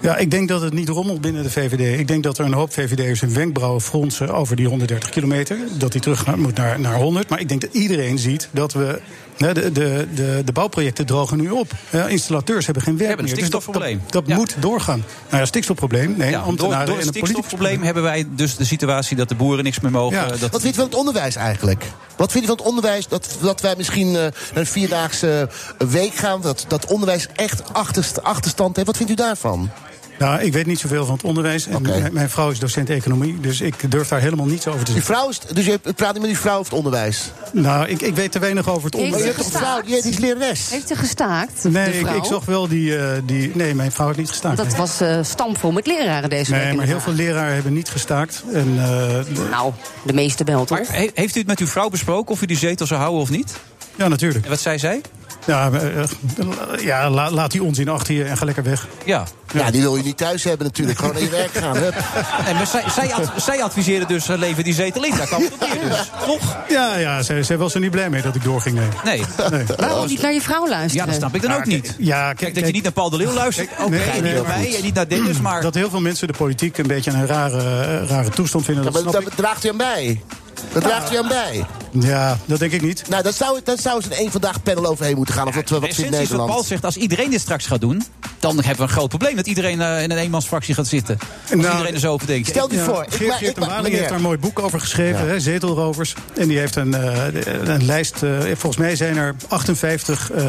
S15: Ja, ik denk dat het niet rommelt binnen de VVD. Ik denk dat er een hoop VVD'ers hun wenkbrauwen fronsen over die 130 kilometer. Dat die terug naar- moet naar, naar 100. Maar ik denk dat iedereen ziet dat we... hè, De, de, de, de bouwprojecten drogen nu op. Ja, installateurs hebben geen werk
S6: hebben een
S15: meer. Dus dat-
S6: stikstofprobleem.
S15: dat dat moet doorgaan. Nou ja, stikstofprobleem. Nee,
S6: Ja, door, door
S15: ambtenaren
S6: het
S15: en een politiek
S6: stikstofprobleem hebben wij dus de situatie dat de boeren niks meer mogen.
S7: Ja,
S6: eh,
S7: Wat
S6: dat...
S7: vind je van het onderwijs eigenlijk? Wat vind je van het onderwijs dat, dat wij misschien eh, naar een vierdaagse eh, week gaan? Dat, dat onderwijs echt achterst, achterstand heeft? Wat vindt u daarvan?
S15: Nou, ik weet niet zoveel van het onderwijs. En eh, mijn, mijn vrouw is docent economie, dus ik durf daar helemaal niets over te
S7: Uw
S15: zeggen.
S7: vrouw is, dus je praat niet met uw vrouw over het onderwijs?
S15: Nou, ik, ik weet te weinig over het
S7: Maar je
S15: onderwijs.
S7: hebt toch een vrouw, die is lerares.
S16: Heeft ze gestaakt? de
S15: Nee, ik,
S16: vrouw?
S15: ik zag wel die, eh, die... Nee, mijn vrouw heeft niet gestaan.
S16: Dat was eh stampvol met leraren deze
S15: Nee,
S16: week.
S15: maar heel
S16: inderdaad.
S15: veel leraren hebben niet gestaakt. En, eh,
S16: nou, de meeste wel, toch?
S6: He- heeft u het met uw vrouw besproken of u die zetel zou houden of niet?
S15: Ja, natuurlijk.
S6: En wat zei zij?
S15: Ja, eh, eh, ja la- laat die onzin achter je en ga lekker weg.
S6: Ja.
S7: Ja, die wil je niet thuis hebben natuurlijk. Gewoon naar je werk gaan. Hup.
S6: Nee, maar zij, zij, ad- zij adviseerde dus eh, leven die zetel in. Daar kwam het op neer dus. Toch?
S15: Ja, ja zij, zij was er niet blij mee dat ik doorging. Nee.
S6: Nee.
S16: Waarom Oh, niet naar je vrouw
S6: Ja,
S16: luisteren?
S6: dat snap ik dan ook niet.
S15: Ja,
S6: kijk, dat je niet naar Paul de Leeuw luistert. Ook
S15: Nee,
S6: begrijp
S15: nee,
S6: ik
S15: heel
S6: mij
S15: goed.
S6: en niet naar Dennis, maar...
S15: Dat heel veel mensen de politiek een beetje een rare, rare toestand vinden.
S7: Ja,
S15: dat
S7: maar
S15: snap
S7: daar
S15: ik.
S7: draagt u aan bij. Dat draagt u aan bij.
S15: Ja, dat denk ik niet.
S7: Nou, dat zou, dat zou eens een één vandaag panel overheen moeten gaan. Of dat we wat vindt
S6: Essentie is wat
S7: Nederland.
S6: Paul zegt, als iedereen dit straks gaat doen... dan hebben we een groot probleem dat iedereen eh, in een eenmansfractie gaat zitten. Als iedereen er zo over denkt.
S15: Nou, Ja, Geert, Geert de Waling heeft daar een mooi boek over geschreven,
S6: Ja.
S15: hè, Zetelrovers. En die heeft een, eh, een lijst. eh, volgens mij zijn er 58 eh,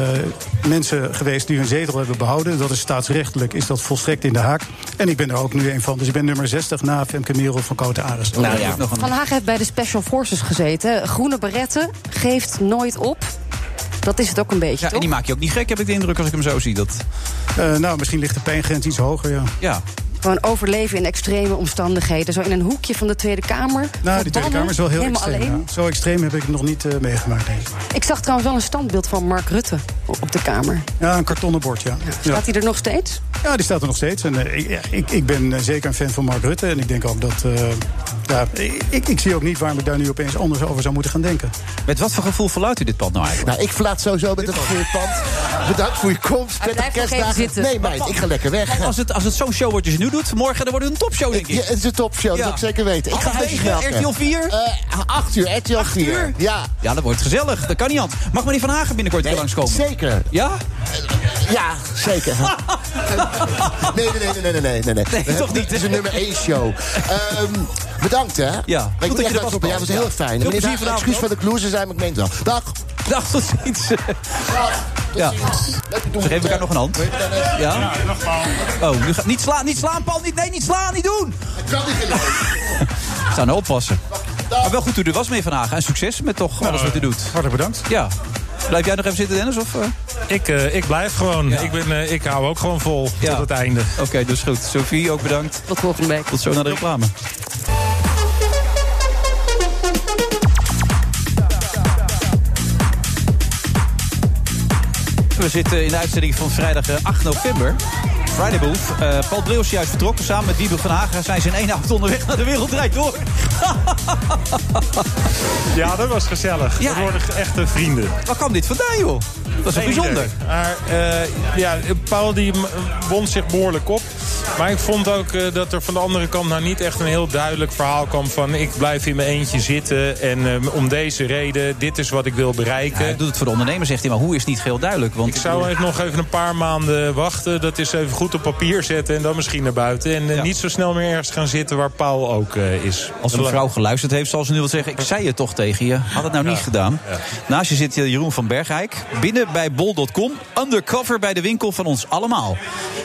S15: mensen geweest die hun zetel hebben behouden. Dat is staatsrechtelijk, is dat volstrekt in de haak. En ik ben er ook nu een van. Dus ik ben nummer 60 na Femke Merel van Cote Ares.
S6: Nou ja.
S15: Nog een-
S16: Van Hagen heeft bij de Special Forces gezeten. Groene beretten, geeft nooit op. Dat is het ook een beetje,
S6: Ja, en
S16: toch?
S6: die maak je ook niet gek, heb ik de indruk, als ik hem zo zie. Dat,
S15: Eh, nou, misschien ligt de pijngrens iets hoger, ja.
S6: ja.
S16: Gewoon overleven in extreme omstandigheden. Zo in een hoekje van de Tweede Kamer.
S15: Nou, die Tweede
S16: verbannen,
S15: Kamer is wel heel
S16: helemaal
S15: extreem.
S16: alleen.
S15: ja. Zo extreem heb ik het nog niet eh, meegemaakt, denk ik.
S16: Ik zag trouwens wel een standbeeld van Mark Rutte op de Kamer.
S15: Ja, een kartonnen bord, ja. Ja.
S16: Staat hij er nog steeds?
S15: Ja, die staat er nog steeds. En eh, ik- ja, ik, ik ben eh, zeker een fan van Mark Rutte. En ik denk ook dat. eh, ja, ik- ik, ik zie ook niet waarom ik daar nu opeens anders over zou moeten gaan denken.
S6: Met wat voor gevoel verluidt u dit pand nou eigenlijk?
S7: Nou, ik verlaat sowieso met het goede pand. Bedankt voor je komst. Prettige
S6: blijft nog even
S7: kerstdagen.
S6: zitten.
S7: Nee, meid, ik ga lekker weg.
S6: Als het, als het zo'n show wordt als je nu doet, morgen dan wordt het een topshow, denk ik.
S7: Ja, het is een topshow, dat
S6: Ja.
S7: zou ik zeker weten. Ik ga
S6: Half
S7: huisjes
S6: negen,
S7: melken.
S6: RTL 4?
S7: Eh, acht uur, RTL 4. Ja.
S6: Ja, dat wordt gezellig. Dat kan niet anders. Mag meneer Van Hagen binnenkort weer langskomen?
S7: Zeker.
S6: Ja?
S7: Ja, zeker. nee, nee, nee, nee, nee, nee, nee. nee.
S6: Nee, toch niet,
S7: Het is een nummer 1 show. Ehm, bedankt, hè.
S6: Ja,
S7: Maar ik
S6: goed
S7: moet
S6: dat
S7: echt
S6: je er was,
S7: uitstoppen. Ja,
S6: Paul.
S7: was heel
S6: Ja.
S7: fijn.
S6: Veel
S7: Meneer,
S6: plezier
S7: Daag,
S6: vanavond,
S7: excuus
S6: hoor.
S7: dat ik loser zijn, maar ik meen het wel. Dag.
S6: Dag, tot ziens. Ja. Ze geven elkaar nog een hand. Ja? Oh, nu gaat, niet slaan, niet slaan, Paul. Niet, nee, niet slaan, niet doen.
S7: Ik kan niet geloven.
S6: We staan nou oppassen. Maar wel goed dat u er was, meneer Van Hagen. En succes met toch alles wat u doet.
S15: Hartelijk bedankt.
S6: Ja. Blijf jij nog even zitten, Dennis? Of, eh?
S14: Ik, eh, ik blijf gewoon. Ik, ben, eh, ik hou ook gewoon vol tot het einde.
S6: Oké, dus goed. Sophie, ook bedankt.
S16: Tot volgende week.
S6: Tot zo naar de reclame. We zitten in de uitzending van vrijdag eh, 8 november. Friday Booth. Eh, Paul Bril is juist vertrokken. Samen met Wiebe van Hagen zijn ze in één avond onderweg naar de wereld draait door.
S14: Ja, dat was gezellig.
S6: Ja.
S14: We worden echte vrienden.
S6: Waar kwam dit vandaan, joh? Dat is toch
S14: Geen
S6: bijzonder.
S14: idee. Maar eh, ja, Paul die m- wond zich behoorlijk op. Maar ik vond ook eh, dat er van de andere kant nou niet echt een heel duidelijk verhaal kwam van ik blijf in mijn eentje zitten en eh, om deze reden, dit is wat ik wil bereiken.
S6: Hij doet het voor de ondernemer, zegt hij, maar hoe is niet heel duidelijk? Want
S14: Ik zou even nog even een paar maanden wachten. Dat is even goed op papier zetten en dan misschien naar buiten. En eh, niet zo snel meer ergens gaan zitten waar Paul ook eh, is.
S6: Als een vrouw geluisterd heeft, zal ze nu wel zeggen... ik zei het toch tegen je, had het nou niet gedaan. Naast je zit eh, Jeroen van Bergijk. Binnen bij bol.com, undercover bij de winkel van ons allemaal.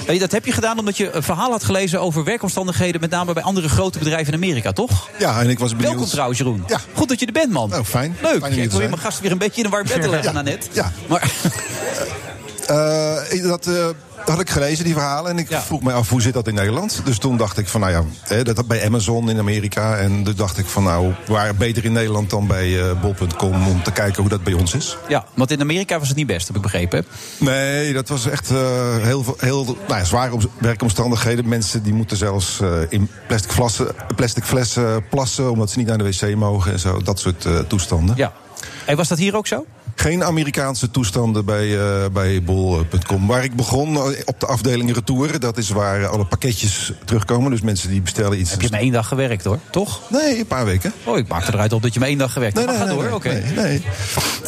S6: Eh, Dat heb je gedaan omdat je een verhaal had gelezen over werkomstandigheden... met name bij andere grote bedrijven in Amerika, toch?
S17: Ja, en ik was benieuwd.
S6: Welkom trouwens, Jeroen. Goed dat je er bent, man. Nou,
S17: fijn. Fijn
S6: Leuk.
S17: om hier te
S6: ik wil je
S17: zijn.
S6: mijn gast weer een beetje in een warm bed te leggen,
S17: Ja.
S6: Annette.
S17: Ja.
S6: Maar...
S17: Eh, ik- dat, eh, dat had ik gelezen, die verhalen. En ik vroeg mij af, hoe zit dat in Nederland? Dus toen dacht ik van, nou ja, hè, dat had bij Amazon in Amerika. En toen dacht ik van, nou, waar beter in Nederland dan bij eh, bol.com... om te kijken hoe dat bij ons is.
S6: Ja, want in Amerika was het niet best, heb ik begrepen.
S17: Nee, dat was echt eh, heel, veel- heel nou, ja, zware om- werkomstandigheden. Mensen die moeten zelfs eh, in plastic flessen, plastic flessen plassen... omdat ze niet naar de wc mogen en zo. Dat soort eh, toestanden.
S6: Ja. En was dat hier ook zo?
S17: Geen Amerikaanse toestanden bij, eh, bij bol.com. Waar ik begon eh, op de afdeling retouren. Dat is waar eh, alle pakketjes terugkomen. Dus mensen die bestellen iets.
S6: Heb je maar één dag gewerkt hoor, toch?
S17: Nee, een paar weken.
S6: Oh, ik maakte eruit op dat je maar één dag gewerkt hebt.
S17: Nee,
S6: maar
S17: nee,
S6: ga
S17: nee,
S6: door, oké.
S17: nee, nee.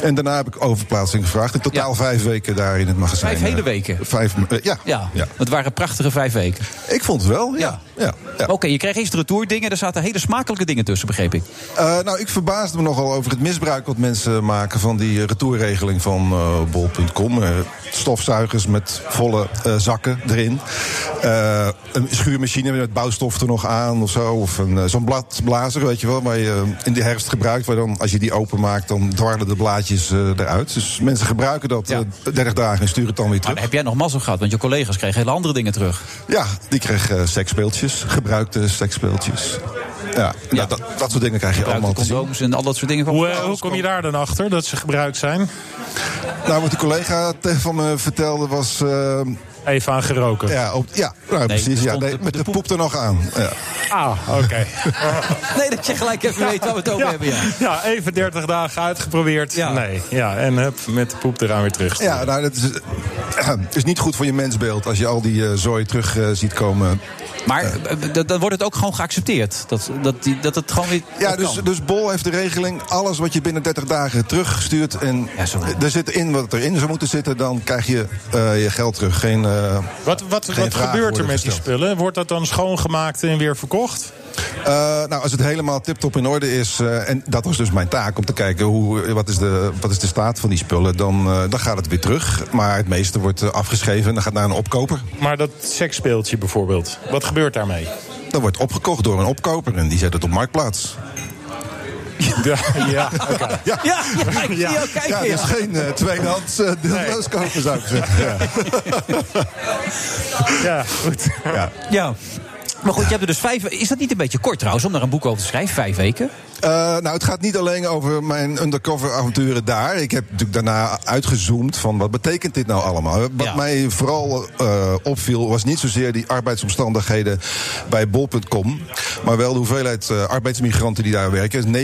S17: En daarna heb ik overplaatsing gevraagd. In totaal vijf weken daar in het magazijn.
S6: Vijf hele
S17: Eh,
S6: weken?
S17: Vijf, eh, ja.
S6: Ja, het waren prachtige vijf weken.
S17: Ik vond het wel, ja. ja.
S6: Oké, je kreeg eerst retourdingen. Daar zaten hele smakelijke dingen tussen, begreep ik.
S17: Eh, nou, ik verbaasde me nogal over het misbruik wat mensen maken van die eh, retourregeling van eh, bol.com. Eh, stofzuigers met volle eh, zakken erin. Eh, een schuurmachine met bouwstof er nog aan of zo. Of een, eh, zo'n bladblazer, weet je wel, waar je eh, in de herfst gebruikt. Waar dan, als je die openmaakt, dan dwarrelen de blaadjes eh, eruit. Dus mensen gebruiken dat eh 30 dagen en sturen het dan weer terug.
S6: Maar heb jij nog mazzel gehad? Want je collega's kregen hele andere dingen terug.
S17: Ja, die kreeg eh Dus, seksspeeltjes, gebruikte seksspeeltjes. Ja, nou, dat, dat soort dingen krijg je allemaal te zien.
S6: Condooms en al dat soort dingen.
S14: Hoe, eh, hoe kom je daar dan achter dat ze gebruikt zijn?
S17: Nou, wat de collega te- van me vertelde was... eh,
S14: Even aan geroken.
S17: ja, op, ja nou, precies. Ja, nee, met de poep er nog aan. Ja.
S14: Ah, oké.
S6: nee, dat je gelijk even weet waar we het over hebben, ja.
S14: Ja, even 30 dagen uitgeprobeerd. Nee, ja, en hup, met de poep eraan weer terug.
S17: Ja, nou, dat is, Het is niet goed voor je mensbeeld als je al die eh, zooi terug eh, ziet komen.
S6: Maar eh, dat- dan wordt het ook gewoon geaccepteerd. Dat, dat, die- dat het gewoon weer.
S17: Ja,
S6: dat
S17: dus,
S6: kan.
S17: dus Bol heeft de regeling. Alles wat je binnen 30 dagen terugstuurt. En er zit in wat erin zou moeten zitten. Dan krijg je eh, je geld terug. Geen, eh,
S14: Wat, wat,
S17: geen
S14: wat
S17: vragen
S14: gebeurt er
S17: worden
S14: met die
S17: gesteld.
S14: spullen? Wordt dat dan schoongemaakt en weer verkocht?
S17: Eh, nou, als het helemaal tip-top in orde is, eh, en dat was dus mijn taak om te kijken hoe, eh, wat, is de, wat is de staat van die spullen, dan, eh, dan gaat het weer terug. Maar het meeste wordt eh, afgeschreven en dan gaat naar een opkoper.
S14: Maar dat seksspeeltje bijvoorbeeld, wat gebeurt daarmee?
S17: Dat wordt opgekocht door een opkoper en die zet het op marktplaats.
S14: Ja, ja,
S17: ja.
S6: ja, ik zie jou kijken,
S17: Ja, dus
S6: ja.
S17: geen eh, tweedehands eh, dildo's kopen, zou ik zeggen. Ja.
S14: Ja, goed.
S17: Ja.
S6: ja. Maar goed, je hebt er dus vijf. Is dat niet een beetje kort trouwens om daar een boek over te schrijven? Vijf weken?
S17: Eh, nou, het gaat niet alleen over mijn undercover avonturen daar. Ik heb natuurlijk daarna uitgezoomd van wat betekent dit nou allemaal. Wat mij vooral eh, opviel was niet zozeer die arbeidsomstandigheden bij bol.com, maar wel de hoeveelheid eh, arbeidsmigranten die daar werken. 90%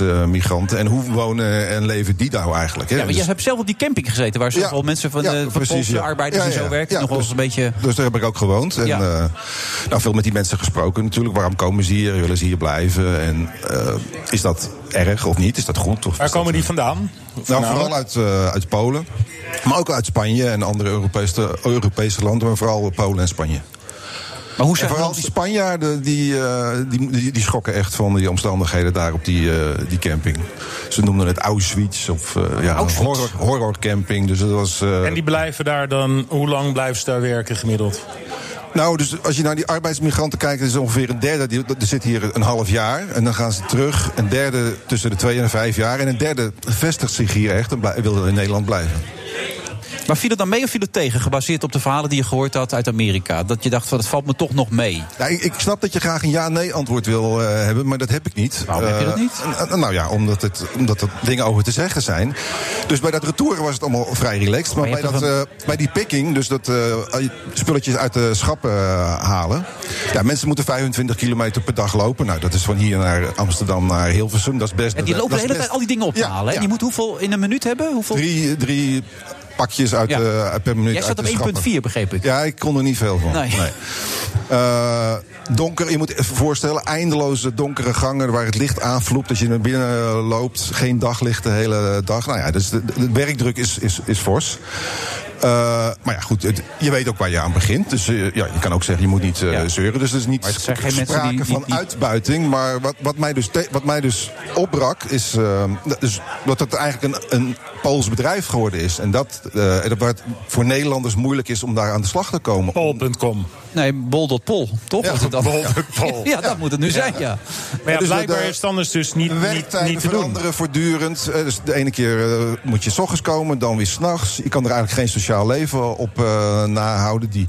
S17: arbeidsmigranten. En hoe wonen en leven die nou eigenlijk? Hè?
S6: Ja, want
S17: Dus-
S6: jij hebt zelf op die camping gezeten waar zoveel mensen van, de, van
S17: precies,
S6: Poolse
S17: ja.
S6: eh, arbeiders
S17: Ja,
S6: en
S17: ja,
S6: zo werken.
S17: ja,
S6: nog wel eens
S17: dus-
S6: een beetje.
S17: Dus daar heb ik ook gewoond. En,
S6: Ja.
S17: eh, nou, veel met die mensen gesproken natuurlijk. Waarom komen ze hier? Willen ze hier blijven? En eh, is dat erg of niet? Is dat goed? Of
S14: Waar komen die vandaan?
S17: nou,
S14: Voornamelijk?
S17: vooral uit, eh, uit Polen. Maar ook uit Spanje en andere Europese, Europese landen. Maar vooral Polen en Spanje.
S6: Maar hoe
S17: en vooral die Spanjaarden die, eh, die, die, die schrokken echt van die omstandigheden daar op die, eh, die camping. Ze noemden het Auschwitz of eh, ja,
S14: Auschwitz.
S17: Horror, horrorcamping. Dus dat was, eh,
S14: En die blijven daar dan, hoe lang blijven ze daar werken gemiddeld?
S17: Nou, dus als je naar die arbeidsmigranten kijkt, is ongeveer een derde. Die, er zit hier een half jaar en dan gaan ze terug. Een derde tussen de twee en de vijf jaar. En een derde vestigt zich hier echt en blij- wil in Nederland blijven.
S6: Maar viel het dan mee of viel het tegen? Gebaseerd op de verhalen die je gehoord had uit Amerika. Dat je dacht, van, dat valt me toch nog mee.
S17: Ja, ik, ik snap dat je graag een ja-nee antwoord wil eh, hebben, maar dat heb ik niet. Waarom
S6: heb je dat niet?
S17: nou ja, omdat, het, omdat er dingen over te zeggen zijn. Dus bij dat retour was het allemaal vrij relaxed. Maar,
S6: Maar je
S17: bij,
S6: hebt
S17: dat, eh, bij die picking, dus dat eh, spulletjes uit de schappen eh, halen. Ja, mensen moeten 25 kilometer per dag lopen. Nou, dat is van hier naar Amsterdam, naar Hilversum. Dat is best.
S6: En die lopen
S17: dat
S6: de
S17: is
S6: hele tijd
S17: best-
S6: al die dingen op te halen. hè? Die moet hoeveel in een minuut hebben? Hoeveel?
S17: Drie, drie pakjes uit,
S6: Ja.
S17: eh, per minuut.
S6: Jij zat
S17: uit
S6: op
S17: de schappen.
S6: 1,4 begreep ik.
S17: Ja, ik kon er niet veel van.
S6: Nee.
S17: Eh, donker, je moet even voorstellen, eindeloze donkere gangen waar het licht aanvloept. Dat je naar binnen eh, loopt, geen daglicht de hele dag. Nou ja, dus de, de werkdruk is, is, is fors. Eh, maar ja, goed, het- je weet ook waar je aan begint. Dus eh, ja, je kan ook zeggen, je moet niet eh, zeuren. Dus er is niet
S6: Maar het zijn geen mensen
S17: sprake
S6: die- die-
S17: van
S6: die-
S17: uitbuiting. Maar wat, wat, mij dus te- wat mij dus opbrak, is eh, dat- dus dat het eigenlijk een, een Pools bedrijf geworden is. En dat, eh, dat waar het voor Nederlanders moeilijk is om daar aan de slag te komen.
S14: Pol.com.
S6: Nee, bol.pol, toch?
S17: Ja,
S6: Is het dan?
S17: bol.pol.
S6: Ja, dat moet het nu
S17: Ja.
S6: zijn, ja.
S14: Maar ja,
S17: Dus dat,
S14: blijkbaar
S17: eh,
S14: is het anders dus niet, niet,
S17: Werktijden
S14: niet te doen.
S17: veranderen voortdurend. Eh, Dus de ene keer eh, moet je s ochtends komen, dan weer s'nachts. Je kan er eigenlijk geen sociaal leven op eh, nahouden. Die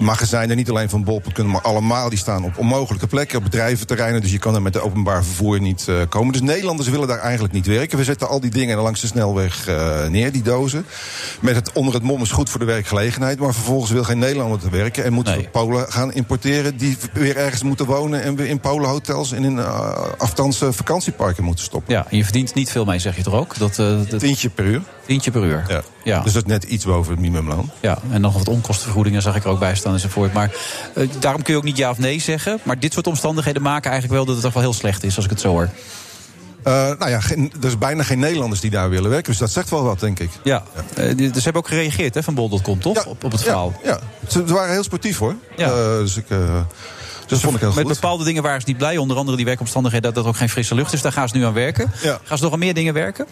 S17: magazijnen, niet alleen van Bolpen kunnen, maar allemaal... die staan op onmogelijke plekken, op bedrijventerreinen. Dus je kan er met de openbaar vervoer niet eh, komen. Dus Nederlanders willen daar eigenlijk niet werken. We zetten al die dingen langs de snelweg eh, neer, die dozen. Met het onder het mom is goed voor de werkgelegenheid... maar vervolgens wil geen Nederlander te werken... en moeten we Polen gaan importeren die weer ergens moeten wonen... en we in Polen hotels en in eh aftans eh, vakantieparken moeten stoppen.
S6: Ja, en je verdient niet veel mee, zeg je toch ook? Dat, eh, dat-
S17: Tientje per uur.
S6: Tientje per uur.
S17: Ja.
S6: Ja.
S17: Dus dat is net iets boven het minimumloon.
S6: Ja, en nog wat onkostenvergoedingen zag ik er ook bij staan enzovoort. Maar eh, daarom kun je ook niet ja of nee zeggen. Maar dit soort omstandigheden maken eigenlijk wel dat het toch wel heel slecht is, als ik het zo hoor.
S17: Eh, nou ja, geen- er is bijna geen Nederlanders die daar willen werken. Dus dat zegt wel wat, denk ik.
S6: Ja, eh, die- dus ze hebben ook gereageerd hè, van bol.com, toch? op, op het verhaal.
S17: Ja, ze waren heel sportief hoor.
S6: Ja.
S17: Eh, dus ik, eh, dus dat vond ik heel
S6: Met
S17: goed.
S6: bepaalde dingen waren ze niet blij. Onder andere die werkomstandigheden dat dat ook geen frisse lucht is. Daar gaan ze nu aan werken. Gaan ze nog aan meer dingen werken?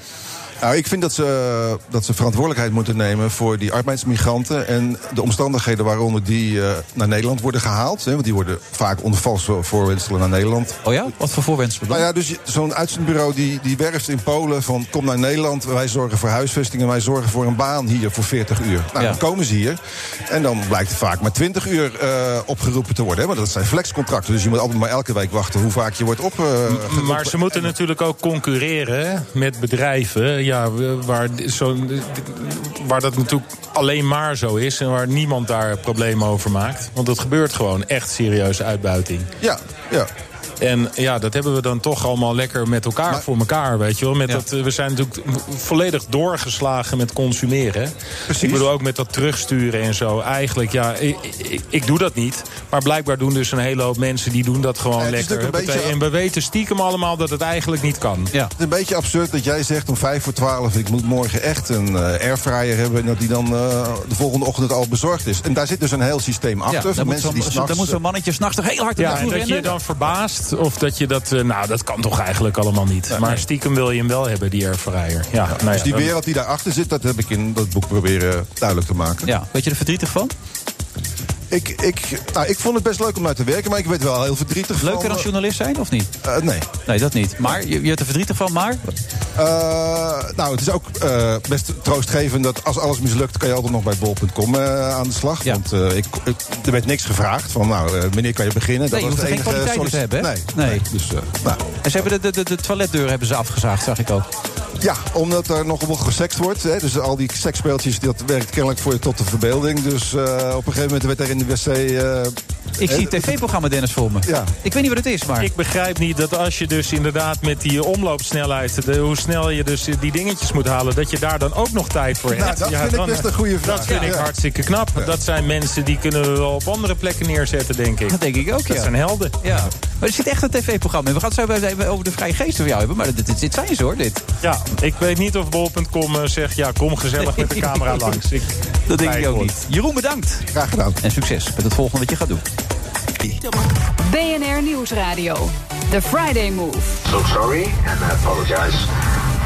S17: Nou, ik vind dat ze, dat ze verantwoordelijkheid moeten nemen voor die arbeidsmigranten. En de omstandigheden waaronder die eh, naar Nederland worden gehaald. Hè, want die worden vaak onder valse voorwendselen naar Nederland.
S6: Oh ja? Wat voor voorwendselen?
S17: Nou ja, dus je- zo'n uitzendbureau die, die werft in Polen van kom naar Nederland. Wij zorgen voor huisvesting en wij zorgen voor een baan hier voor 40 uur. Nou,
S6: Ja.
S17: dan komen ze hier. En dan blijkt er vaak maar 20 uur eh, opgeroepen te worden. Hè, want dat zijn flexcontracten. Dus je moet altijd maar elke week wachten hoe vaak je wordt op. eh, geroepen.
S14: Maar ze moeten natuurlijk ook concurreren hè, met bedrijven ja, we- waar, zo, waar dat natuurlijk alleen maar zo is en waar niemand daar problemen over maakt. Want dat gebeurt gewoon echt serieuze uitbuiting.
S17: Ja, ja.
S14: En ja, dat hebben we dan toch allemaal lekker met elkaar voor elkaar, weet je wel. Met dat, eh, we zijn natuurlijk volledig doorgeslagen met consumeren. Precies. Ik bedoel, ook met dat terugsturen en zo. Eigenlijk, ja, ik, ik, ik doe dat niet. Maar blijkbaar doen dus een hele hoop mensen... die doen dat gewoon
S17: het is
S14: lekker.
S17: natuurlijk een
S14: Huppatee.
S17: beetje-
S14: En we weten stiekem allemaal dat het eigenlijk niet kan. Ja.
S17: Het is een beetje absurd dat jij zegt om 5 voor 12: ik moet morgen echt een eh, airfryer hebben. En dat die dan eh, de volgende ochtend al bezorgd is. En daar zit dus een heel systeem achter.
S14: dan
S17: voor
S14: moet
S17: mensen
S14: zo'n-
S17: die
S14: zo-
S17: s'nachts. eh,
S14: dan moet zo'n
S6: mannetje s'nachts toch heel hard
S14: Ja, en dat je je dan verbaast of dat je dat... eh, nou, dat kan toch eigenlijk allemaal niet. maar stiekem wil je hem wel hebben, die airfryer. Ja, nou ja,
S17: dus die
S14: dan-
S17: wereld die daarachter zit, dat heb ik in dat boek proberen duidelijk te maken.
S6: Ja, weet je er verdrietig van?
S17: Ik, ik, nou, ik vond het best leuk om naar te werken, maar ik werd wel heel verdrietig van. eh,
S6: Leuker dan journalist zijn, of niet?
S17: nee.
S6: Nee, dat niet. Maar je, je hebt er verdrietig van, maar...
S17: Eh, nou, het is ook eh, best troostgevend dat als alles mislukt... kan je altijd nog bij bol.com eh, aan de slag. Want eh, ik, ik- er werd niks gevraagd van, nou, eh, wanneer kan je beginnen?
S6: Nee, je
S17: was
S6: hoeft er
S17: de
S6: geen
S17: enige
S6: kwaliteiten te hebben,
S17: sollicit-
S6: hè?
S17: Nee.
S6: Nee.
S17: Dus, eh, nou.
S6: En ze hebben de, de, de, de toiletdeur hebben ze afgezaagd, zag ik ook.
S17: Ja, omdat er nog wel gesext wordt. Hè, dus al die seksspeeltjes, dat werkt kennelijk voor je tot de verbeelding. Dus eh, op een gegeven moment werd er in de wc... eh,
S6: Ik
S17: hè,
S6: zie het tv-programma Dennis voor me.
S17: Ja.
S6: Ik weet niet wat het is, maar...
S14: Ik begrijp niet dat als je dus inderdaad met die omloopsnelheid... De, hoe snel je dus die dingetjes moet halen... dat je daar dan ook nog tijd voor
S17: Nou,
S14: hebt.
S17: dat
S14: Ja,
S17: vind ik
S14: dan-
S17: best een goede vraag.
S14: Dat vind
S17: Ja.
S14: ik hartstikke knap. Dat zijn mensen die kunnen we wel op andere plekken neerzetten, denk ik.
S6: Dat denk ik ook, ja.
S14: Dat zijn helden.
S6: Ja. Maar er zit echt een tv-programma in. We gaan het zo bij- even over de vrije geesten van jou hebben. Maar dit, dit, dit zijn ze, hoor, dit.
S14: Ja, ik weet niet of bol.com eh, zegt... ja, kom gezellig met de camera langs. Ik,
S6: Dat denk ik
S14: Twijfel.
S6: ook niet. Jeroen, bedankt.
S17: Graag gedaan.
S6: En succes met het volgende wat je gaat doen.
S5: BNR Nieuwsradio. The Friday Move.
S8: So sorry and I apologize.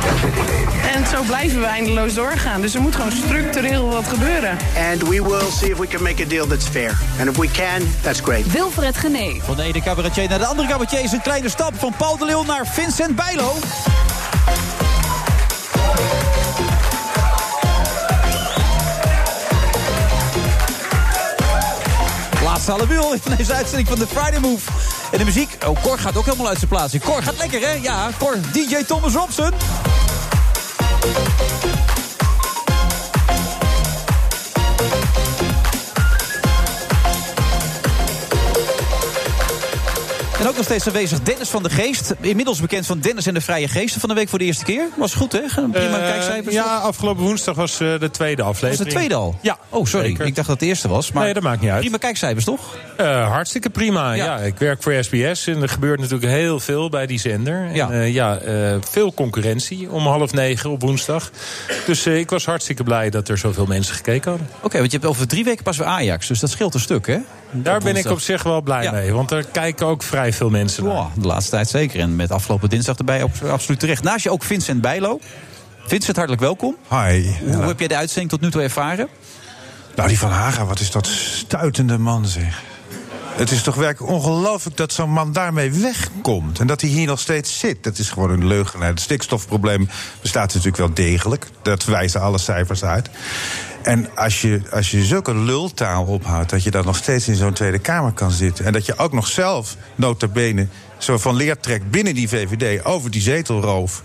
S8: That's what they made.
S9: En zo blijven we eindeloos doorgaan. Dus er moet gewoon structureel wat gebeuren.
S10: And we will see if we can make a deal that's fair. And if we can, that's great.
S5: Wilfred Genee.
S6: Van de ene cabaretier naar de andere cabaretier is een kleine stap. Van Paul de Leeuw naar Vincent Bijlo. Laatste halve uur in deze uitzending van de Friday Move. En de muziek, oh, Cor gaat ook helemaal uit zijn plaats. Cor gaat lekker, hè? Ja, Cor, DJ Thomas Robson. En ook nog steeds aanwezig Dennis van de Geest. Inmiddels bekend van Dennis en de Vrije Geesten van de week voor de eerste keer. Was goed, hè? Prima
S14: Eh,
S6: kijkcijfers.
S14: ja, afgelopen woensdag was eh, de tweede aflevering.
S6: Was de tweede al?
S14: Ja.
S6: Oh, sorry. Ik dacht dat het de eerste was. Maar
S14: Nee, dat maakt niet uit.
S6: Prima kijkcijfers, toch?
S14: Eh, hartstikke prima. Ja. ik werk voor SBS en er gebeurt natuurlijk heel veel bij die zender. Ja, en, eh, ja eh, veel concurrentie om half negen op woensdag. Dus eh, ik was hartstikke blij dat er zoveel mensen gekeken hadden.
S6: Oké, want je hebt over drie weken pas weer Ajax. Dus dat scheelt een stuk, hè?
S14: Daar ben ik op zich wel blij mee, want er kijken ook vrij veel mensen naar.
S6: De laatste tijd zeker. En met afgelopen dinsdag erbij ook absoluut terecht. Naast je ook Vincent Bijlo. Vincent, hartelijk welkom.
S18: Hi.
S6: Hoe heb jij de uitzending tot nu toe ervaren?
S18: Nou, die Van Haga, wat is dat stuitende man, zeg. Het is toch werkelijk ongelooflijk dat zo'n man daarmee wegkomt. En dat hij hier nog steeds zit. Dat is gewoon een leugen. Het stikstofprobleem bestaat natuurlijk wel degelijk. Dat wijzen alle cijfers uit. En als je, als je zulke lultaal ophoudt... dat je dan nog steeds in zo'n Tweede Kamer kan zitten... en dat je ook nog zelf, nota bene, zo van leer trekt binnen die VVD... over die zetelroof...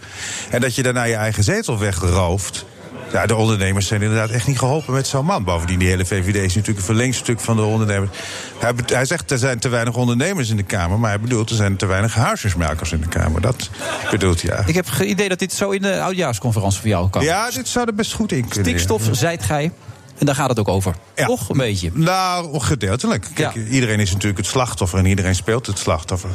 S18: en dat je daarna je eigen zetel wegrooft... Ja, de ondernemers zijn inderdaad echt niet geholpen met zo'n man. Bovendien, die hele VVD is natuurlijk een verlengstuk van de ondernemers. Hij, be- hij zegt, er zijn te weinig ondernemers in de Kamer... maar hij bedoelt, er zijn te weinig huisjesmakers in de Kamer. Dat bedoelt hij
S6: Ik
S18: eigenlijk.
S6: heb het idee dat dit zo in de oudjaarsconferentie voor jou kan.
S18: Ja, dit zou er best goed in kunnen.
S6: Stikstof, zijt gij. En daar gaat het ook over. Toch? Een beetje.
S18: Nou, gedeeltelijk. Kijk, Iedereen is natuurlijk het slachtoffer en iedereen speelt het slachtoffer.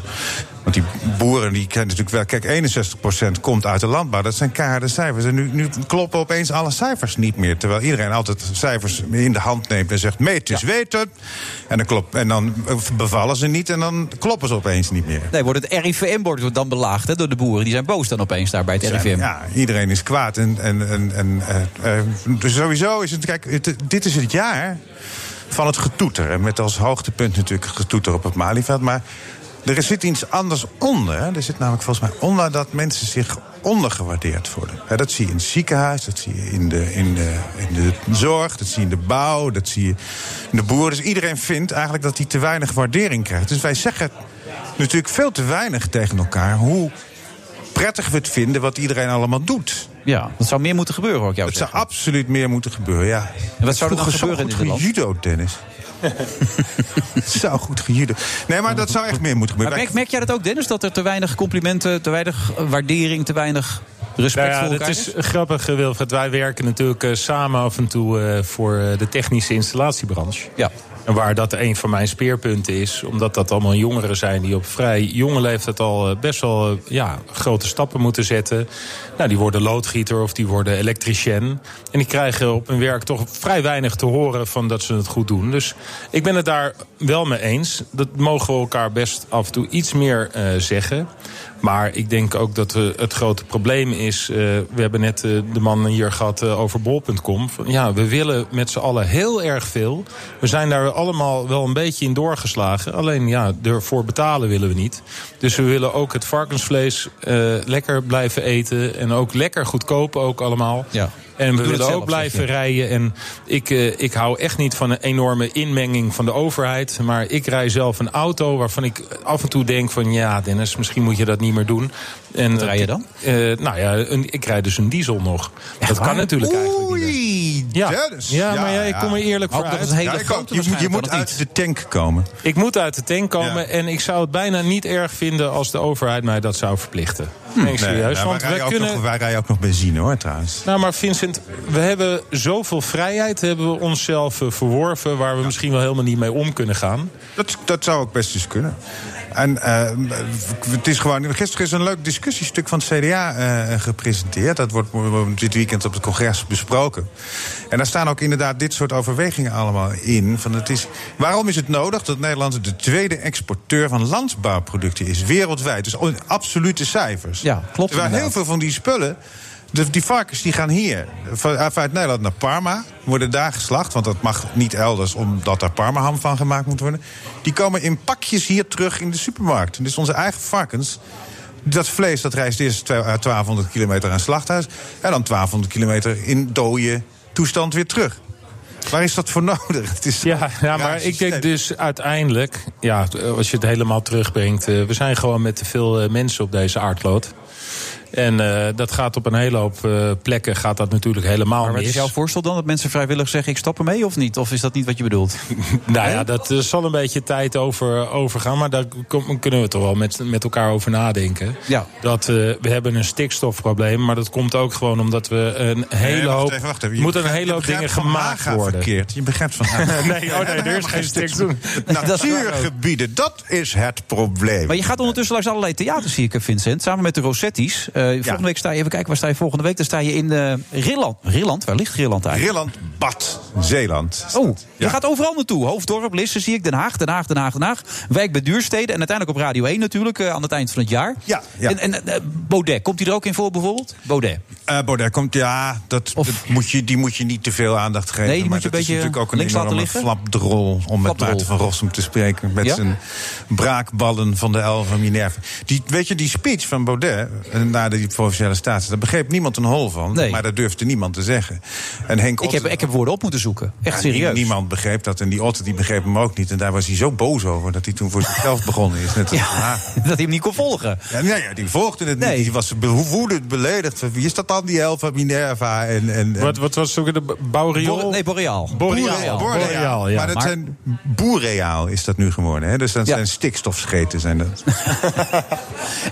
S18: Want die boeren, die kennen natuurlijk wel... Kijk, 61% komt uit de landbouw. Dat zijn keiharde cijfers. En nu, nu kloppen opeens alle cijfers niet meer. Terwijl iedereen altijd cijfers in de hand neemt en zegt... meet is weten. En dan, klopt, en dan bevallen ze niet en dan kloppen ze opeens niet meer.
S6: Nee, wordt het RIVM wordt dan belaagd hè, door de boeren. Die zijn boos dan opeens daar bij het
S18: Zijn-
S6: RIVM.
S18: Ja, iedereen is kwaad. En, en, en, en, eh, eh, dus sowieso is het. Kijk, het- dit is het jaar van het getoeteren. Met als hoogtepunt natuurlijk het getoeter op het Malieveld. Maar er zit iets anders onder. hè. Er zit namelijk volgens mij onder dat mensen zich ondergewaardeerd worden. Hè, dat zie je in het ziekenhuis, dat zie je in de, in, de, in de zorg, dat zie je in de bouw, dat zie je in de boeren. Dus iedereen vindt eigenlijk dat hij te weinig waardering krijgt. Dus wij zeggen natuurlijk veel te weinig tegen elkaar hoe prettig we het vinden wat iedereen allemaal doet.
S6: Ja, dat zou meer moeten gebeuren, hoor ik jou
S18: Het zou absoluut meer moeten gebeuren, ja.
S6: En wat zou er dan
S18: Vroeger zo
S6: gebeuren in
S18: goed
S6: dit land?
S18: gejudo, Dennis. Zo goed gejude. Nee, maar dat zou echt meer moeten
S6: Maar
S18: gebeuren.
S6: merk, merk jij dat ook, Dennis? Dat er te weinig complimenten, te weinig waardering, te weinig respect
S14: Nou
S6: voor
S14: ja,
S6: elkaar
S14: dat is grappig, eh, Wilfred. Wij werken natuurlijk eh, samen af en toe eh, voor eh, de technische installatiebranche.
S6: Ja.
S14: En waar dat een van mijn speerpunten is, omdat dat allemaal jongeren zijn die op vrij jonge leeftijd al eh, best wel eh, ja, grote stappen moeten zetten. Nou, die worden loodgieter of die worden elektricien. En die krijgen op hun werk toch vrij weinig te horen van dat ze het goed doen. Dus ik ben het daar wel mee eens. Dat mogen we elkaar best af en toe iets meer eh, zeggen. Maar ik denk ook dat eh, het grote probleem is. eh, we hebben net eh, de man hier gehad eh, over bol.com. Van, Ja, we willen met z'n allen heel erg veel. We zijn daar allemaal wel een beetje in doorgeslagen. Alleen ja, ervoor betalen willen we niet. Dus we willen ook het varkensvlees eh, lekker blijven eten. En ook lekker goedkoop ook allemaal.
S6: Ja.
S14: En we
S6: Doe het
S14: willen
S6: zelf,
S14: ook blijven
S6: zeg je.
S14: rijden. En ik, eh, ik hou echt niet van een enorme inmenging van de overheid. Maar ik rij zelf een auto waarvan ik af en toe denk van... ja, Dennis, misschien moet je dat niet meer doen. En, Wat
S6: rij je dan?
S14: nou ja, een- ik rijd dus een diesel nog. dat kan natuurlijk eigenlijk niet.
S18: Oei,
S14: Ja. Ja, maar jij komt er eerlijk voor uit. Ja, ik ook.
S18: je, moet- je moet uit de tank komen.
S14: Ik moet uit de tank komen en ik zou het bijna niet erg vinden... als de overheid mij dat zou verplichten. Nee, ik serieus,
S18: nou,
S14: want
S18: wij,
S14: we
S18: rijden ook
S14: kunnen...
S18: nog, wij rijden ook nog benzine hoor, trouwens.
S14: Nou, maar Vincent, we hebben zoveel vrijheid, hebben we onszelf eh, verworven, waar we misschien wel helemaal niet mee om kunnen gaan.
S18: Dat, dat zou ook best eens kunnen. En eh, het is gewoon. Gisteren is een leuk discussiestuk van het CDA eh, gepresenteerd. Dat wordt dit weekend op het congres besproken. En daar staan ook inderdaad dit soort overwegingen allemaal in. Van het is, waarom is het nodig dat Nederland de tweede exporteur van landbouwproducten is wereldwijd? Dus in absolute cijfers. Ja, klopt. Terwijl heel veel van die spullen. De, die varkens die gaan hier van- eh, vanuit Nederland naar Parma. Worden daar geslacht, want dat mag niet elders... omdat daar Parmaham van gemaakt moet worden. Die komen in pakjes hier terug in de supermarkt. Dus onze eigen varkens... Dat vlees dat reist eerst twa- eh, 1200 kilometer aan het slachthuis... en dan 1200 kilometer in dode toestand weer terug. Waar is dat voor nodig? Het is
S14: ja, Ja, maar ik denk dus uiteindelijk, ja, als je het helemaal terugbrengt, eh, we zijn gewoon met te veel eh, mensen op deze aardkloot. En eh, dat gaat op een hele hoop eh, plekken gaat dat natuurlijk helemaal
S6: Maar wat
S14: mis.
S6: is jouw voorstel dan? Dat mensen vrijwillig zeggen, ik stap ermee of niet? Of is dat niet wat je bedoelt?
S14: Nou ja, dat eh, zal een beetje tijd over, overgaan. Maar daar kom- kunnen we toch wel met, met elkaar over nadenken.
S6: Ja.
S14: Dat eh, we hebben een stikstofprobleem. Maar dat komt ook gewoon omdat we een hele
S18: wacht
S14: hoop.
S18: even, wacht even. Je
S14: Moet een
S18: begrijpt-
S14: hele
S18: je
S14: hoop
S18: begrijpt
S14: dingen
S18: Van
S14: gemaakt
S18: Haga
S14: worden.
S18: verkeerd. Je begrijpt van
S14: Nee, oh nee, er is geen stikstof.
S6: Dat is waar ook.
S18: Natuurgebieden, dat is het probleem.
S6: Maar je gaat ondertussen langs allerlei theaters, zie ik, eh, Vincent. Samen met de Rossetti's. Eh, volgende week sta je, even kijken, waar sta je volgende week? Dan sta je in eh, Rilland. Rilland? Waar ligt Rilland eigenlijk?
S18: Rilland, Bad, Zeeland.
S6: Oh, je gaat overal naartoe. Hoofddorp, Lissen zie ik, Den Haag, Den Haag, Den Haag, Den Haag. Wijk bij Duurstede en uiteindelijk op Radio 1 natuurlijk, eh, aan het eind van het jaar.
S18: Ja, ja.
S6: En, en eh, Baudet, komt hij er ook in voor bijvoorbeeld? Baudet.
S18: Eh, Baudet komt, ja, dat, dat moet je, die moet je niet te veel aandacht geven.
S6: Nee, die
S18: maar
S6: moet je
S18: dat
S6: een
S18: is
S6: beetje
S18: natuurlijk ook een
S6: links laten
S18: enorme
S6: liggen.
S18: flapdrol, om met
S6: Flapdrol.
S18: Maarten van Rossum te spreken. Met
S6: Ja?
S18: zijn braakballen van de El van Minerva. Die, weet je, die speech van Baudet eh, na die provinciale statie, daar begreep niemand een hol van. Maar dat durfde niemand te zeggen. En Henk
S6: Ik heb, ik heb woorden op moeten zoeken. Echt
S18: Ja,
S6: serieus.
S18: Niemand begreep dat. En die Otter die begreep hem ook niet. En daar was hij zo boos over dat hij toen voor zichzelf begonnen is. Net als Van Hagen.
S6: Dat hij hem niet kon volgen.
S18: Ja, nou ja, die volgde het niet. Die was be- woedend beledigd. Van, Wie is dat dan, die helft van Minerva? En, en, en...
S14: Wat, wat was ook de Baureol?
S18: Bor- nee,
S6: Boreaal.
S18: Boreaal. Boreaal, ja. Maar dat zijn boereaal is dat nu geworden. Hè? Dus dat zijn stikstofscheten. Zijn dat.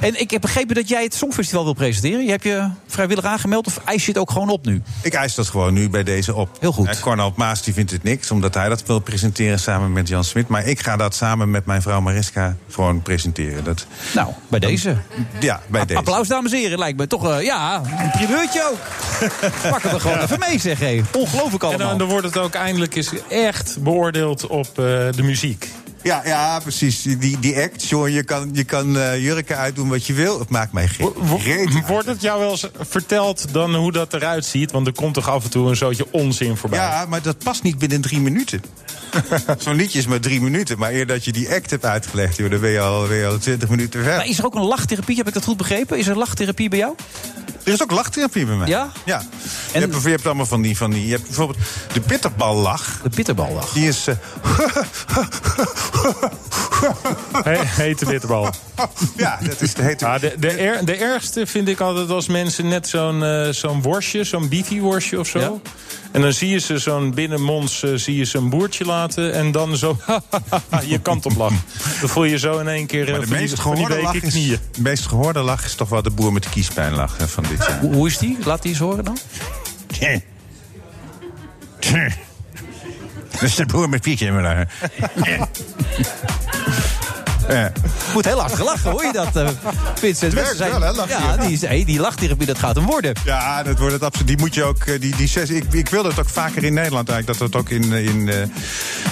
S6: En ik heb begrepen dat jij het Songfestival wil presenteren. Je hebt je vrijwillig aangemeld of eis je het ook gewoon op nu?
S18: Ik eis dat gewoon nu bij deze op. Heel goed. En Cornel Maas die vindt het niks, omdat hij dat wil presenteren samen met Jan Smit. Maar ik ga dat samen met mijn vrouw Mariska gewoon presenteren. Dat...
S6: Nou, bij deze.
S18: Ja, bij deze.
S6: Applaus, dames en heren. Lijkt me toch, eh, ja, een primeurtje ook. Pakken we gewoon
S14: Ja.
S6: even mee, zeg. hé. Ongelooflijk
S14: En
S6: allemaal.
S14: dan, dan wordt het ook eindelijk eens echt beoordeeld op eh, de muziek.
S18: Ja, ja, precies. Die, die act, John, je kan, je kan eh, jurken uitdoen wat je wil. Het maakt mij geen reet uit.
S14: Wordt het jou wel eens verteld dan hoe dat eruit ziet? Want er komt toch af en toe een zootje onzin voorbij.
S18: Ja, maar dat past niet binnen drie minuten. Zo'n liedje is maar drie minuten. Maar eer dat je die act hebt uitgelegd, joh, dan ben je al, ben je al twintig minuten verder.
S6: Maar is er ook een lachtherapie? Heb ik dat goed begrepen? Is er lachtherapie bij jou?
S18: Er is ook lachtherapie bij mij.
S6: Ja?
S18: Ja. Je, hebt, je hebt allemaal van die, van die... Je hebt bijvoorbeeld de bitterballach.
S6: De bitterballach.
S18: Die is... eh,
S14: He- hete bitterbal.
S18: ja, dat is de hete
S14: Ah, de, de, er- de ergste vind ik altijd als mensen net zo'n eh, zo'n worstje, zo'n bifi-worstje of zo. En dan zie je ze zo'n binnenmonds eh, zie je ze een boertje laten. En dan zo, je kant op lachen. Dan voel je zo in één keer eh,
S18: maar de
S14: van die-
S18: meest
S14: van die
S18: gehoorde,
S14: weken
S18: lach is,
S14: knieën.
S18: de meest gehoorde lach is toch wel de boer met de kiespijnlach hè, van dit jaar.
S6: Hoe, hoe is die? Laat die eens horen dan.
S18: Dat is de boer met pietje in mijn lach. Ja.
S6: Moet heel hard gelachen, hoor je dat? eh, Vincent
S18: Het werkt
S6: Wessels
S18: wel, hè,
S6: Ja,
S18: lachtherapie.
S6: die, is, hey, die lachtherapie, dat gaat hem worden.
S18: Ja, dat wordt het absoluut. Die moet je ook. eh, Die, die zes, ik, ik wil dat ook vaker in Nederland eigenlijk. Dat dat ook in, eh, in, eh,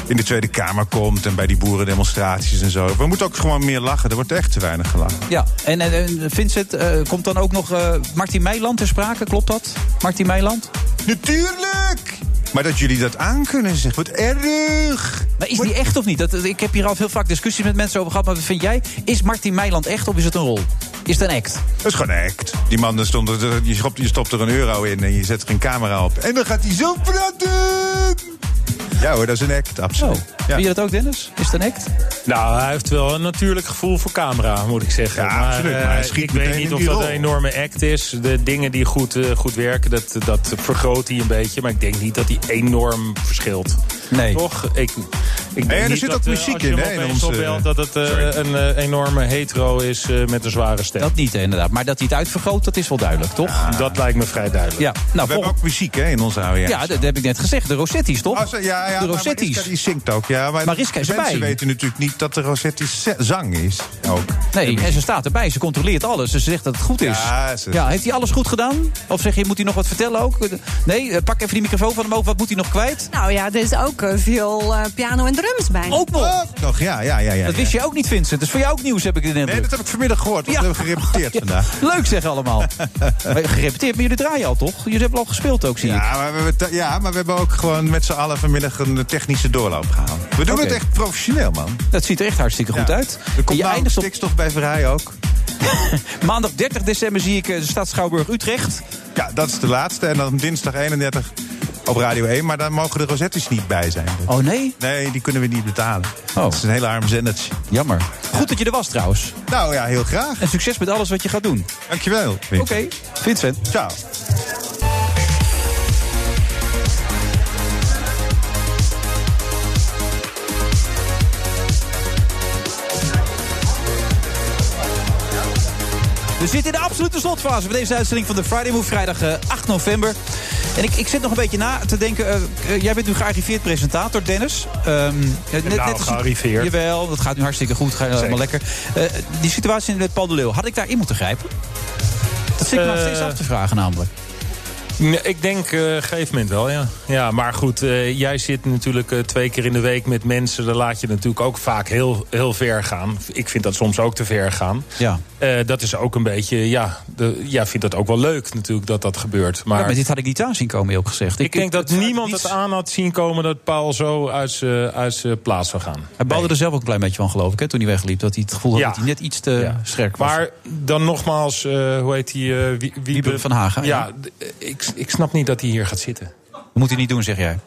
S18: in de Tweede Kamer komt. En bij die boerendemonstraties en zo. We moeten ook gewoon meer lachen. Er wordt echt te weinig gelachen.
S6: Ja, en, en, en Vincent, eh, komt dan ook nog eh Martin Meiland ter sprake, klopt dat? Martin Meiland?
S18: Natuurlijk! Maar dat jullie dat aankunnen, zeg. Wat erg!
S6: Maar is die echt of niet? Dat, ik heb hier al heel vaak discussies met mensen over gehad. Maar wat vind jij? Is Martin Meiland echt of is het een rol? Is het een act?
S18: Dat is gewoon act. Die man, daar stond, er- je, stopt, je stopt er een euro in en je zet er een camera op. En dan gaat hij zo praten! Ja hoor, Oh, dat is een act, absoluut.
S6: Vind je dat ook, Dennis? Is het een act?
S14: Nou, hij heeft wel een natuurlijk gevoel voor camera, moet ik zeggen.
S18: Ja, absoluut, maar hij
S14: eh,
S18: schiet
S14: ik
S18: meteen
S14: weet
S18: in
S14: niet of
S18: die
S14: dat
S18: rol.
S14: een enorme act is. De dingen die goed, eh, goed werken, dat, dat vergroot hij een beetje. Maar ik denk niet dat hij enorm verschilt.
S6: Nee.
S14: Toch? Ik, ik denk
S18: Nee, er
S14: niet
S18: zit
S14: dat,
S18: ook
S14: eh,
S18: muziek
S14: als je
S18: in,
S14: hem
S18: hè, in
S14: opeens
S18: onze-
S14: opbelt, dat het eh, een eh, enorme hetero is eh, met een zware stem.
S6: Dat niet, eh, inderdaad. Maar dat hij het uitvergroot, dat is wel duidelijk, toch?
S14: Ah. Dat lijkt me vrij duidelijk.
S6: Ja, nou,
S18: We hebben ook muziek hè, in onze oude
S6: ja dat, dat heb ik net gezegd. De Rossetti's, toch?
S18: Oh, zo- ja, ja,
S6: de
S18: maar
S6: Rossetti's.
S18: Mariska, die zingt ook, ja. Maar
S6: Mariska is
S18: mensen
S6: erbij.
S18: weten natuurlijk niet dat de Rossetti ze- zang is. Ook.
S6: Nee, en ze staat erbij. Ze controleert alles. Ze zegt dat het goed is.
S18: Ja, ze-
S6: Ja, heeft hij alles goed gedaan? Of zeg je, moet hij nog wat vertellen ook? Nee, eh, pak even die microfoon van hem over. Wat moet hij nog kwijt?
S19: Nou ja, er is ook eh, viool, eh, piano en drums bij.
S6: Ook nog.
S18: Toch, ja, ja, ja. ja
S6: Dat wist je ook niet, Vincent. Dat is voor jou ook nieuws, heb ik de indruk.
S18: Nee, dat heb ik vanmiddag gehoord. want
S6: Ja.
S18: We hebben gerepeteerd vandaag.
S6: Leuk zeg allemaal. Maar Gerepeteerd, maar jullie draaien al, toch? Jullie hebben al gespeeld ook, zie ik.
S18: Ja maar, we hebben, ta- ja, maar we hebben ook gewoon met z'n allen vanmiddag een technische doorloop gehaald. We doen
S6: Oké.
S18: het echt professioneel, man.
S6: Dat ziet er echt hartstikke goed uit.
S18: Er komt
S6: je
S18: nou
S6: eindigt op
S18: stikstof bij Verheij ook.
S6: maandag 30 december zie ik eh, de Stad Schouwburg Utrecht.
S18: Ja, dat is de laatste. En dan dinsdag 31 op Radio 1. Maar daar mogen de Rosetti's niet bij zijn. dus.
S6: Oh nee? Oh.
S18: Nee, die kunnen we niet betalen. Dat is een heel arm zendertje.
S6: Jammer. Goed dat je er was trouwens.
S18: Nou ja, heel graag.
S6: En succes met alles wat je gaat doen.
S18: Dankjewel. Oké.
S6: Oké, Vincent.
S18: Ciao.
S6: We zitten in de absolute slotfase van deze uitzending van de Friday Move, vrijdag eh, 8 november. En ik, ik zit nog een beetje na te denken. eh, eh, jij bent nu gearriveerd presentator, Dennis. Ehm, eh, net,
S14: Nou,
S6: als-
S14: gearriveerd.
S6: Jawel, dat gaat nu hartstikke goed. Gaat helemaal lekker. Eh, die situatie met Paul de Leeuw, had ik daarin moeten grijpen? Dat zit ik me nog
S14: Eh,
S6: steeds af te vragen, namelijk.
S14: Nee, Ik denk eh gegeven moment wel, ja. ja maar goed, eh, jij zit natuurlijk eh, twee keer in de week met mensen. Dan laat je natuurlijk ook vaak heel, heel ver gaan. Ik vind dat soms ook te ver gaan.
S6: Ja.
S14: Eh, dat is ook een beetje, ja, de, jij vindt dat ook wel leuk natuurlijk dat dat gebeurt. Maar,
S6: ja, maar dit had ik niet aan zien komen, eerlijk gezegd.
S14: ik, denk dat
S6: het-
S14: niemand
S6: niets-
S14: het aan had zien komen dat Paul zo uit zijn- uit zijn plaats zou gaan.
S6: Hij baalde er zelf ook een klein beetje van, geloof ik, hè, toen hij wegliep. Dat hij het gevoel had
S14: Ja.
S6: dat hij net iets te scherp was.
S14: Maar dan nogmaals, eh, hoe heet die? eh, Wie- Wiebe,
S6: van Haga,
S14: Ja,
S6: ja.
S14: d- eh, ik, ik snap niet dat hij hier gaat zitten.
S6: Moet hij niet doen, zeg jij.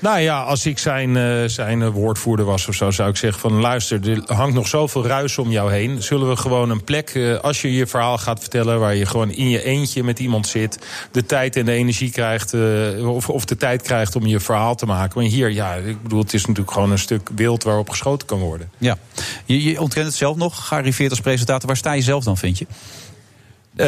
S14: Nou ja, als ik zijn, eh, zijn eh, woordvoerder was of zo, zou ik zeggen van luister, er hangt nog zoveel ruis om jou heen. Zullen we gewoon een plek, eh, als je je verhaal gaat vertellen, waar je gewoon in je eentje met iemand zit, de tijd en de energie krijgt, eh, of, of de tijd krijgt om je verhaal te maken. Maar hier, ja, ik bedoel, het is natuurlijk gewoon een stuk wild waarop geschoten kan worden.
S6: Ja. Je, je ontkent het zelf nog, gearriveerd als presentator. Waar sta je zelf dan, vind je?
S14: Eh,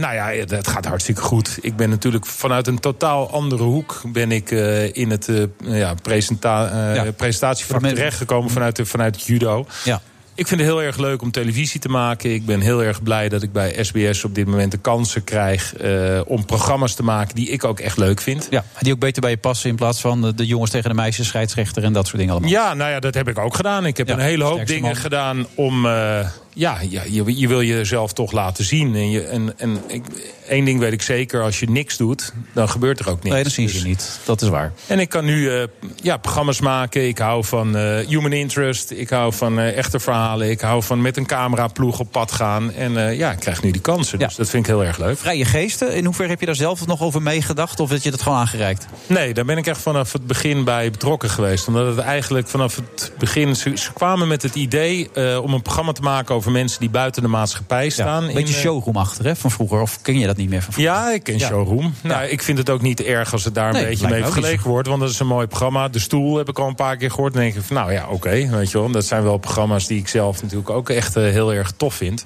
S14: nou ja, het gaat hartstikke goed. Ik ben natuurlijk vanuit een totaal andere hoek ben ik eh, in het eh, ja, presenta eh, presentatievak terechtgekomen vanuit, de- vanuit judo.
S6: Ja.
S14: Ik vind het heel erg leuk om televisie te maken. Ik ben heel erg blij dat ik bij SBS op dit moment de kansen krijg eh, om programma's te maken die ik ook echt leuk vind.
S6: Ja, die ook beter bij je passen in plaats van eh, de jongens tegen de meisjes, scheidsrechter en dat soort dingen allemaal.
S14: Ja, nou ja, dat heb ik ook gedaan. Ik heb
S6: Ja,
S14: een hele hoop
S6: sterkste
S14: dingen
S6: man.
S14: gedaan om, eh, ja, ja je, je wil jezelf toch laten zien. En, je, en, en ik, één ding weet ik zeker, als je niks doet, dan gebeurt er ook niks.
S6: Nee, dat zien ze
S14: Dus-
S6: niet. Dat is waar.
S14: En ik kan nu eh, ja, programma's maken. Ik hou van eh, human interest. Ik hou van eh, echte verhalen. Ik hou van met een cameraploeg op pad gaan. En eh, ja, ik krijg nu die kansen. Dus dat vind ik heel erg leuk.
S6: Vrije geesten, in hoeverre heb je daar zelf nog over meegedacht? Of dat je dat gewoon aangereikt?
S14: Nee, daar ben ik echt vanaf het begin bij betrokken geweest. Omdat het eigenlijk vanaf het begin. Ze, ze kwamen met het idee eh, om een programma te maken over mensen die buiten de maatschappij staan.
S6: Een beetje
S14: in, eh,
S6: showroom achter, hè, van vroeger. Of ken je dat niet meer van vroeger?
S14: Ja, ik ken Showroom. Nou, ik vind het ook niet erg als het daar een
S6: Nee,
S14: beetje
S6: lijkt
S14: mee
S6: me ook niet
S14: vergeleken wordt. Want dat is een mooi programma. De stoel heb ik al een paar keer gehoord. En dan denk ik, van, nou ja, oké. weet je wel. Dat zijn wel programma's die ik zelf natuurlijk ook echt eh, heel erg tof vind.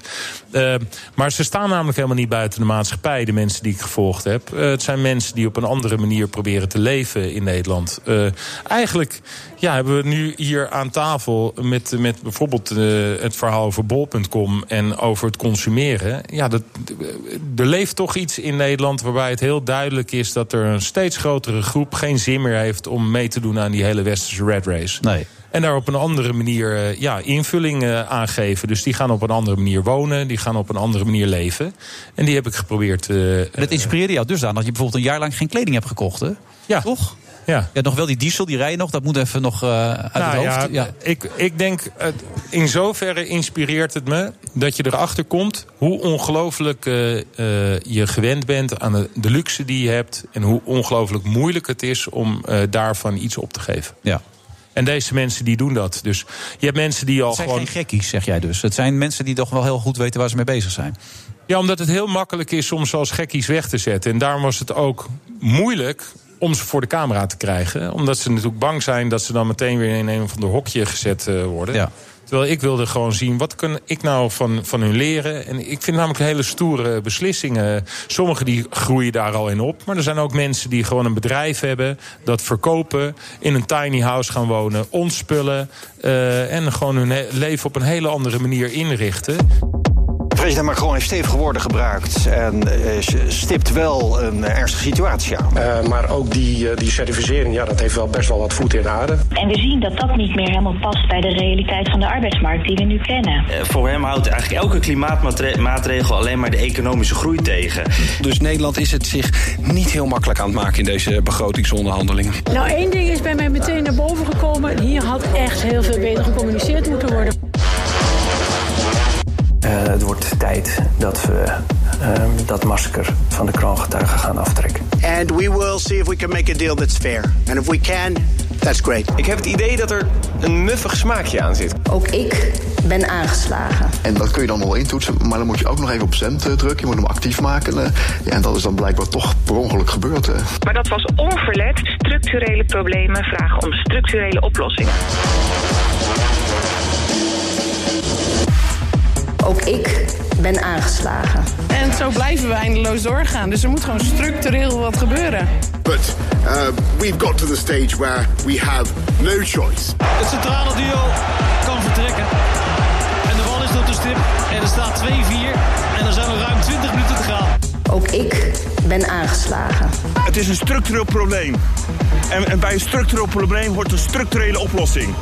S14: Eh, maar ze staan namelijk helemaal niet buiten de maatschappij, de mensen die ik gevolgd heb. Eh, het zijn mensen die op een andere manier proberen te leven in Nederland. Eh, eigenlijk ja, hebben we nu hier aan tafel met, met bijvoorbeeld eh, het verhaal over bol.com en over het consumeren. Ja, dat, er leeft toch iets in Nederland waarbij het heel duidelijk is dat er een steeds grotere groep geen zin meer heeft om mee te doen aan die hele westerse red race.
S6: Nee.
S14: En daar op een andere manier eh, ja, invulling eh, aan geven. Dus die gaan op een andere manier wonen, die gaan op een andere manier leven. En die heb ik geprobeerd. eh,
S6: Dat inspireerde jou dus aan dat je bijvoorbeeld een jaar lang geen kleding hebt gekocht, hè?
S14: Ja.
S6: Toch?
S14: Ja.
S6: nog wel die diesel, die rijden nog. Dat moet even nog eh, uit
S14: Nou
S6: het hoofd.
S14: ja, Ik, ik denk, eh, in zoverre inspireert het me dat je erachter komt hoe ongelooflijk eh, eh, je gewend bent aan de, de luxe die je hebt. En hoe ongelooflijk moeilijk het is om eh, daarvan iets op te geven.
S6: Ja.
S14: En deze mensen die doen dat. Dus je hebt mensen die al
S6: Het zijn
S14: gewoon.
S6: geen gekkies, zeg jij dus. Het zijn mensen die toch wel heel goed weten waar ze mee bezig zijn.
S14: Ja, omdat het heel makkelijk is om ze als gekkies weg te zetten. En daarom was het ook moeilijk om ze voor de camera te krijgen. Omdat ze natuurlijk bang zijn dat ze dan meteen weer in een van de hokje gezet eh, worden. Terwijl ik wilde gewoon zien, wat kan ik nou van, van hun leren? En ik vind namelijk hele stoere beslissingen. Sommige die groeien daar al in op. Maar er zijn ook mensen die gewoon een bedrijf hebben... dat verkopen, in een tiny house gaan wonen, ontspullen... eh, en gewoon hun he- leven op een hele andere manier inrichten.
S20: President Macron heeft stevige woorden gebruikt en eh, s- stipt wel een eh, ernstige situatie aan.
S21: maar ook die, eh, die certificering, ja, dat heeft wel best wel wat voet in de aarde.
S22: En we zien dat dat niet meer helemaal past bij de realiteit van de arbeidsmarkt die we nu kennen.
S23: Eh, Voor hem houdt eigenlijk elke klimaatmaatregel alleen maar de economische groei tegen.
S24: Dus Nederland is het zich niet heel makkelijk aan het maken in deze begrotingsonderhandelingen.
S25: Nou, één ding is bij mij meteen naar boven gekomen. Hier had echt heel veel beter gecommuniceerd moeten worden.
S26: Eh, het wordt tijd dat we eh, dat masker van de kroongetuigen gaan aftrekken.
S10: And we will see if we can make a deal that's fair. And if we can, that's great.
S24: Ik heb het idee dat er een muffig smaakje aan zit.
S2: Ook ik ben aangeslagen.
S3: En dat kun je dan wel intoetsen, maar dan moet je ook nog even op zend eh, drukken. Je moet hem actief maken. eh. ja, en dat is dan blijkbaar toch per ongeluk gebeurd. eh.
S27: Maar dat was onverlet. Structurele problemen vragen om structurele oplossingen.
S2: Ook ik ben aangeslagen.
S9: En zo blijven we eindeloos doorgaan. Dus er moet gewoon structureel wat gebeuren.
S28: But uh, we've got to the stage where we have no choice.
S29: Het centrale duo kan vertrekken. En de bal is op de stip. En er staat 2-4. En er zijn nog ruim 20 minuten te gaan.
S2: Ook ik ben aangeslagen.
S1: Het is een structureel probleem. En, en bij een structureel probleem hoort een structurele oplossing.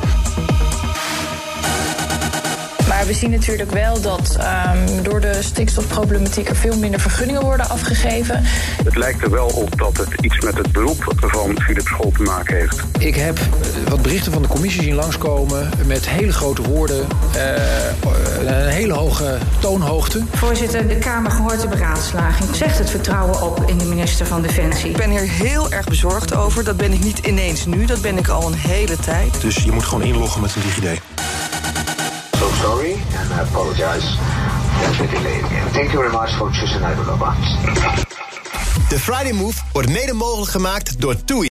S30: Maar we zien natuurlijk wel dat ehm, door de stikstofproblematiek er veel minder vergunningen worden afgegeven.
S31: Het lijkt er wel op dat het iets met het beroep van Philip School te maken heeft.
S26: Ik heb eh, wat berichten van de commissie zien langskomen met hele grote woorden, eh, een hele hoge toonhoogte.
S32: Voorzitter, de Kamer gehoort de beraadslaging. Zegt het vertrouwen op in de minister van Defensie.
S33: Ik ben hier heel erg bezorgd over. Dat ben ik niet ineens nu, dat ben ik al een hele tijd.
S31: Dus je moet gewoon inloggen met een DigiD.
S8: So sorry and I apologize. There's the delay again. Thank you very much for choosing Ivanova.
S2: De Friday Move wordt mede mogelijk gemaakt door TUI.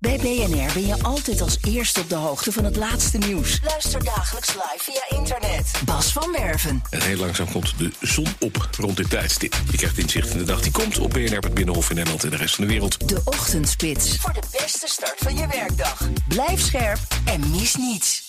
S21: Bij BNR ben je altijd als eerste op de hoogte van het laatste nieuws. Luister dagelijks live via internet. Bas van Werven.
S32: En heel langzaam komt de zon op rond dit tijdstip. Je krijgt inzicht in de dag die komt op BNR, het Binnenhof in Nederland en de rest van de wereld.
S21: De Ochtendspits. Voor de beste start van je werkdag. Blijf scherp en mis niets.